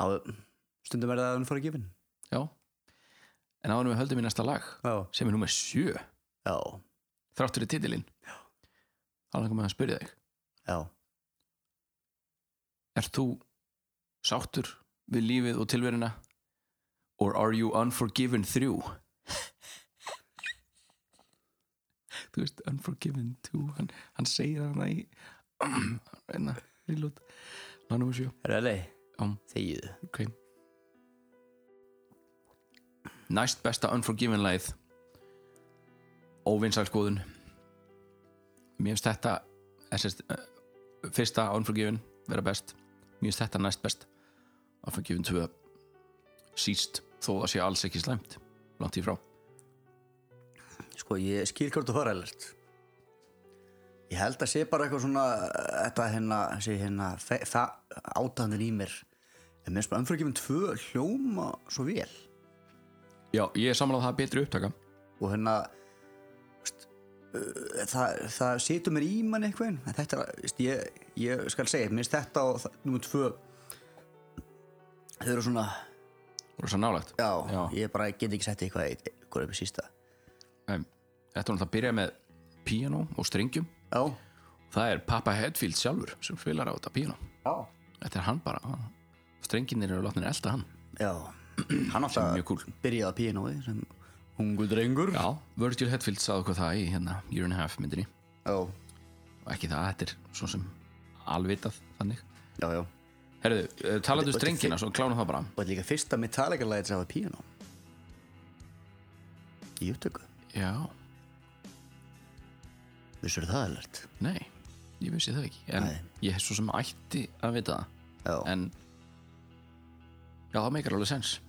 S2: þá stundum er það að hann fara að gefin.
S7: Já. En áðanum við höldum í næsta lag
S2: Já.
S7: sem er nummer 7
S2: Já,
S7: þráttur í titilinn þá langar maður að spyrja þig
S2: já.
S7: Er þú sáttur við lífið og tilverina or are you unforgiven 3? þú veist unforgiven 2 hann, hann segir hann í hérna, enna, reload lag nummer 7
S2: Er það leið?
S7: Já.
S2: Þegiðu.
S7: Ok Næst besta Unforgiven lagið Óvinnsælskoðun Mér finnst þetta eh, sérst, eh, Fyrsta Unforgiven vera best Mér finnst þetta næst best Unforgiven 2 Síst þó það sé alls ekki slæmt Langt í frá
S2: Sko, ég skil hvort þú fara alert. Ég held að sé bara eitthvað svona, uh, þetta hérna, sé hérna, fe- það átanir í mér. En mér spara umfragjum tvö hljóma svo vel.
S7: Já, ég er samanlega það betri upptaka
S2: Og hérna, veist, uh, það, það setur mér í mann eitthvað. En þetta, er, veist, ég, ég skal segja, mér finnst þetta og það- númer tvö, þau eru svona,
S7: Rosa nálægt
S2: já,
S7: Já.
S2: ég bara get ekki sett eitthvað, eitt- eitthvað upp í sísta.
S7: Em, Þetta var náttúrulega að byrja með píanó og strengjum
S2: Já,
S7: Það er Papa Hedfield sjálfur sem spilar á þetta píanó
S2: já.
S7: Þetta er hann bara hann- Strenginir eru látnir elda hann
S2: Já, hann átti
S7: er
S2: að
S7: mjög kúl.
S2: byrjaði á píanói sem ungu drengur.
S7: Já, Virgil Hetfield sagði okkur það í hérna Year and a Half myndinni
S2: Já,
S7: og ekki það, þetta er svo sem alvitað þannig
S2: já, já.
S7: Herðu, eh, talaðu
S2: Þetta-
S7: strengina, svo klánum það bara
S2: Og þetta er líka fyrsta Metallica-læðið sem hafa píanó. Í upptöku.
S7: Já,
S2: Vissur það alert?
S7: nei, ég vissi það ekki en
S2: Nei.
S7: ég hef svo sem ætti að vita það
S2: Já,
S7: en já, það meikar alveg sens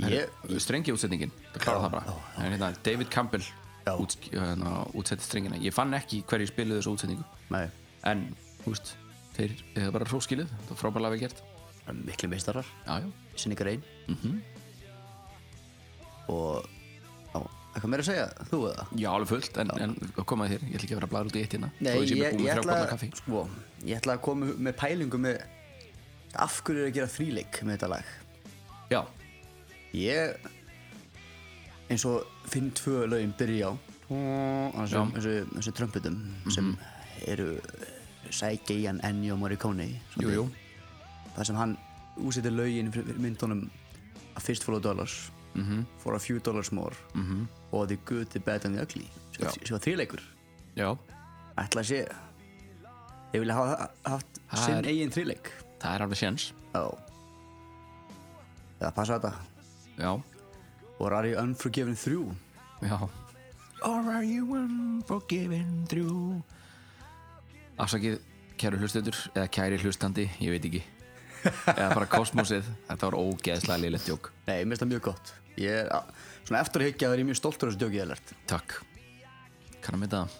S2: ég,
S7: Herðu, Strengi útsetningin, það klára
S2: Já,
S7: það bara
S2: já,
S7: en, hérna, David Campbell
S2: Já.
S7: út, hérna, útsetti strengina ég fann ekki hverju spiluðu þessu útsetningu
S2: nei,
S7: en, þú veist, þeir hefur bara hróskilið, það er frábærlega við gert
S2: það er miklu meistarar,
S7: Já, já,
S2: sinni grein.
S7: Mhm.
S2: Og, já, eitthvað meira að segja, þú eða?
S7: Já, alveg fullt, en, en komaði þér, ég ætla ekki að vera að blæra út í eitt hérna
S2: Nei,
S7: Þó sé
S2: ég,
S7: með búið
S2: ég,
S7: með þrjá bolla
S2: ætla,
S7: kaffi.
S2: sko, ég ætla að koma með pælingu með af hverju er að gera þríleik með þetta lag.
S7: Já,
S2: Ég eins og finn tvö lögin byrja á þessu,
S7: Já. Mhm.
S2: þessu, þessu trömputum sem eru sækja í hann Ennio Morricone svolítið.
S7: Jú, jú.
S2: þar sem hann úsýtti lögin fyrir myndunum A Fist Full of Dollars
S7: Mhm.
S2: -hmm. For a Few Dollars More -hmm. og The Good, The Bad and The Ugly sem var-
S7: Já.
S2: sem var þrýleikur
S7: Já,
S2: ætla að sé ég vilja hafa haft
S7: Það
S2: sinn
S7: er-
S2: eigin þrýleik
S7: það er alveg séns
S2: já eða passa þetta
S7: Já,
S2: og Rari Unforgiven 3
S7: já Or are you unforgiven through Afsakið, kæru hlustendur eða kæri hlustandi, ég veit ekki eða bara kosmosið, þetta var ógeðslega lélegt jók,
S2: nei, mér finnst það mjög gott ég er a- svona eftir að higgja það er ég mjög stoltur af þessu djókið elert
S7: takk kann að mynda það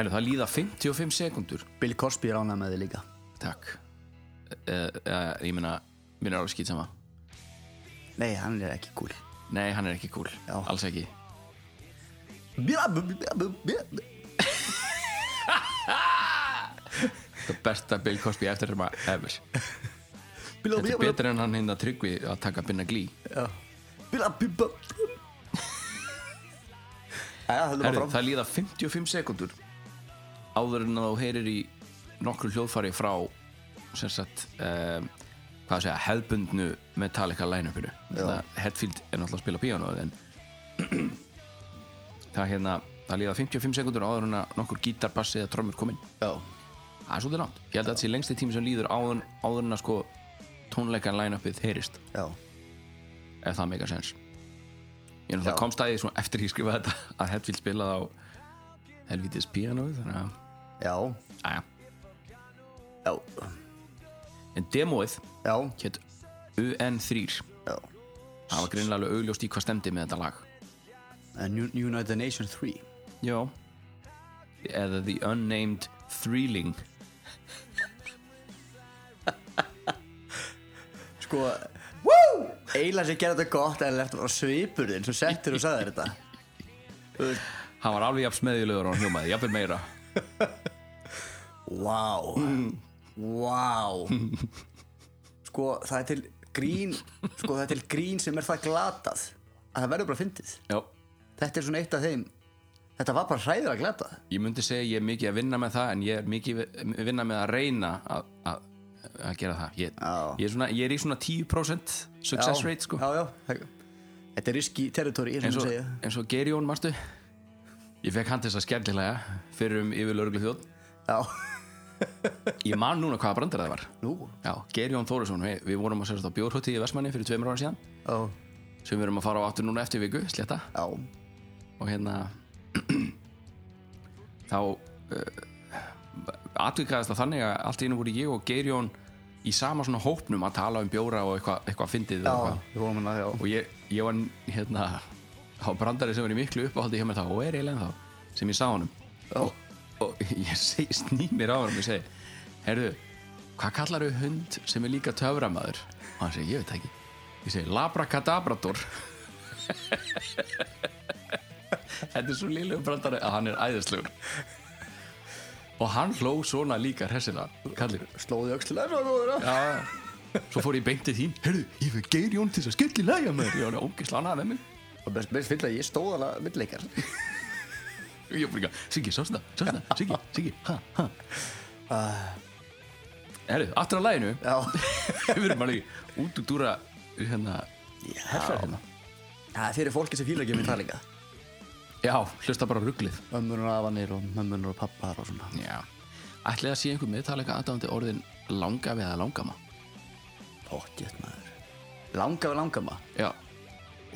S7: Erðu, það líða 55 sekundur
S2: Bill Cosby er ánægð með þig líka
S7: Takk uh, uh, Ég meina, mér er alveg skýt sama
S2: nei, hann er ekki cool
S7: Nei, hann er ekki cool,
S2: Já.
S7: alls ekki
S2: Bjá, bjá, bjá, bjá, bjá.
S7: Það besta Bill Cosby eftir um að ever
S2: Billa,
S7: Þetta er betur en hann hinn að tryggvi að taka binna glý
S2: Billa, billa Jæja, höldum
S7: Herru,
S2: áfram
S7: það líða 55 sekundur áður en þú heyrir í nokkru hljóðfari frá sem sagt um, hvað að segja, hefðbundnu Metallica line-upinu Hetfield er náttúrulega að spila piano en það hérna það líða 55 sekundur áður en að nokkur gítarbassi eða trommur komin
S2: Já,
S7: það er svolítið langt, ég held að þetta sé lengsti tími sem líður áður, áður en að sko tónleika line-upið heyrist
S2: já,
S7: ef það meikar sens ég náttúrulega
S2: Já.
S7: komst að því svona eftir ég skrifaði þetta að Hetfield spilaði á helvitis pianoið þannig að,
S2: já,
S7: aðja,
S2: já
S7: en demóið
S2: Já,
S7: hétt UN3
S2: já
S7: það var greinlega alveg augljóst í hvað stemdi með þetta lag
S2: Eh, New- United Nations 3
S7: já eða The Unnamed Threeling
S2: Sko Woo! Eila sem gerði þetta gott en lert var svipurðin sem settur og sagði þetta
S7: hann var alveg jafn smeðjulegur og hann hljómaði jafnvel meira
S2: Vá Vá Sko það er til grín Sko það er til grín sem er það glatað að það verður bara fyndið
S7: já
S2: Þetta er svona eitt af þeim Þetta var bara hræður að glatað
S7: ég myndi segja ég er mikið að vinna með það en ég er mikið að vinna með að reyna að, að, að gera það ég,
S2: Já.
S7: ég, er svona, ég er í svona 10% success
S2: Já,
S7: rate sko
S2: já, já. það- Þetta er riski territory eins
S7: eins
S2: og
S7: og,
S2: segja
S7: eins og Geri Jón, marstu ég fekk hann til þess að skemmtilega fyrir um yfir lörglu þjóð
S2: Já,
S7: ég man núna hvaða brandar það var
S2: nú
S7: já, Geri Jón Þórisson, við, við vorum að sérst á bjórhótið í Vestmanni fyrir tveimur ára síðan
S2: Já,
S7: sem við erum að fara á aftur núna eftir viku, sletta
S2: já,
S7: og hérna þá uh, atvikaðist það þannig að allt í einu voru ég og Geri Jón í sama svona hópnum að tala um bjóra og eitthvað eitthva fyndið
S2: já
S7: og eitthvað
S2: Við vorum hana, já
S7: og ég, ég var hérna á brandari sem var í miklu uppáhaldi hjá mér þá og er eiginlega þá sem ég sá honum og, og ég seg, sný mér á honum og segi, herðu hvað kallar þau hund sem er líka töframæður og hann segi, ég veit það ekki ég segi, labrakadabrador þetta er svo lillegu brandari að hann er æðislegur og hann hló svona líka hressilega, kallir
S2: Slóði öxlilega svo góður já.
S7: Já, svo fór ég beint til þín Herru, ég fyrir Geir Jón til þess að skelli lægja með Ég var ógeðslega annað með mig
S2: Og best, best fyrir að ég stóð alveg villeikar
S7: Ég fyrir ekki, Siggi, sást það, sást það, Siggi, Siggi, ha, ha Herru, aftur að læginu
S2: Já,
S7: Við erum alveg út úr dúra hérna,
S2: herrferðina hérna. Það er fyrir fólki sem fílar ekki um með það líka
S7: Já, hlusta bara á ruglið
S2: Ömmunur og afanir og mömmunur og pappar og svona
S7: Já Ætli það sé einhver meðtalega aðdáðandi orðin langa við að langama
S2: Pottjött maður Langa við langama
S7: Já,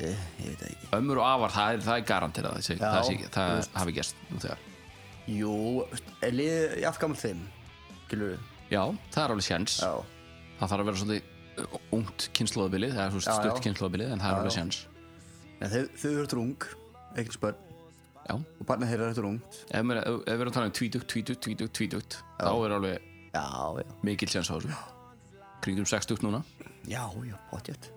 S2: Ég, ég veit það ekki
S7: ömmur og afar, það er, það er garantir að það, sé-
S2: Já,
S7: það, sé-
S2: þú
S7: það
S2: veist.
S7: hafi gerst nú þegar
S2: Jú, er liðið jafngamall þeim Gilur
S7: Já, það er alveg sjens
S2: Já,
S7: það þarf að vera svolítið ungt kynnslóðabilið, það er svo
S2: Já, já.
S7: stutt kynnslóðabilið en það er
S2: Já,
S7: alveg
S2: já.
S7: sjans
S2: en þau, þau eru drung Ekkert spörn
S7: já,
S2: Og barnið þeirra eru drungt
S7: ef maður- ef- ef við erum að tala um tvítugt, tvítugt, tvítugt, tvítugt þá er alveg
S2: Já, já
S7: mikil sjans á þessu kringum sextugt núna,
S2: Já, já, pottjött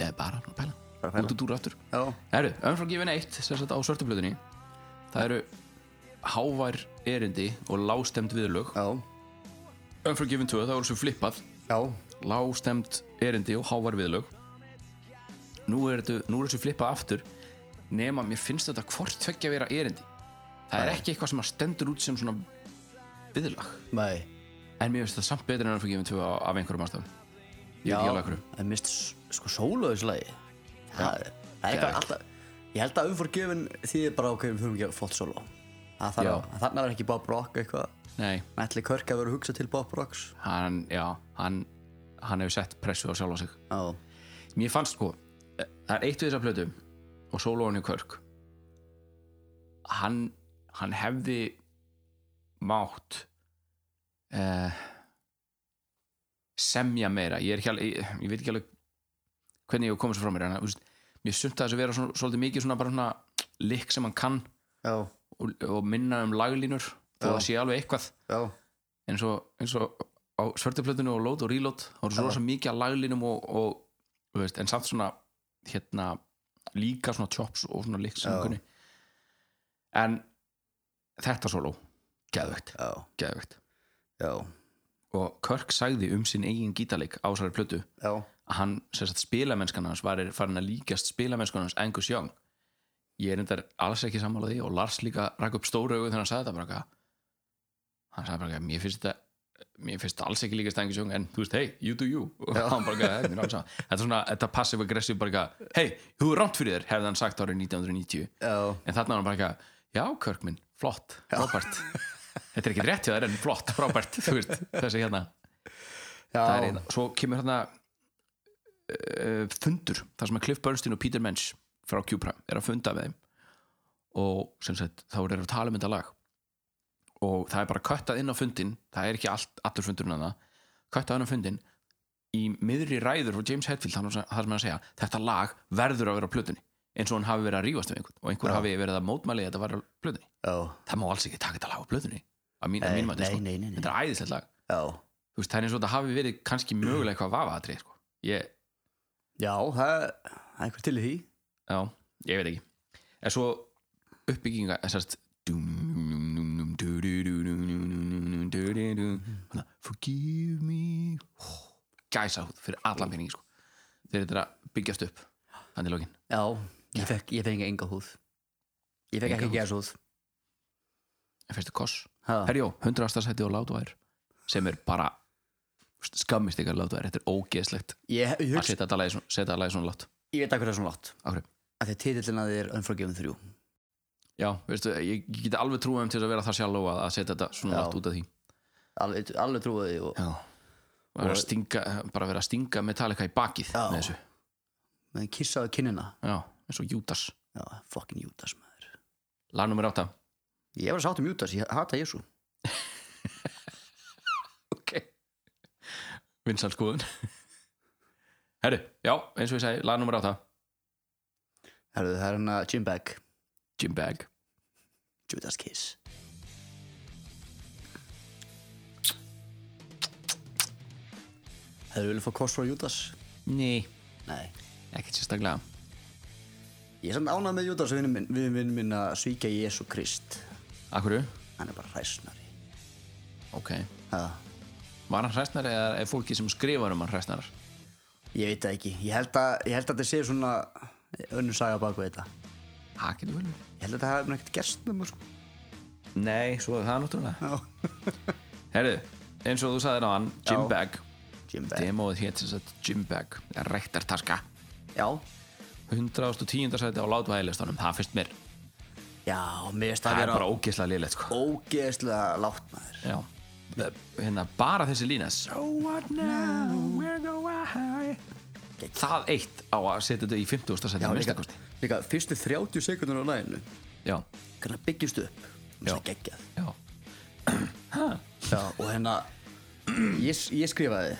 S7: eða bara að pæla,
S2: Bara að pæla.
S7: út og dúr aftur
S2: Já,
S7: Herru, umfram gefin eitt, sem sagt á svörtublutinni það eru hávær erindi og lágstemd viðlög
S2: já,
S7: umfram gefin tvö, það voru svo flippað
S2: já
S7: lágstemd erindi og hávær viðlög nú er þetta nú er þessu flippað aftur nema mér finnst þetta hvort tveggja vera erindi það er ekki eitthvað sem að stendur út sem svona biðlag
S2: Nei,
S7: en mér finnst það samt betur en að fyrir gefið tvö af af einhverjum ástæðum ég veit
S2: já,
S7: ekki alveg hverju
S2: en mist sko sólóðislagi það, er- það er eitthvað
S7: Geðveikt.
S2: alltaf ég held að umforgjöfin þýðir bara ok, við þurfum að gera flott sóló að
S7: Já.
S2: þannig er ekki Bob Rock eitthvað
S7: nei,
S2: ætli Körk að vera að hugsa til Bob Rocks
S7: hann, já, hann hann hefur sett pressu á sjálfa sig
S2: já,
S7: mér fannst sko, eh, það er eitt við þessar plötum og sólóinu Körk hann hann hefði mátt eh, semja meira ég, er ekki alveg, ég, ég veit ekki alveg hvernig ég hef komið svo frá mér en, þú veist, mér sumt að þessu vera svona, svolítið mikið svona bara svona likk sem hann kann
S2: já,
S7: og, og minna um laglínur og það sé alveg eitthvað
S2: já
S7: eins og, eins og á svörduplötunni og load og reload það voru svo rosa mikið að laglinum og, og þú veist, en samt svona hérna, líka svona chops og svona líks
S2: Já.
S7: en þetta solo geðvegt,
S2: já,
S7: geðvegt
S2: já,
S7: og Kirk sagði um sinn eigin gítarleik á þessari plötu
S2: já,
S7: að hann, sem sagt, spilamennskan hans var farin að líkast spilamennskan hans Angus Young ég er endar alls ekki sammála því og Lars líka rakk upp stóru augu þegar hann sagði þetta bara eitthvað hann sagði bara eitthvað, mér finnst þetta mér finnst þetta alls ekki líkast Angus Young en þú veist, hey, you do you og hann bara eitthvað, "Hey, mér er alveg sama." þetta er svona, þetta passive aggressive bara eitthvað, hey, þú er rámt fyrir þér hefði hann sagt árið 1990
S2: já.
S7: en þarna var hann bara eitthvað, já, Kirk minn flott, frábært þetta er ekki rétt hjá þér en flott, frábært þú veist, þessi hérna það er
S2: já.
S7: eina svo kemur hérna uh, fundur þar sem að Cliff Bernstein og Peter Mensch frá Q-Prime er að funda með þeim og sem sagt þá er að tala um þetta lag og það er bara köttað inn á fundin það er ekki allt, allur fundurinn að það köttað inn á fundin í miðri ræður frá James Hetfield þar þar sem hann segja þetta lag verður að vera á plötunni eins og hann hafi verið að rífast við einhvern og einhver hafi verið að mótmæli að þetta var á plötunni
S2: já,
S7: það má alls ekki taka þetta lag á plötunni að mín, að
S2: Nei,
S7: mín mati,
S2: nei,
S7: sko.
S2: nei, nei, nei.
S7: þetta er æðislegt lag
S2: já
S7: þú veist, það er eins og þetta hafi verið kannski mögulega eitthvað vafaðatri sko. ég,
S2: já, það er það er einhver til í því
S7: já, ég veit ekki en svo uppbygginga eh, þessast forgive me gæsa húð fyrir allan pening sko. þeir eru að byggjast upp þannig lókin,
S2: já, ég fekk, ég fekk enga húð ég fekk
S7: Enga
S2: ekki
S7: húð.
S2: gæs húð
S7: en fyrstu koss
S2: Ha.
S7: herjó, 100 ástarsæti og látuvær sem er bara skammist ykkar látuvær, þetta er ógeðslegt
S2: ég, ég,
S7: að
S2: hugsa,
S7: setja þetta lagi, setja þetta lagi svona látt
S2: ég veit að hverja svona látt
S7: áhrif
S2: af því að titillin að þið er Unforgiven 3
S7: Já, veistu, ég ég get alveg trúið um til þess að vera það sjálf að, að setja þetta svona
S2: Já.
S7: allt út af því
S2: alveg, alveg trúið því og
S7: Já Bara vera að stinga, bara vera að stinga Metallica í bakið
S2: Já.
S7: með þessu
S2: með kissaðu kinnina
S7: Já, eins og Júdas
S2: já, fucking Judas maður
S7: Lag nummer átta
S2: ég var að sátt um Judas, ég hata Jésu
S7: Ok Vinsal skoðun Herru, já, eins og ég segi, lag nummer átta
S2: Herðu, það er hann að Jim Beck
S7: Jim Bag
S2: Judas Kiss Hefur viljað fá kost frá Judas?
S7: Nei,
S2: Nei
S7: ekkert sérstaklega
S2: Ég er samt ánað með Judas vinnu minn, við vinnum minn að svíkja Jésu Krist
S7: Akkurru,
S2: Hann er bara hræsnari
S7: ok
S2: ha.
S7: Var hann hræstnari eða er fólki sem skrifar um hann hræstnar
S2: Ég veit það ekki Ég held að, ég held að þetta sé svona önnur saga bak við þetta
S7: Það getur vel verið.
S2: Ég held að þetta hefði ekkert gerst með mér sko
S7: Nei, svo er það náttúrulega Herru, eins og þú sagði náðan Jim
S2: Já.
S7: Bag
S2: Jim Beck
S7: Demóið hétt sem sagt Gymbag Rektartaska
S2: Já,
S7: 110. sæti á látvæðilegstunum Það finnst mér
S2: já, mér
S7: Það
S2: finnst það
S7: er bara
S2: vera
S7: ógeðslega liðlegt sko
S2: ógeðslega látt maður
S7: Já Hérna bara þessi lína So what now Where go I Það eitt á að setja þetta í 50. sæti að
S2: líka,
S7: minnstakosti
S2: líka fyrstu 30 sekundur á læginu
S7: Já
S2: hvernig það byggjast upp Mér finnst það geggjað
S7: Já
S2: já, og hérna ég, ég skrifaði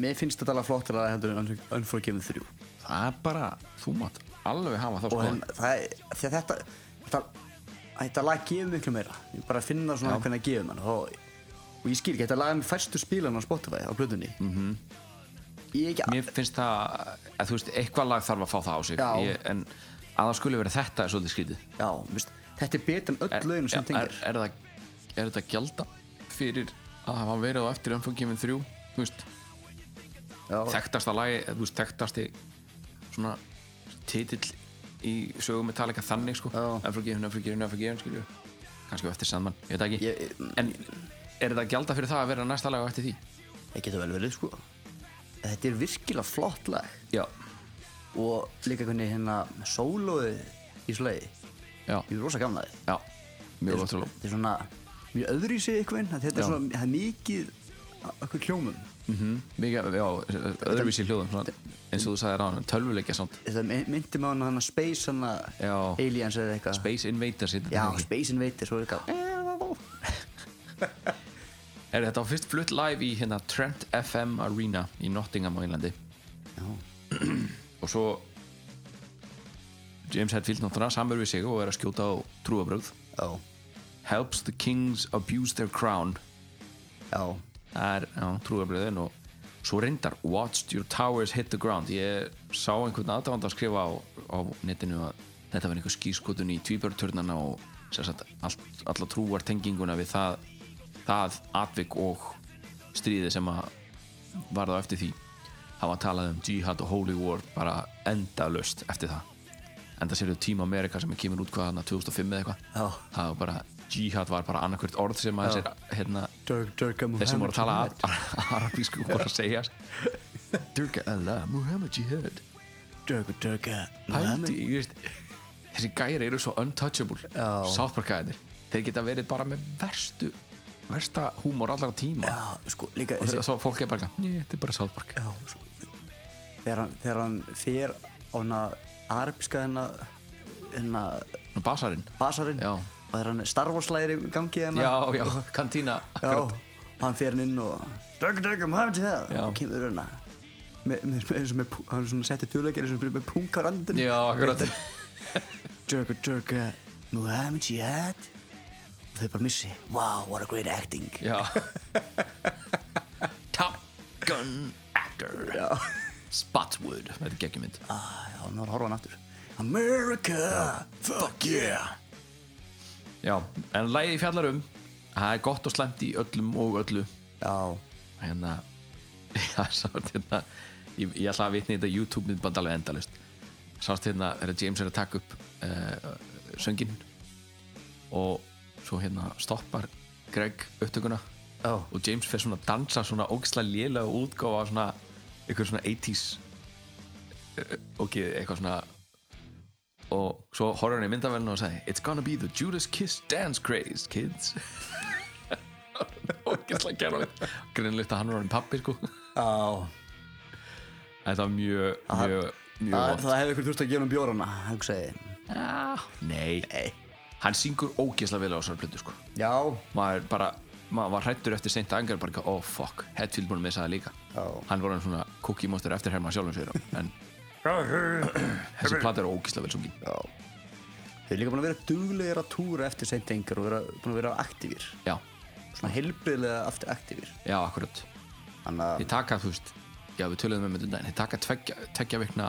S2: mér finnst þetta alveg flottir að heldur en Unfor- Unforgiven 3 og
S7: Það er bara Þú mátt alveg hafa þá sko
S2: hérna, það er, því að þetta þetta, þetta lag gefur miklu meira ég bara finna svona hvernig það gefur mann og, og ég skil ekki, þetta lag er með fæstu spílan á Spotify á blöðunni -hmm. ég ekki
S7: Mhm. Mér finnst það að Þú veist eitthvað lag þarf að fá það á sig
S2: Já.
S7: ég, En að það skulle vera þetta er svolítið skrítið
S2: já, veist, þetta er betur en öll lögum sem
S7: Já, er,
S2: tengir
S7: er, það, er þetta gælda fyrir að hafa verið á eftir umfangjöfin þrjú þú veist,
S2: já,
S7: þekktasta lagi eða, þú veist, þekktasti svona titill í sögum með tala eitthvað þannig sko
S2: Já.
S7: umfangjöfin, umfangjöfin, umfangjöfin skilju kannski á eftir saman, ég veit það ekki
S2: Ég-
S7: en er þetta að gjalda fyrir það að vera næsta lag á eftir því?
S2: það getur vel verið sko þetta er virkilega flott lag
S7: Já,
S2: og líka hvernig hérna sólóið í slagi
S7: já,
S2: ég er rosa gamla þið
S7: já Mjög gott sóló
S2: þetta er svona mjög öðru í sig einhvern veginn,
S7: Já.
S2: þetta er svona það er mikið okkur hljómum
S7: Mikið, já, Mhm. öðruvísi hljóðum svona, eins og þú sagði ráðan, tölvuleikja samt
S2: þetta my- myndi mig á hana hana Space hana
S7: Já.
S2: Aliens eða eitthvað
S7: Space Invaders hérna,
S2: já,
S7: er það ekki?
S2: Space Invaders og eitthvað
S7: Er þetta á fyrst flutt live í hérna Trent FM Arena í Nottingham á Englandi
S2: Já.
S7: og svo James Hetfield náttúrulega samur við sig og er að skjóta á trúabrögð
S2: já,
S7: Helps the kings abuse their crown
S2: já,
S7: Það er já, trúabröðin og svo reyndar Watched your towers hit the ground Ég sá einhvern aðdáðan að skrifa á, á netinu að þetta var einhver skýrskotun í tvíbörturnana og sem sagt, all, alla trúar tenginguna við það, það atvik og stríði sem að varða á eftir því hafa talað um jihad og holy war bara endalaust eftir það enda sér þau Team America sem er kemur út hvað hana 2005 eða
S2: Já.
S7: eitthvað það var bara, jihad var bara annarkvært orð sem að þessir hérna,
S2: Dirk, Dirk
S7: þeir sem voru að tala ar- arabísku voru að segja sko. Durga Allah, Muhammad Jihad
S2: Dirk, Dirk eh,
S7: Pældi, ég veist þessi gæri eru svo untouchable
S2: Já.
S7: sáttbarkaðinir, þeir geta verið bara með verstu, versta húmor allra tíma
S2: já, sko, líka
S7: og
S2: þessi-
S7: þegar svo fólk er bara, njö, þetta er bara sáttbark
S2: Já, svo, þegar hann, þegar hann fer á hana arabiska hana, hana
S7: og basarinn,
S2: basarinn
S7: Já.
S2: og þegar hann starfarslæðir í gangi hérna. hana
S7: já, já, kantína
S2: já
S7: akkurat.
S2: hann fer hann inn og dögg, dögg, maður til það
S7: Já.
S2: og kemur hana með, með, með, eins og með, pú- hann svona setti tjóðleikir eins og með punkar andin
S7: já, akkurat
S2: dögg, dögg, Muhammad Jihad og þau bara missi wow, what a great acting
S7: já Top Gun Actor já. Spotswood, þetta er geggjumynd
S2: ah, já, hann var að horfa hann aftur America, fuck yeah
S7: Já, en lægi fjallar um Það er gott og slæmt í öllum og öllu
S2: já,
S7: Hérna Já, sátt hérna Ég, ég ætla að vitni í þetta YouTube myndband alveg endalist Sátt hérna þegar James er að taka upp uh, söngin og svo hérna stoppar Greg upptökuna
S2: Já.
S7: og James fer svona að dansa svona ógislega lélega útgáfa af svona eitthvað svona 80s eh, ok, eitthvað svona og svo horfður hann í myndavælinu og sagði It's gonna be the Judas Kiss dance craze, kids Ógislega gerðanlegt Grinnilegt að hann var hann pappi, sko
S2: já
S7: Þetta var mjög, mjög, mjög
S2: Það,
S7: vont
S2: það hefði ykkur þurft að gefa um bjórana, hugsaði.
S7: Ah, Nei, hann syngur ógislega vel á þessar plötu, sko
S2: Já.
S7: Maður bara, maður var hrættur eftir seint angar bara, eitthvað, oh fuck, Hetfield búin að missa það líka
S2: Já.
S7: Hann var hann svona cookie monster eftir herma sjálfum sér sko. En þessi plata er ógislega vel sungin
S2: Já. Þau eru líka búin að vera duglegir að túra eftir seint engar og vera, búin að vera aktífir.
S7: Já,
S2: Svona helbriðlega aftur aktífir.
S7: já, akkurat
S2: Þannig að,
S7: Þeir taka, þú veist, já við töluðum um þetta um daginn, þeir taka tveggja, tveggja vikna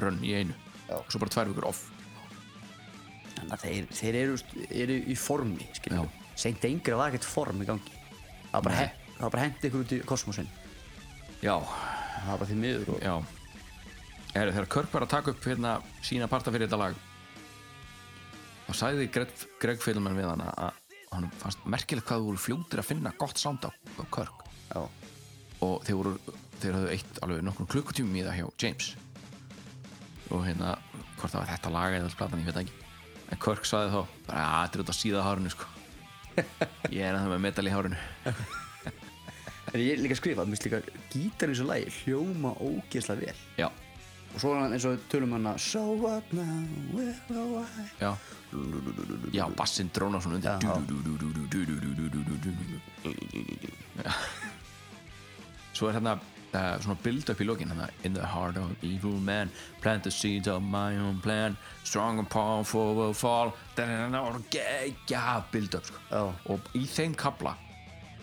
S7: rönn í einu
S2: Já.
S7: og svo bara tvær vikur off.
S2: þannig að þeir, þeir eru, eru í formi, skiljum.
S7: Já.
S2: Seint engar var ekkert form í gangi. Það var
S7: Nei.
S2: bara, he, það var bara hendi ykkur út í kosmosin.
S7: Já,
S2: Það var bara því miður og...
S7: já. Heru, þegar Körk var að taka upp hérna sína parta fyrir þetta lag, þá sagði Greg, Greg Fylman við hana að hann fannst merkilegt hvað þú voru fljótir að finna gott sound á, á Körk
S2: Já.
S7: og þeir voru, þeir höfðu eitt alveg nokkrum klukkutímum í það hjá James og hérna, hvort það var þetta lag eða alls platan, ég veit það ekki en Kirk saði þá, bara að þetta er út að síða hárinu sko ég er að það með metal í hárinu
S2: En ég er líka að skrifa, mér finnst líka gítar í þessu lagi hljóma ógeðslega vel.
S7: já,
S2: Og svo er hann eins og við tölum hann að So what now, where are I?
S7: já já, bassinn drónar svona undir Já. svo er hérna Uh, svona build up í lokin hana, in the heart of evil man plant the seeds of my own plan strong and powerful will fall ja, build up sko.
S2: Já.
S7: og í þeim kabla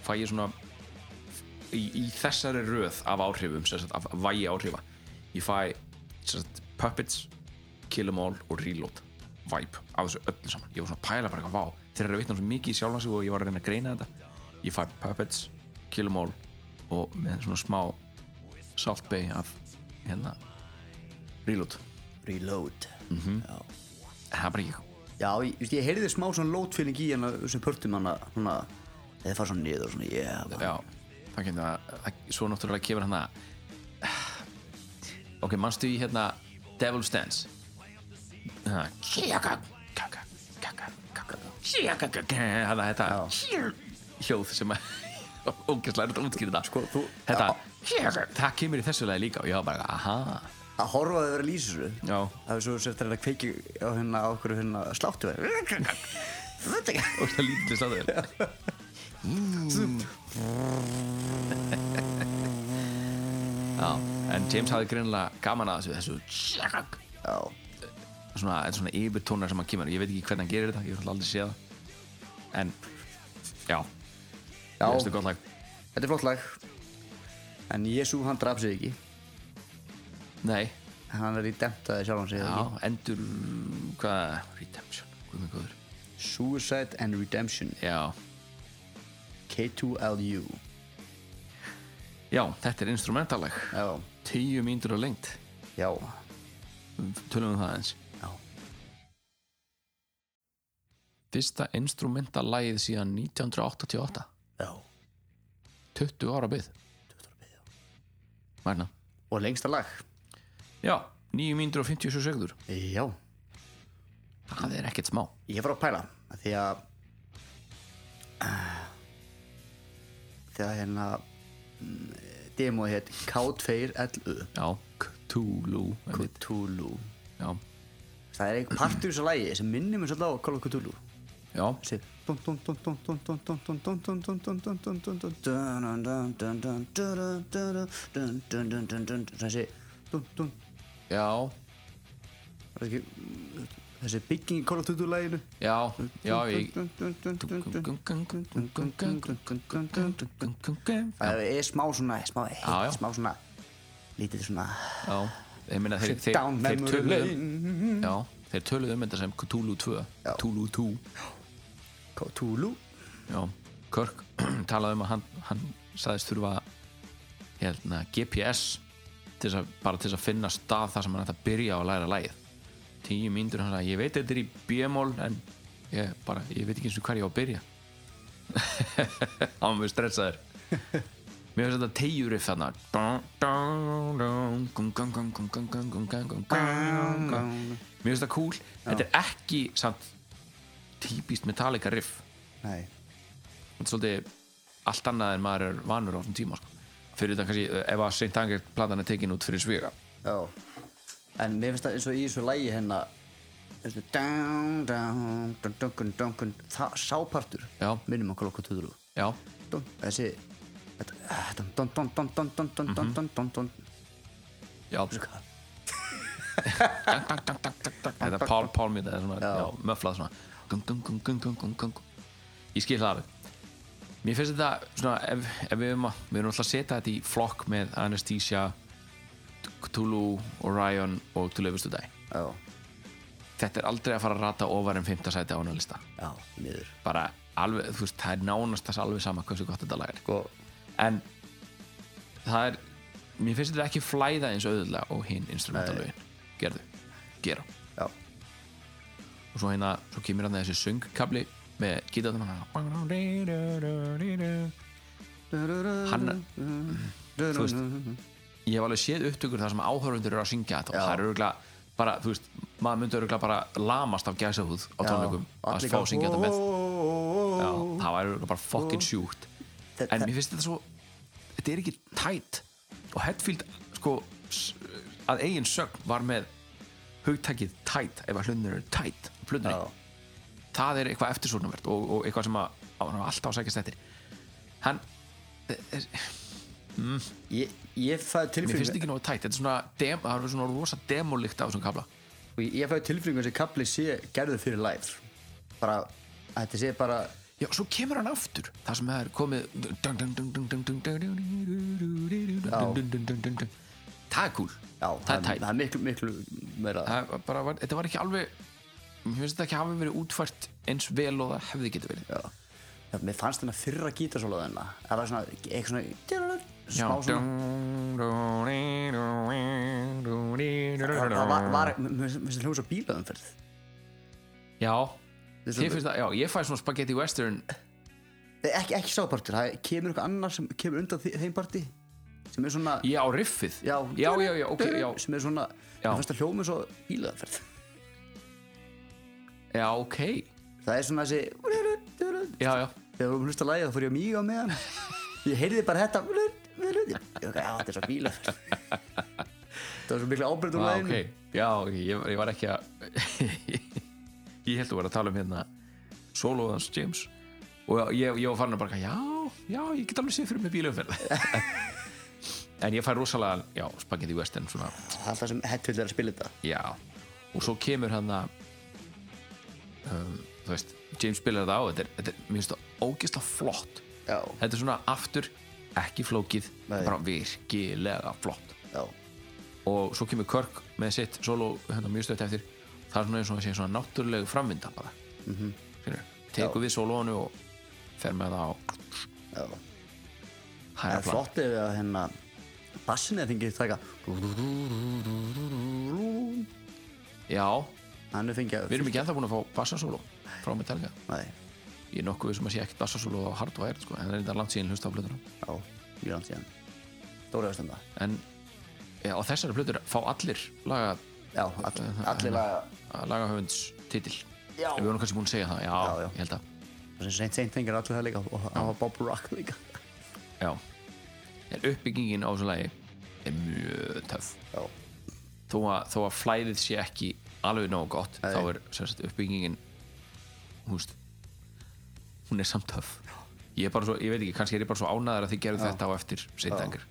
S7: fæ ég svona í, í þessari röð af áhrifum sem sagt, af vægi áhrifa ég fæ sem sagt, Puppets, Kill 'Em All og Reload vibe af þessu öllu saman ég var svona að pæla bara eitthvað, vá, þeir eru að vitna um svo mikið í sjálfansi og ég var að reyna að greina þetta ég fæ Puppets, Kill 'Em All og með svona smá Salt Bay af hérna Reload
S2: Reload.
S7: Mhm. það er bara ég
S2: hérna Já, ég, ég heyrði smá svona lótfíling í hana sem pörtum hana svona þeir fara svona niður og svona yeah, man.
S7: já, það kemur að, að svo náttúrulega kemur hann að ok, mannstu í hérna Devil's Dance hérna kjaka, kaka, kaka, kaka, kjaka, kaka, hérna þetta hljóð sem að ógæslega er þetta útskýrða sko,
S2: þú-
S7: þetta, kjaka, það kemur í þessu lagi líka og ég var bara, aha
S2: að horfa að þau vera lýsir
S7: já,
S2: það er svo sér þetta að kveiki á hérna á okkur hérna sláttu
S7: og það lítið sláður já, en James hafði greinilega gaman að þessu, þessu kjaka,
S2: já,
S7: svona, þetta er svona yfirtónar sem hann kemur ég veit ekki hvernig hann gerir þetta, ég hef aldrei séð það en já,
S2: já
S7: ég veist það gott lag
S2: þetta er flott lag en Jésu hann draf sig ekki
S7: nei,
S2: hann er í demtaði sjálf hann sig
S7: já,
S2: já.
S7: endur hvað, Redemption, hvað með góður
S2: Suicide and Redemption
S7: já,
S2: K2LU
S7: já, þetta er instrumentalag
S2: já,
S7: tíu mínútur á lengt,
S2: já,
S7: tölum við það eins
S2: já.
S7: fyrsta instrumentalagið síðan 1988
S2: já.
S7: 20 ára byggð 20 ára byggð, já Mærna.
S2: og lengsta lag
S7: já, 9 mínútur og 57 sekundur
S2: já,
S7: það er ekkert smá
S2: ég fór að pæla af því að þegar hérna mm, demóið hétt K2LU
S7: já, Cthulhu einmitt.
S2: Cthulhu
S7: já,
S2: það er einhver partur í þessu lægi sem minnir mér svolítið á Call of Cthulhu
S7: já
S2: þessi þessi
S7: Já,
S2: þessi bygging í Call of Cthulhu læginu
S7: já, já, ég
S2: það er smá svona smá,
S7: Já, já.
S2: smá svona lítið svona
S7: Já, ég meina þeir, þeir,
S2: down
S7: þeir
S2: memory
S7: töluðu um-
S2: lane
S7: Já, þeir töluðu um þetta sem Cthulhu 2
S2: Já.
S7: Cthulhu 2
S2: Cthulhu
S7: Já, Kirk talaði um að hann, hann sagðist þurfa hérna, GPS til þess að, bara til þess að finna stað þar sem hann ætti að byrja á að læra lægið Tíu mínútur hann sagði, ég veit þetta er í bjömól en ég, bara, ég veit ekki eins og hvað ég á að byrja hann var mjög stressaður Mér finnst þetta tegjuriff þarna Mér finnst þetta cool Þetta er ekki samt típist Metallica riff
S2: nei
S7: Þetta er svolítið allt annað en maður er vanur á þessum tíma sko. Fyrir þetta kannski, eh, ef að St. Anger platan er tekin út fyrir sviga
S2: Já En mér finnst það eins og í þessu lægi hérna þessu down, down, dun, dun, dun, dun, það sápartur
S7: Já.
S2: minnum okkur okkur tuðru
S7: Já,
S2: þessi þetta, ah, dun, dun, dun, dun, dun, dun, dun,
S7: Mhm.
S2: dun, dun, dun, dun.
S7: já Þetta er Paul, Paul mér, þetta er svona,
S2: Já.
S7: já, möflað svona gung, gung, gung, gung, gung, gung, gung. Ég skil það alveg Mér finnst þetta, svona, ef, ef við erum að við erum alltaf að setja þetta í flokk með Anesthesia Cthulhu, Orion og Til auðvistu dag
S2: Já,
S7: Þetta er aldrei að fara að rata ofar en 5. sæti á hana lista
S2: já, miður
S7: bara alveg, þú veist, það er nánast þess alveg sama hversu gott þetta lag er
S2: Sko,
S7: en það er mér finnst þetta ekki flæða eins auðvitað og hinn instrumentalögin, gerðu gera,
S2: já,
S7: og svo hérna svo kemur hann þessi söngkabli með gítarnum hann hann, þú veist ég hef alveg séð upptökur þar sem áhörfundur eru að syngja þetta og það er örgulega bara, þú veist, maður myndi örgulega bara lamast af gæsahúð á tónleikum að fá að syngja þetta með Já, það var bara fucking sjúkt
S2: Þe-
S7: En
S2: þe-
S7: mér finnst þetta svo Þetta er ekki tætt Og Hetfield, sko s- að eigin sögn var með hugtækið tætt, ef að hlunur er tætt plunni,
S2: Já.
S7: það er eitthvað eftirsóknarvert og, og eitthvað sem að, að hann var alltaf að sækjast eftir hann,
S2: Ég, ég
S7: mér
S2: fæði
S7: finnst þetta
S2: tilfengu
S7: ekki nógu tætt þetta er svona, dem, það er svona rosa demolikt af þessum kafla
S2: Ég fæði tilfengu þessi kapli sé gerður fyrir live bara, að þetta sé bara
S7: Já, svo kemur hann aftur Það sem það er komið Það er cool
S2: Já,
S7: Það er tætt
S2: það er miklu, miklu meira
S7: Það var bara var- Þetta var ekki alveg Mér finnst þetta ekki hafi verið útfært eins vel og það hefði getið verið
S2: Já. Já, mér fannst þarna fyrra gítarsóla þarna það var svona, eitthvað svona
S7: Já.
S2: smá svona það það var, var mér mér finnst það hljóð svo bílaðumferð
S7: Já
S2: Þetta
S7: Þið
S2: er
S7: finnst það, já, ég fæ svona spaghetti western
S2: Nei, ekki, ekki sápartur, það kemur eitthvað annar sem kemur undan þi- þeim parti sem er svona
S7: Já, riffið
S2: já,
S7: já, já, já, ok, já,
S2: sem er svona,
S7: Já.
S2: það fannst að hljóma svo bílaðanferð
S7: já, ok
S2: það er svona þessi
S7: Já, já,
S2: þegar við vorum að hlusta að lægja þá fór ég að mýga með hann ég heyrði bara þetta ég ok, já, þetta er svo bíla það var svo mikla ábyrgd úr
S7: já, Ah,
S2: læginu
S7: ok Já, ok, ég, ég var ekki að Ég held að vera að tala um hérna Soloðans James og ég, ég var farin að bara, já, já, ég get alveg séð fyrir mig bílumferð En ég fær rosalega, já, spagetti western svona,
S2: það er það sem Hetfield er að spila þetta
S7: já Og svo kemur hann að um, Þú veist, James spilar það á Þetta er, þetta er mér finnst það ógeðslega flott
S2: já,
S7: Þetta er svona aftur ekki flókið,
S2: Nei.
S7: bara virkilega flott
S2: já,
S7: og svo kemur Körk með sitt solo hérna mjög stöðt eftir það er svona eins og að sé svona náttúrulegu framvinda bara mm
S2: Mhm.
S7: -hmm. tekur við soloinu og fer með það á
S2: já það
S7: hæra
S2: er
S7: plan
S2: flott ef að hérna bassinni að þingi taka
S7: já,
S2: hann er fengið að
S7: við erum ekki ennþá búin að fá bassasólo frá Metallica
S2: Nei,
S7: ég er nokkuð við sem að sé ekkert bassasólo á Hardwired sko, en það er þetta langt síðan hlusta á plötuna
S2: já, mjög langt síðan Dóra að standa
S7: en já, á þessari plötur fá allir laga,
S2: Já, all, allir laga
S7: lagahöfunds titil
S2: Já.
S7: við erum kannski búin að segja það, já,
S2: Já, já.
S7: ég held að
S2: Það sem seint seint fengir allir það líka og það var Bob Rock líka
S7: já. en uppbyggingin á þessu lagi er mjög töff
S2: Já,
S7: þó að, þó að flæðið sé ekki alveg nógu gott þá er sem sagt, uppbyggingin húst, hún er samt höf ég, er bara svo, ég veit ekki, kannski er ég bara svo ánæður að þið gerðu þetta á eftir seintengur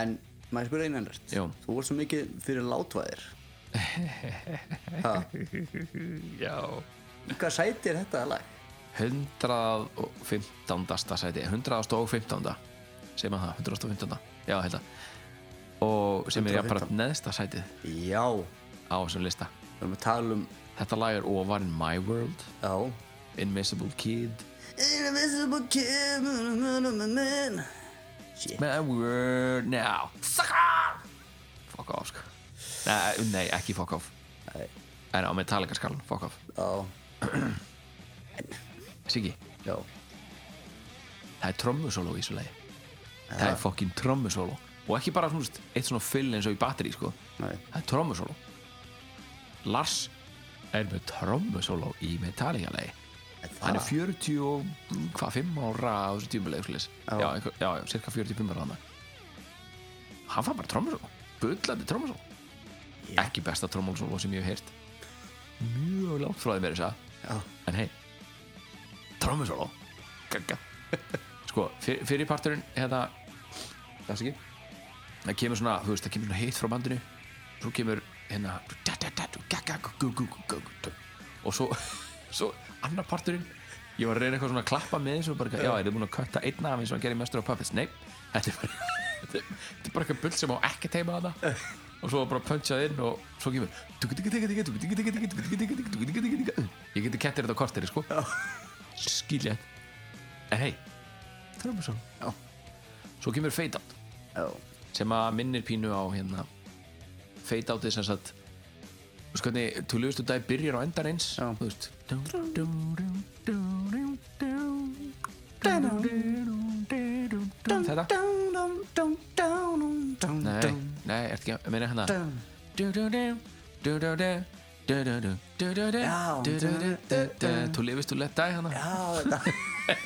S2: en maður spyrir einu ennast
S7: Já.
S2: Þú varst svo mikið fyrir látvæðir
S7: já
S2: Í Hvað sæti er þetta lag?
S7: 115. sæti 115. sem að það, 115. já, held að og sem er jafnfæra
S2: 115.
S7: neðsta sætið
S2: Já Við
S7: á þessum lista
S2: erum að tala um
S7: þetta lag er ofarinn My World
S2: Já
S7: Invisible Kid
S2: Invisible kid Man
S7: My word now Sucker! Fuck off sko Nei, nei ekki fuck off
S2: Nei.
S7: En á Metallica skalan, fuck off
S2: Já,
S7: Siggi,
S2: já
S7: það er trommusóló í þessu lagi Það er fucking trommusóló Og ekki bara svona, eitt svona fyll eins og í batteri sko
S2: Nei.
S7: Það er trommusóló Lars er með trommusóló í Metallica lagi Hann er 40 og hvað, 5 ára á þessu tímuleg já. Já, einhver- já, já, cirka 45 ára þarna Hann fann bara trommusóló Bullandi trommusóló Ekki besta trommusóló sem ég hef heyrt Mjög langt frá því mér þess að
S2: Já,
S7: en hei trommusóló Gagga. sko, fyr, fyrir parturinn hérna, það sé ekki það kemur svona, þú veist, það kemur svona heitt frá bandinu svo kemur hérna da, da, da, du, gagga, gu, gu, gu, gu, gu. og svo, svo annar parturinn ég var að reyna eitthvað svona að klappa með þessu og bara, eitthvað, já, er þið búin að kötta einn af eins og hann gerir mestur á puppets, nei þetta er bara þetta er- þetta er bara eitthvað bull sem á ekki teima þetta og svo var bara punchað inn og svo kemur ég geti kettir þetta á kortir sko skilja en hei, trommusón
S2: Já.
S7: svo kemur fade out
S2: já
S7: sem að minnir pínu á hérna fade outið sem sagt þú veist hvernig tölvustu dag byrjar á endar eins
S2: Já.
S7: þú veist Dum, dum, dum, dum, dum, dum, dum. þetta nei, nei, ert ekki að meina hérna
S2: Já.
S7: þú lifist þú lett dag hana
S2: Já, þetta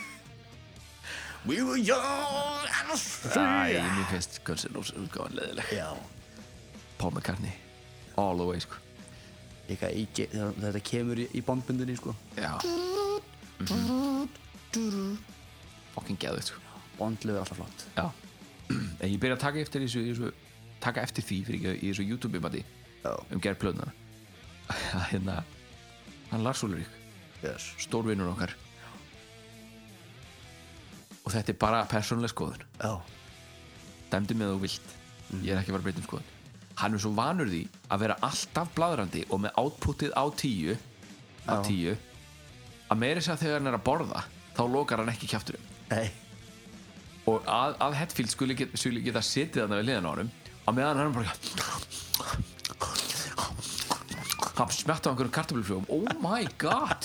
S2: We were young and
S7: Æ, mér finnst Guns N' Roses útgáðan leðileg
S2: Já,
S7: Paul McCartney, all the way sko.
S2: líka í, ge- þegar þetta kemur í, í bombundinni sko
S7: Já Mhm. Fucking geðveikt sko.
S2: Bondlið er alltaf flott
S7: Já En ég byrja að taka eftir þessu, þessu taka eftir því fyrir ekki í þessu YouTube bati
S2: Já,
S7: um gerð plöðnana hérna hann Lars Ulrik,
S2: yes
S7: stórvinnur okkar og þetta er bara persónuleg skoðun
S2: Já,
S7: dæmdi með þú vilt ég er ekki að fara að breyta um skoðun hann er svo vanur því að vera alltaf bladrandi og með outputið á tíu á tíu að meira þess að þegar hann er að borða þá lokar hann ekki kjafturum
S2: nei
S7: og að, að Hetfield skuli, get, skuli geta setið þarna við liðan á honum á meðan hann bara hann smetta á einhverjum kartöflufljóum oh my god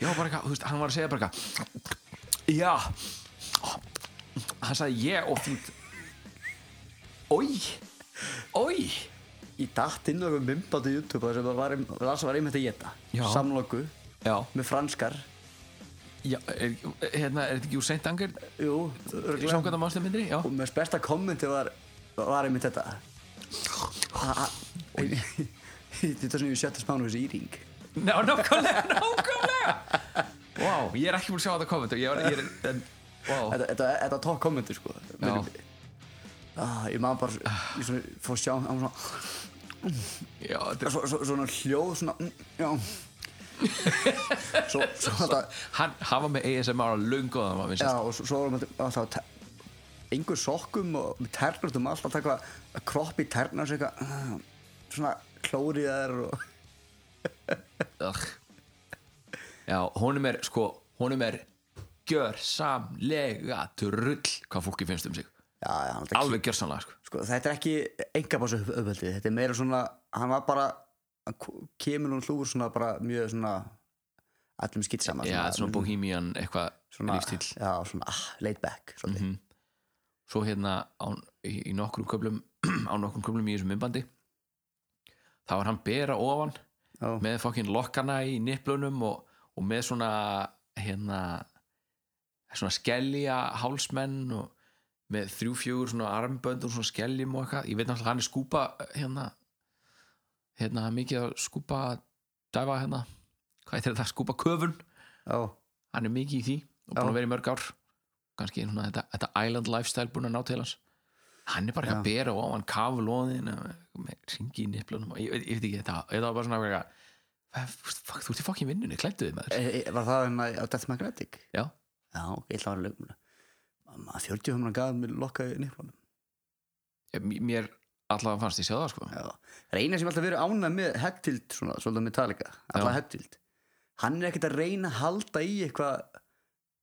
S7: já, bara eitthvað, þú veist, hann var að segja bara eitthvað já hann sagði ég og fínt oi oi
S2: Í datt inn á einhver mymbát í YouTube þar sem það var, það var einmitt að geta
S7: Já.
S2: Samloku
S7: já,
S2: með franskar
S7: já er, hérna, er þetta ekki úr seint angur
S2: Jú,
S7: samkvæmt á mástumindri, já
S2: Og með besta kommenti var, var einmitt þetta Ha- ha- Þetta er svona í sjötta smánu þessi íring
S7: Ná, nákvæmlega, nákvæmlega Vá, ég er ekki búin að sjá þetta komment ég var, ég er, en, vá
S2: Þetta- Þetta þetta er tók kommenti sko Minnum- ah, Ég maður bara Ég svona, fór að sjá hann var svona,
S7: já, þetta,
S2: svo, svo, Svona hljóð svona, mm, Já Svo, svo þetta
S7: hann hafa með ASMR að lunga það maður
S2: Já
S7: finnst
S2: og svo, svo varum við alltaf að te- engu sokkum og með ternutum alltaf eitthvað að kroppi ternar sig eitthvað uh, svona klórið þær og
S7: Ugh. Já, honum er, sko, honum er gjörsamlega trull hvað fólki finnst um sig
S2: já, já, hann alltaf,
S7: alveg gjörsamlega, sko
S2: sko, þetta er ekki engabásu uppöldið, þetta er meira svona hann var bara, hann ko- kemur hún hlúfur svona bara mjög svona allum skitsama
S7: Já, svona bohemian eitthvað lífstíl
S2: já, svona ah, laid back mm -hmm.
S7: Mhm. svo hérna á, í, í nokkrum köflum á nokkrum köflum í þessum myndbandi þá var hann bera ofan
S2: Já.
S7: með fokkin lokkana í nipplunum og, og með svona hérna svona skellja hálsmenn og með þrjú fjögur svona armbönd og svona skelljum og eitthvað ég veit náttúrulega hann er skúpa hérna hérna mikið að skúpa dæfa hérna hvað heitir þetta skúpa köfun
S2: já,
S7: hann er mikið í því og búin
S2: Já.
S7: að vera í mörg ár kannski svona þetta, þetta island lifestyle búin að ná til hans hann er bara ekki að bera á hann kafu lóðin með ringi í nipplunum ég, ég, ég veit ekki þetta þetta var bara svona eitthvað, "Hvað, fuck, þú ert í fokkin vinnunni, klættuði maður
S2: e, e, var það hérna á Death Magnetic?
S7: já,
S2: já, ég ætla að vera lögum maður 40 humna gaf mér lokkaði nýflunum
S7: Ég- mér allavega fannst ég sjá það sko
S2: Já. Það er eina sem alltaf verið ánað með Hegtild svona, svolítið Metallica, alltaf Hegtild hann er ekkert að reyna að halda í eitthvað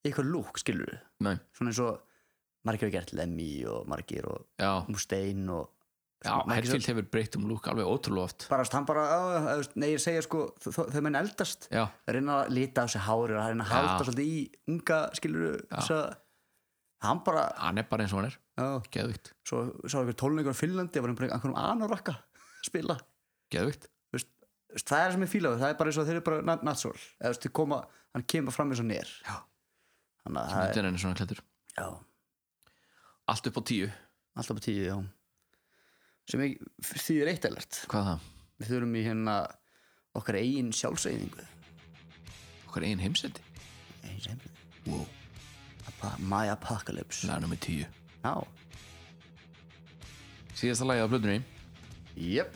S2: eitthvað lúk, skilur við
S7: Nei,
S2: svona eins og margir hafa gert Lemmy og margir og
S7: já,
S2: Mustaine og
S7: já
S2: svona margir
S7: Herfield hefur breytt um lúk alveg ótrúlega oft
S2: sem- bara, hann bara, á, eða, nei ég segja sko þ- þ- þau menn eldast,
S7: já,
S2: reyna að lita á sig hári og reyna að halda
S7: Já.
S2: svolítið í unga skilur við, þess að hann bara,
S7: hann er bara eins og hann er
S2: já,
S7: geðvikt,
S2: svo sá einhver tólningur á Finnlandi, það var einhver- einhverjum anorakka að spila
S7: geðvikt
S2: Þú veist, þú veist, það er sem ég fíla við, það er bara eins og þeir eru bara nat- natural eða þú veist, þeir koma, hann kemur fram eins og nér
S7: Já.
S2: þannig að það er,
S7: þetta er henni svona klættur,
S2: já,
S7: allt upp á tíu
S2: alltaf på tíu, já sem ég þýðir eitt elert
S7: hvað það,
S2: við þurfum í hérna okkar eigin sjálfseyðingu
S7: okkar einn heimsendi
S2: eigin sjálfseyðingu,
S7: wow,
S2: Apa- my apocalypse
S7: lagnum með tíu
S2: já,
S7: síðasta lagið á blöndunni
S2: jöp,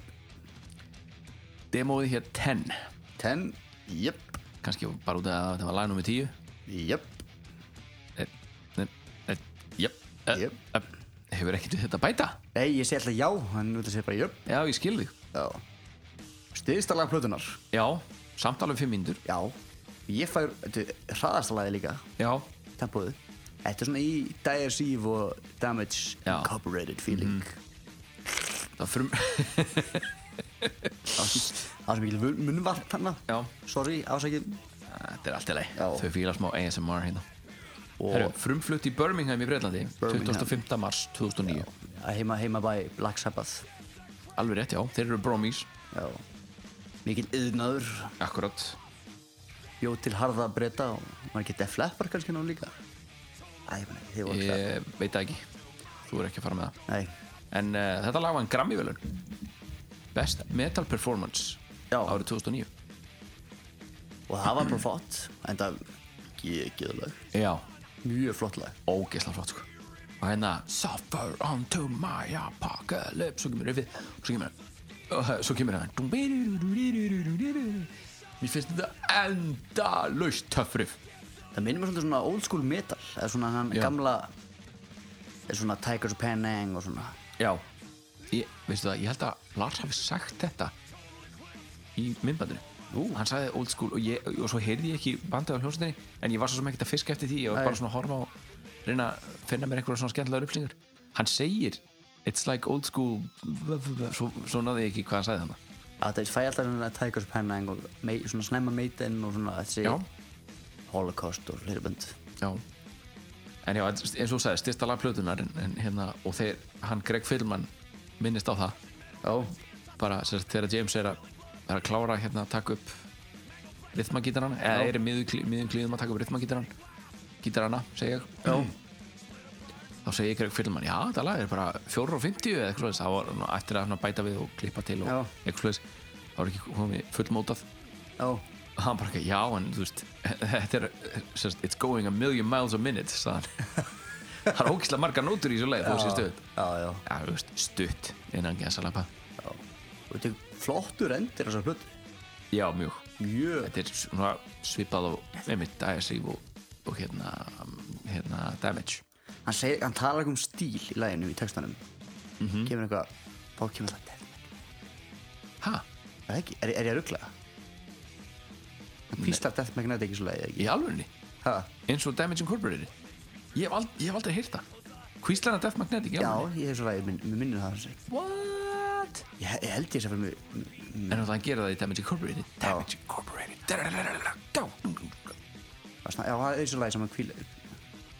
S7: demóið hér 10
S2: ten jöp,
S7: kannski bara út af að þetta var lag nummer 10
S2: jöp
S7: jöp,
S2: Jöp.
S7: jöp hefur ekkert við þetta að bæta
S2: nei, ég segi alltaf já, hann vil að segja bara jöp
S7: já, ég skil þig
S2: já, stiðstalag plötunar
S7: já, samt alveg 5 mínútur
S2: já, ég fær hraðastalagi líka
S7: já,
S2: tempóðu Þetta er svona í Dire Sieve og Damage
S7: Já. Mhm.
S2: Incorporated feeling mm
S7: það er frum
S2: Það sem ekki munnvart hana
S7: já,
S2: Sorry, ásækjum
S7: þetta er allt í leið
S2: Já.
S7: þau fíla smá ASMR hérna
S2: Og
S7: Heru, frumflutt í Birmingham í Breitlandi
S2: Birmingham.
S7: 25. mars 2009
S2: að heima heima bæ Black Sabbath
S7: alveg rétt, já, þeir eru bromis
S2: Já Mikið yðnaður
S7: akkurat,
S2: Bjóð til harða breyta og maður getið fleppar kannski nú líka Æ, ég meina, þið voru ekki það
S7: ég veit það ekki þú er ekki að fara með það
S2: Nei,
S7: en uh, þetta lag var en Grammy-velun Best Metal Performance
S2: Já.
S7: árið 2009
S2: og það var bara flott En það geðuleg
S7: já,
S2: Mjög flott lag
S7: ógeðslega flott sko og hérna Suffer unto my apocalypse svo kemur riffið og svo kemur uh, svo kemur hann mér finnst þetta enda laust töffrif
S2: Það minnir mér svolítið svona old school metal Eða svona hann
S7: Já.
S2: gamla Eða svona Tigers of Penang og svona
S7: já ég, veistu það, ég held að Lars hafi sagt þetta í myndbandinu Ú. hann sagði old school og, ég, og svo heyrði ég ekki bandið á hljómsveitinni en ég var svo sem ekkert að fiska eftir því ég var bara svona að horfa á reyna að finna mér einhverja svona skemmtilega upplýsingar hann segir it's like old school svo, svo náði ég ekki hvað hann sagði þannig
S2: að það fæ alltaf svona Tigers penna og mei, svona snemma meitinn og svona þessi
S7: Já.
S5: Holocaust og fleiri bönd
S7: já en já, eins eins og þú sagði, styrsta lag plötunar en, en hérna, og þeir, hann Greg Fillman minnist á það
S2: já,
S7: bara sérst, þegar James er að, er að klára hérna að taka upp rithmagítaran, eða er í miðjum miðjum klíðum að taka upp rithmagítaran gítarana, segi ég já. þá segi ég Greg Fillman, já, þetta lag er bara 4 og 50 eða eitthvað svoleiðis. þá var hann eftir að svona bæta við og klippa til og
S2: Já.
S7: eitthvað svoleiðis. þá var ekki komið fullmótað
S2: já,
S7: og hann bara ekki, já, en þú veist þetta er, sérst, it's going a million miles a minute sagði hann það er ógislega margar nótur í þessu leið, þú veist, stutt
S2: já, já.
S7: já, þú veist, stutt, innan gesalapa
S2: Og þetta er flottur endir þessar hlut
S7: já, mjög
S2: mjög,
S7: þetta er svona svipað og einmitt Diasiv og, og hérna, hérna Damage
S2: hann, segir, hann talar ekki um stíl í læginu í textanum kemur eitthvað, þá kemur það death metal.
S7: ha,
S2: er, það ekki, er, er ég að ruggla hann píslar death magnetic í svo lægi
S7: í alvörunni
S2: ha,
S7: eins og Damage Incorporated ég hef, ald, ég hef aldrei heyrt það Kvíslana Death Magnetic,
S2: já, ég hef svo lægi, mér minnir það hans.
S7: What?
S2: ég, ég held ég þess að fyrir mig
S7: En þannig að hann gera það í Damage Incorporated Damage Incorporated Drrrrrrrrrrrrrrrrrrrrrrrr. Gá.
S2: það sna- já, það er svo lægi sem hann kvíla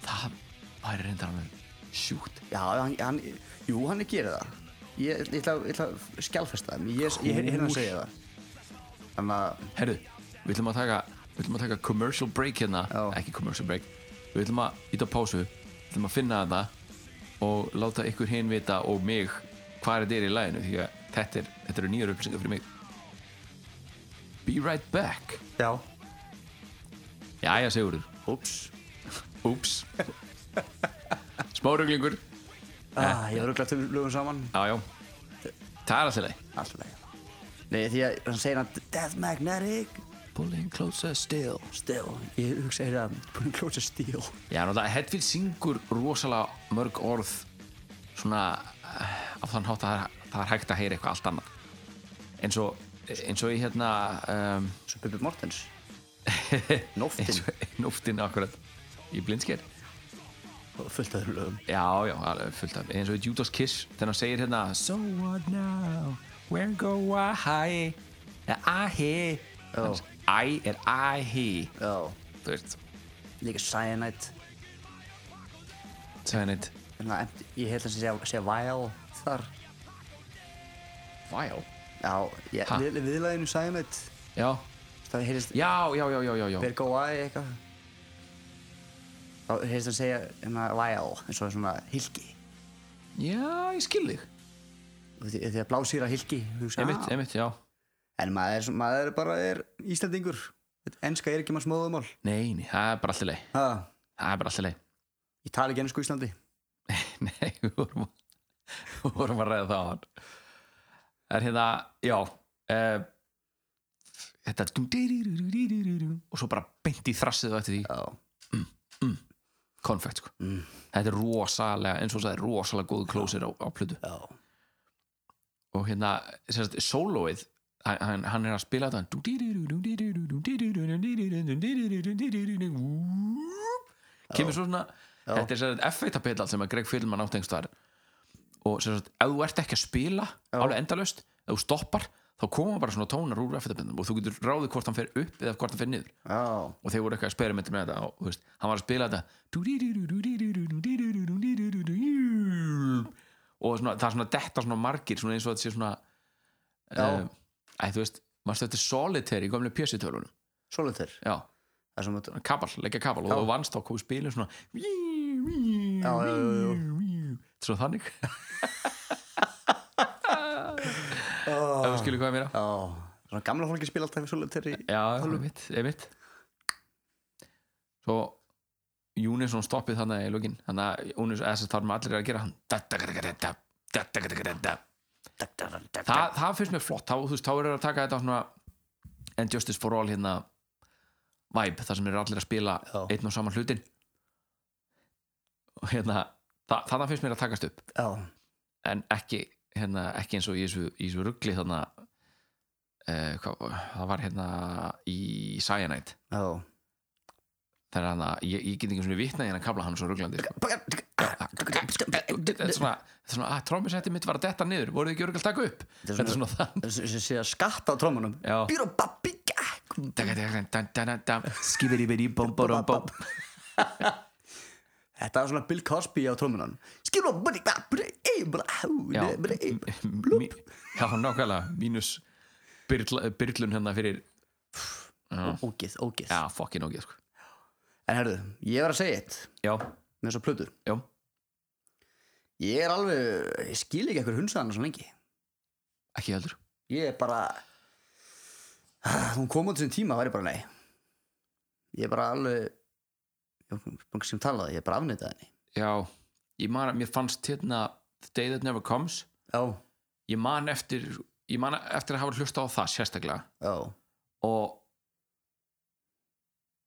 S7: Það væri reyndar alveg sjúkt
S2: já, hann, hann, jú, hann er gerað það ég, ég, ætla, ég ætla að skjálfesta það ég, ég, ég hérna að segja það þannig að,
S7: Herru, við ætlum að taka við ætlum að taka commercial break hérna
S2: Já.
S7: ekki commercial break við ætlum að íta pásu, við ætlum að finna þetta og láta ykkur hinn vita og mig hvað þetta er í læginu því að þetta, er, þetta eru nýjar upplýsingar fyrir mig Be right back
S2: já,
S7: Jæja, segurður
S2: ups
S7: Úps Smáruglingur
S2: ah, ég var ruggla til lögum saman
S7: Já, já Það er alltaf leið
S2: alltaf lægi nei, því að hann segir hann death magnetic
S7: Pulling closer still
S2: still, ég hugsa að hérna putting closer still
S7: Já, náttúrulega, Hedvig syngur rosalega mörg orð svona eh, á þann hátt að það er, það er hægt að heyra eitthvað allt annað eins og, eins og í hérna um,
S2: svo Bubi Mortens
S7: eins
S2: nóftin
S7: og í nóftin akkurat í blindsker
S2: og fullt öðru lögum
S7: Já, já, alveg fullt af eins og í Judas Kiss þegar hann segir hérna So what now, where go I er I
S2: Já.
S7: he I er I he
S2: já,
S7: þú veist,
S2: líka cyanide
S7: segja neitt
S2: þannig að empty- ég held að segja, segja vile þar
S7: Vile
S2: já, ég,
S7: Ha?
S2: við, viðlæðinu cyanide
S7: Já,
S2: það heyrist
S7: já, já, já, já, já, já.
S2: Vergo Wai eitthvað þá heyrist hann segja hérna Vile eins og svona hilki
S7: Já, ég skil þig
S2: Og því því að blásýra hilki hugsa,
S7: Einmitt,
S2: "Ah."
S7: einmitt, já
S2: en maður, er svo- maður er bara er Íslandingur enska er ekki maður smóðumál
S7: Nei, nei, það er bara alltaf leið
S2: ha,
S7: Það er bara alltaf leið
S2: ég tala ekki ennsku í Íslandi
S7: Nei, við vorum, að- við vorum að ræða það á hann Það er hérna, já uh, Þetta dum- dýrýrýrýrýrýrýrýrýrý Og svo bara beint í þrassið og eftir því
S2: já,
S7: Konfekt, sko Þetta er rosalega, eins og það er rosalega góð klósir á, á plötu
S2: já,
S7: og hérna, sérst, sólóið hann, hann er að spila þetta kemur svo svona þetta er sérst F1-pedal sem að Greg Fillman áttengst var og sérst, ef þú ert ekki að spila alveg endalaust, ef þú stoppar þá koma bara svona tónar úr F1-pedalum og þú getur ráðið hvort hann fer upp eða hvort hann fer niður
S2: já,
S7: og þeir voru eitthvað að spera með þetta og þú veist, hann var að spila þetta og svona, það er svona detta svona margir svona eins og þetta sé svona
S2: já,
S7: eh, æ, þú veist, varstu þetta solitaire í gömlega pjössitölunum
S2: svolítur
S7: já,
S2: það er svona þetta-
S7: kabal, leggja kabal og þú vannst á komið spilum svona
S2: Já, já, já, já.
S7: svona þannig
S2: Ah.
S7: ef við skilum hvað ég meira
S2: já, svona gamla fólki spila alltaf svolítur í
S7: já, einmitt, einmitt svo Júnisson stoppið þannig í lókin þannig að Júnisson, þess að það er allir að gera hann Da-da-da-da-da-da, da-da-da-da-da-da. Þa, það finnst mér flott þá, þú veist, þá er það að taka þetta svona And Justice for All hérna vibe, þar sem eru allir að spila
S2: Já.
S7: einn og saman hlutin og hérna það, það finnst mér að takast upp
S2: já,
S7: en ekki, hérna, ekki eins og í þessu, í þessu ruggli þarna eh, hvað, það var hérna í Cyanide
S2: já
S7: þegar hann að, ég, ég get ekki svona vitna í hann að kabla hann er svo rugglandi sko. þetta er svona, þetta er svona að trómisetti mitt var að detta niður, voruð þið ekki örgul að taka upp
S2: er
S7: þetta er
S2: svona-
S7: svona þann
S2: þessi sé að skatta á trómunum
S7: Já.
S2: býr og babíka
S7: Skibiribiribomborombob
S2: Þetta var svona Bill Cosby á trómunan Skilur að búið það,
S7: Já,
S2: búið það
S7: mi- já, nákvæmlega mínus byrl, byrlun hérna fyrir
S2: Ógið, ógið
S7: já, fokkin og sko.
S2: En herðu, ég var að segja eitt
S7: já,
S2: með þessar plötur
S7: já,
S2: Ég er alveg, ég skil ekki eitthvað hundsaðan svo lengi
S7: ekki heldur
S2: Ég er bara Hún kom á þessum tíma var ég bara nei Ég er bara alveg Ég er bara sem talaði, ég er bara afnýtað henni
S7: já, ég man, mér fannst hérna The Day That Never Comes
S2: Já,
S7: ég man eftir ég man eftir að hafa hlusta á það sérstaklega
S2: já,
S7: og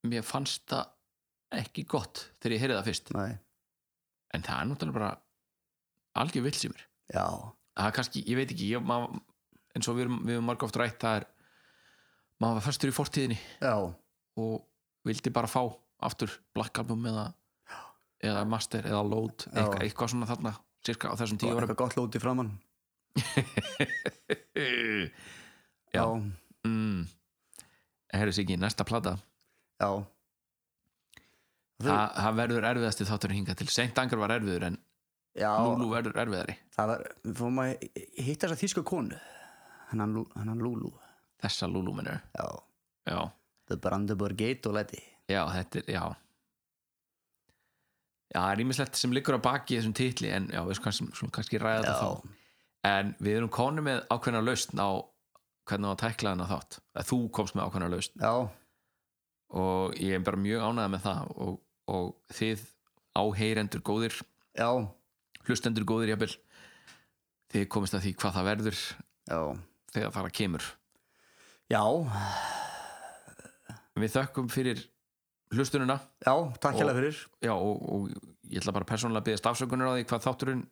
S7: mér fannst það ekki gott þegar ég heyrði það fyrst
S2: nei,
S7: en það er náttúrulega bara algjör vill sem er
S2: já
S7: það er kannski, ég veit ekki ég, maður, eins og við erum, við erum marg oft rætt það er maður var fastur í fortíðinni
S2: Já,
S7: og vildi bara fá aftur Black Album eða, eða Master eða Load eitthvað, eitthvað svona þarna cirka á þessum
S2: það
S7: tíu
S2: var
S7: árum
S2: eitthvað gott lóti framann
S7: Já.
S2: Já,
S7: mm. herru Siggi, næsta plata
S2: já, Þau-
S7: Þa, það verður erfiðasti þátturinn hingað til seint angar var erfiður en
S2: já
S7: Lulu verður erfiðari
S2: Það var, við fórum að hitta þessa þýsku konu Hennan, Lú- hennan Lulu
S7: þessa Lulu minnur
S2: Já,
S7: já,
S2: The Brandenburg Gate og leti
S7: já, þetta er, já já, það er ímislegt sem liggur á baki í þessum titli en já, við skulum kannski, kannski ræða
S2: Já,
S7: þetta þá en við erum konu með ákveðna lausn á hvernig að tækla þennan þátt að þú komst með ákveðna lausn
S2: já,
S7: og ég er bara mjög ánægð með það og, og þið áheyrendur góðir
S2: já,
S7: hlustendur góðir jafnvel þið komist að því hvað það verður
S2: já
S7: þegar það kemur
S2: Já,
S7: við þökkum fyrir hlustununa
S2: já, takk hérlega fyrir
S7: já, og, og ég ætla bara persónulega að byggja stafsökunar á því hvað þátturinn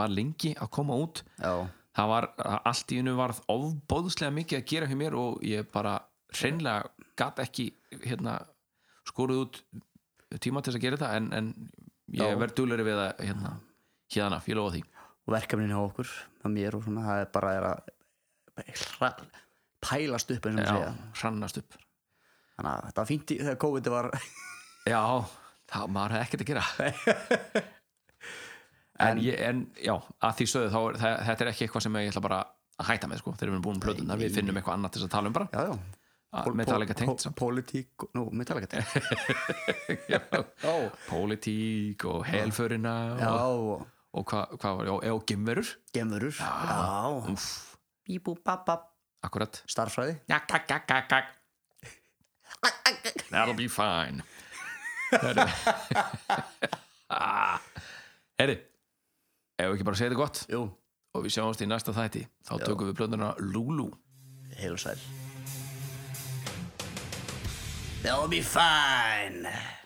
S7: var lengi að koma út
S2: Já,
S7: það var, allt í unum varð ofbóðslega mikið að gera hjá mér og ég bara hreinlega gat ekki hérna skoruð út tíma til þess að gera þetta en, en
S2: Já.
S7: ég verð dúlari við að hérna, hérna, ég lofa því
S2: og verkefnin hjá okkur með mér og svona, það er bara er að hra, pælast upp eins og maður segja
S7: já, hrannast upp
S2: þannig að þetta var fínt í, þegar COVID var
S7: já, það maður hefði ekkert að gera en, ég, en já, að því sögðu þá er, það, þetta er ekki eitthvað sem ég ætla bara að hætta með sko, þegar við erum búin um plötunar, við finnum eitthvað annað til þess að tala um bara,
S2: já, Ah, já,
S7: að metalega tengt samt.
S2: politík, nú, metalega tengt já,
S7: pólitík og helförina
S2: já,
S7: og
S2: og
S7: og hvað hva var, já, eða og gimverur
S2: gemurur já,
S7: Úff,
S2: bíbú, babab,
S7: akkurat
S2: starffræði
S7: Gak, gak, gak, gak, gak. That'll be fine Herri Ah, Herri Ef við ekki bara segja þetta gott
S2: jú,
S7: og við sjáumst í næsta þætti þá tökum við plönduna Lulu
S2: heil og sæl they'll be fine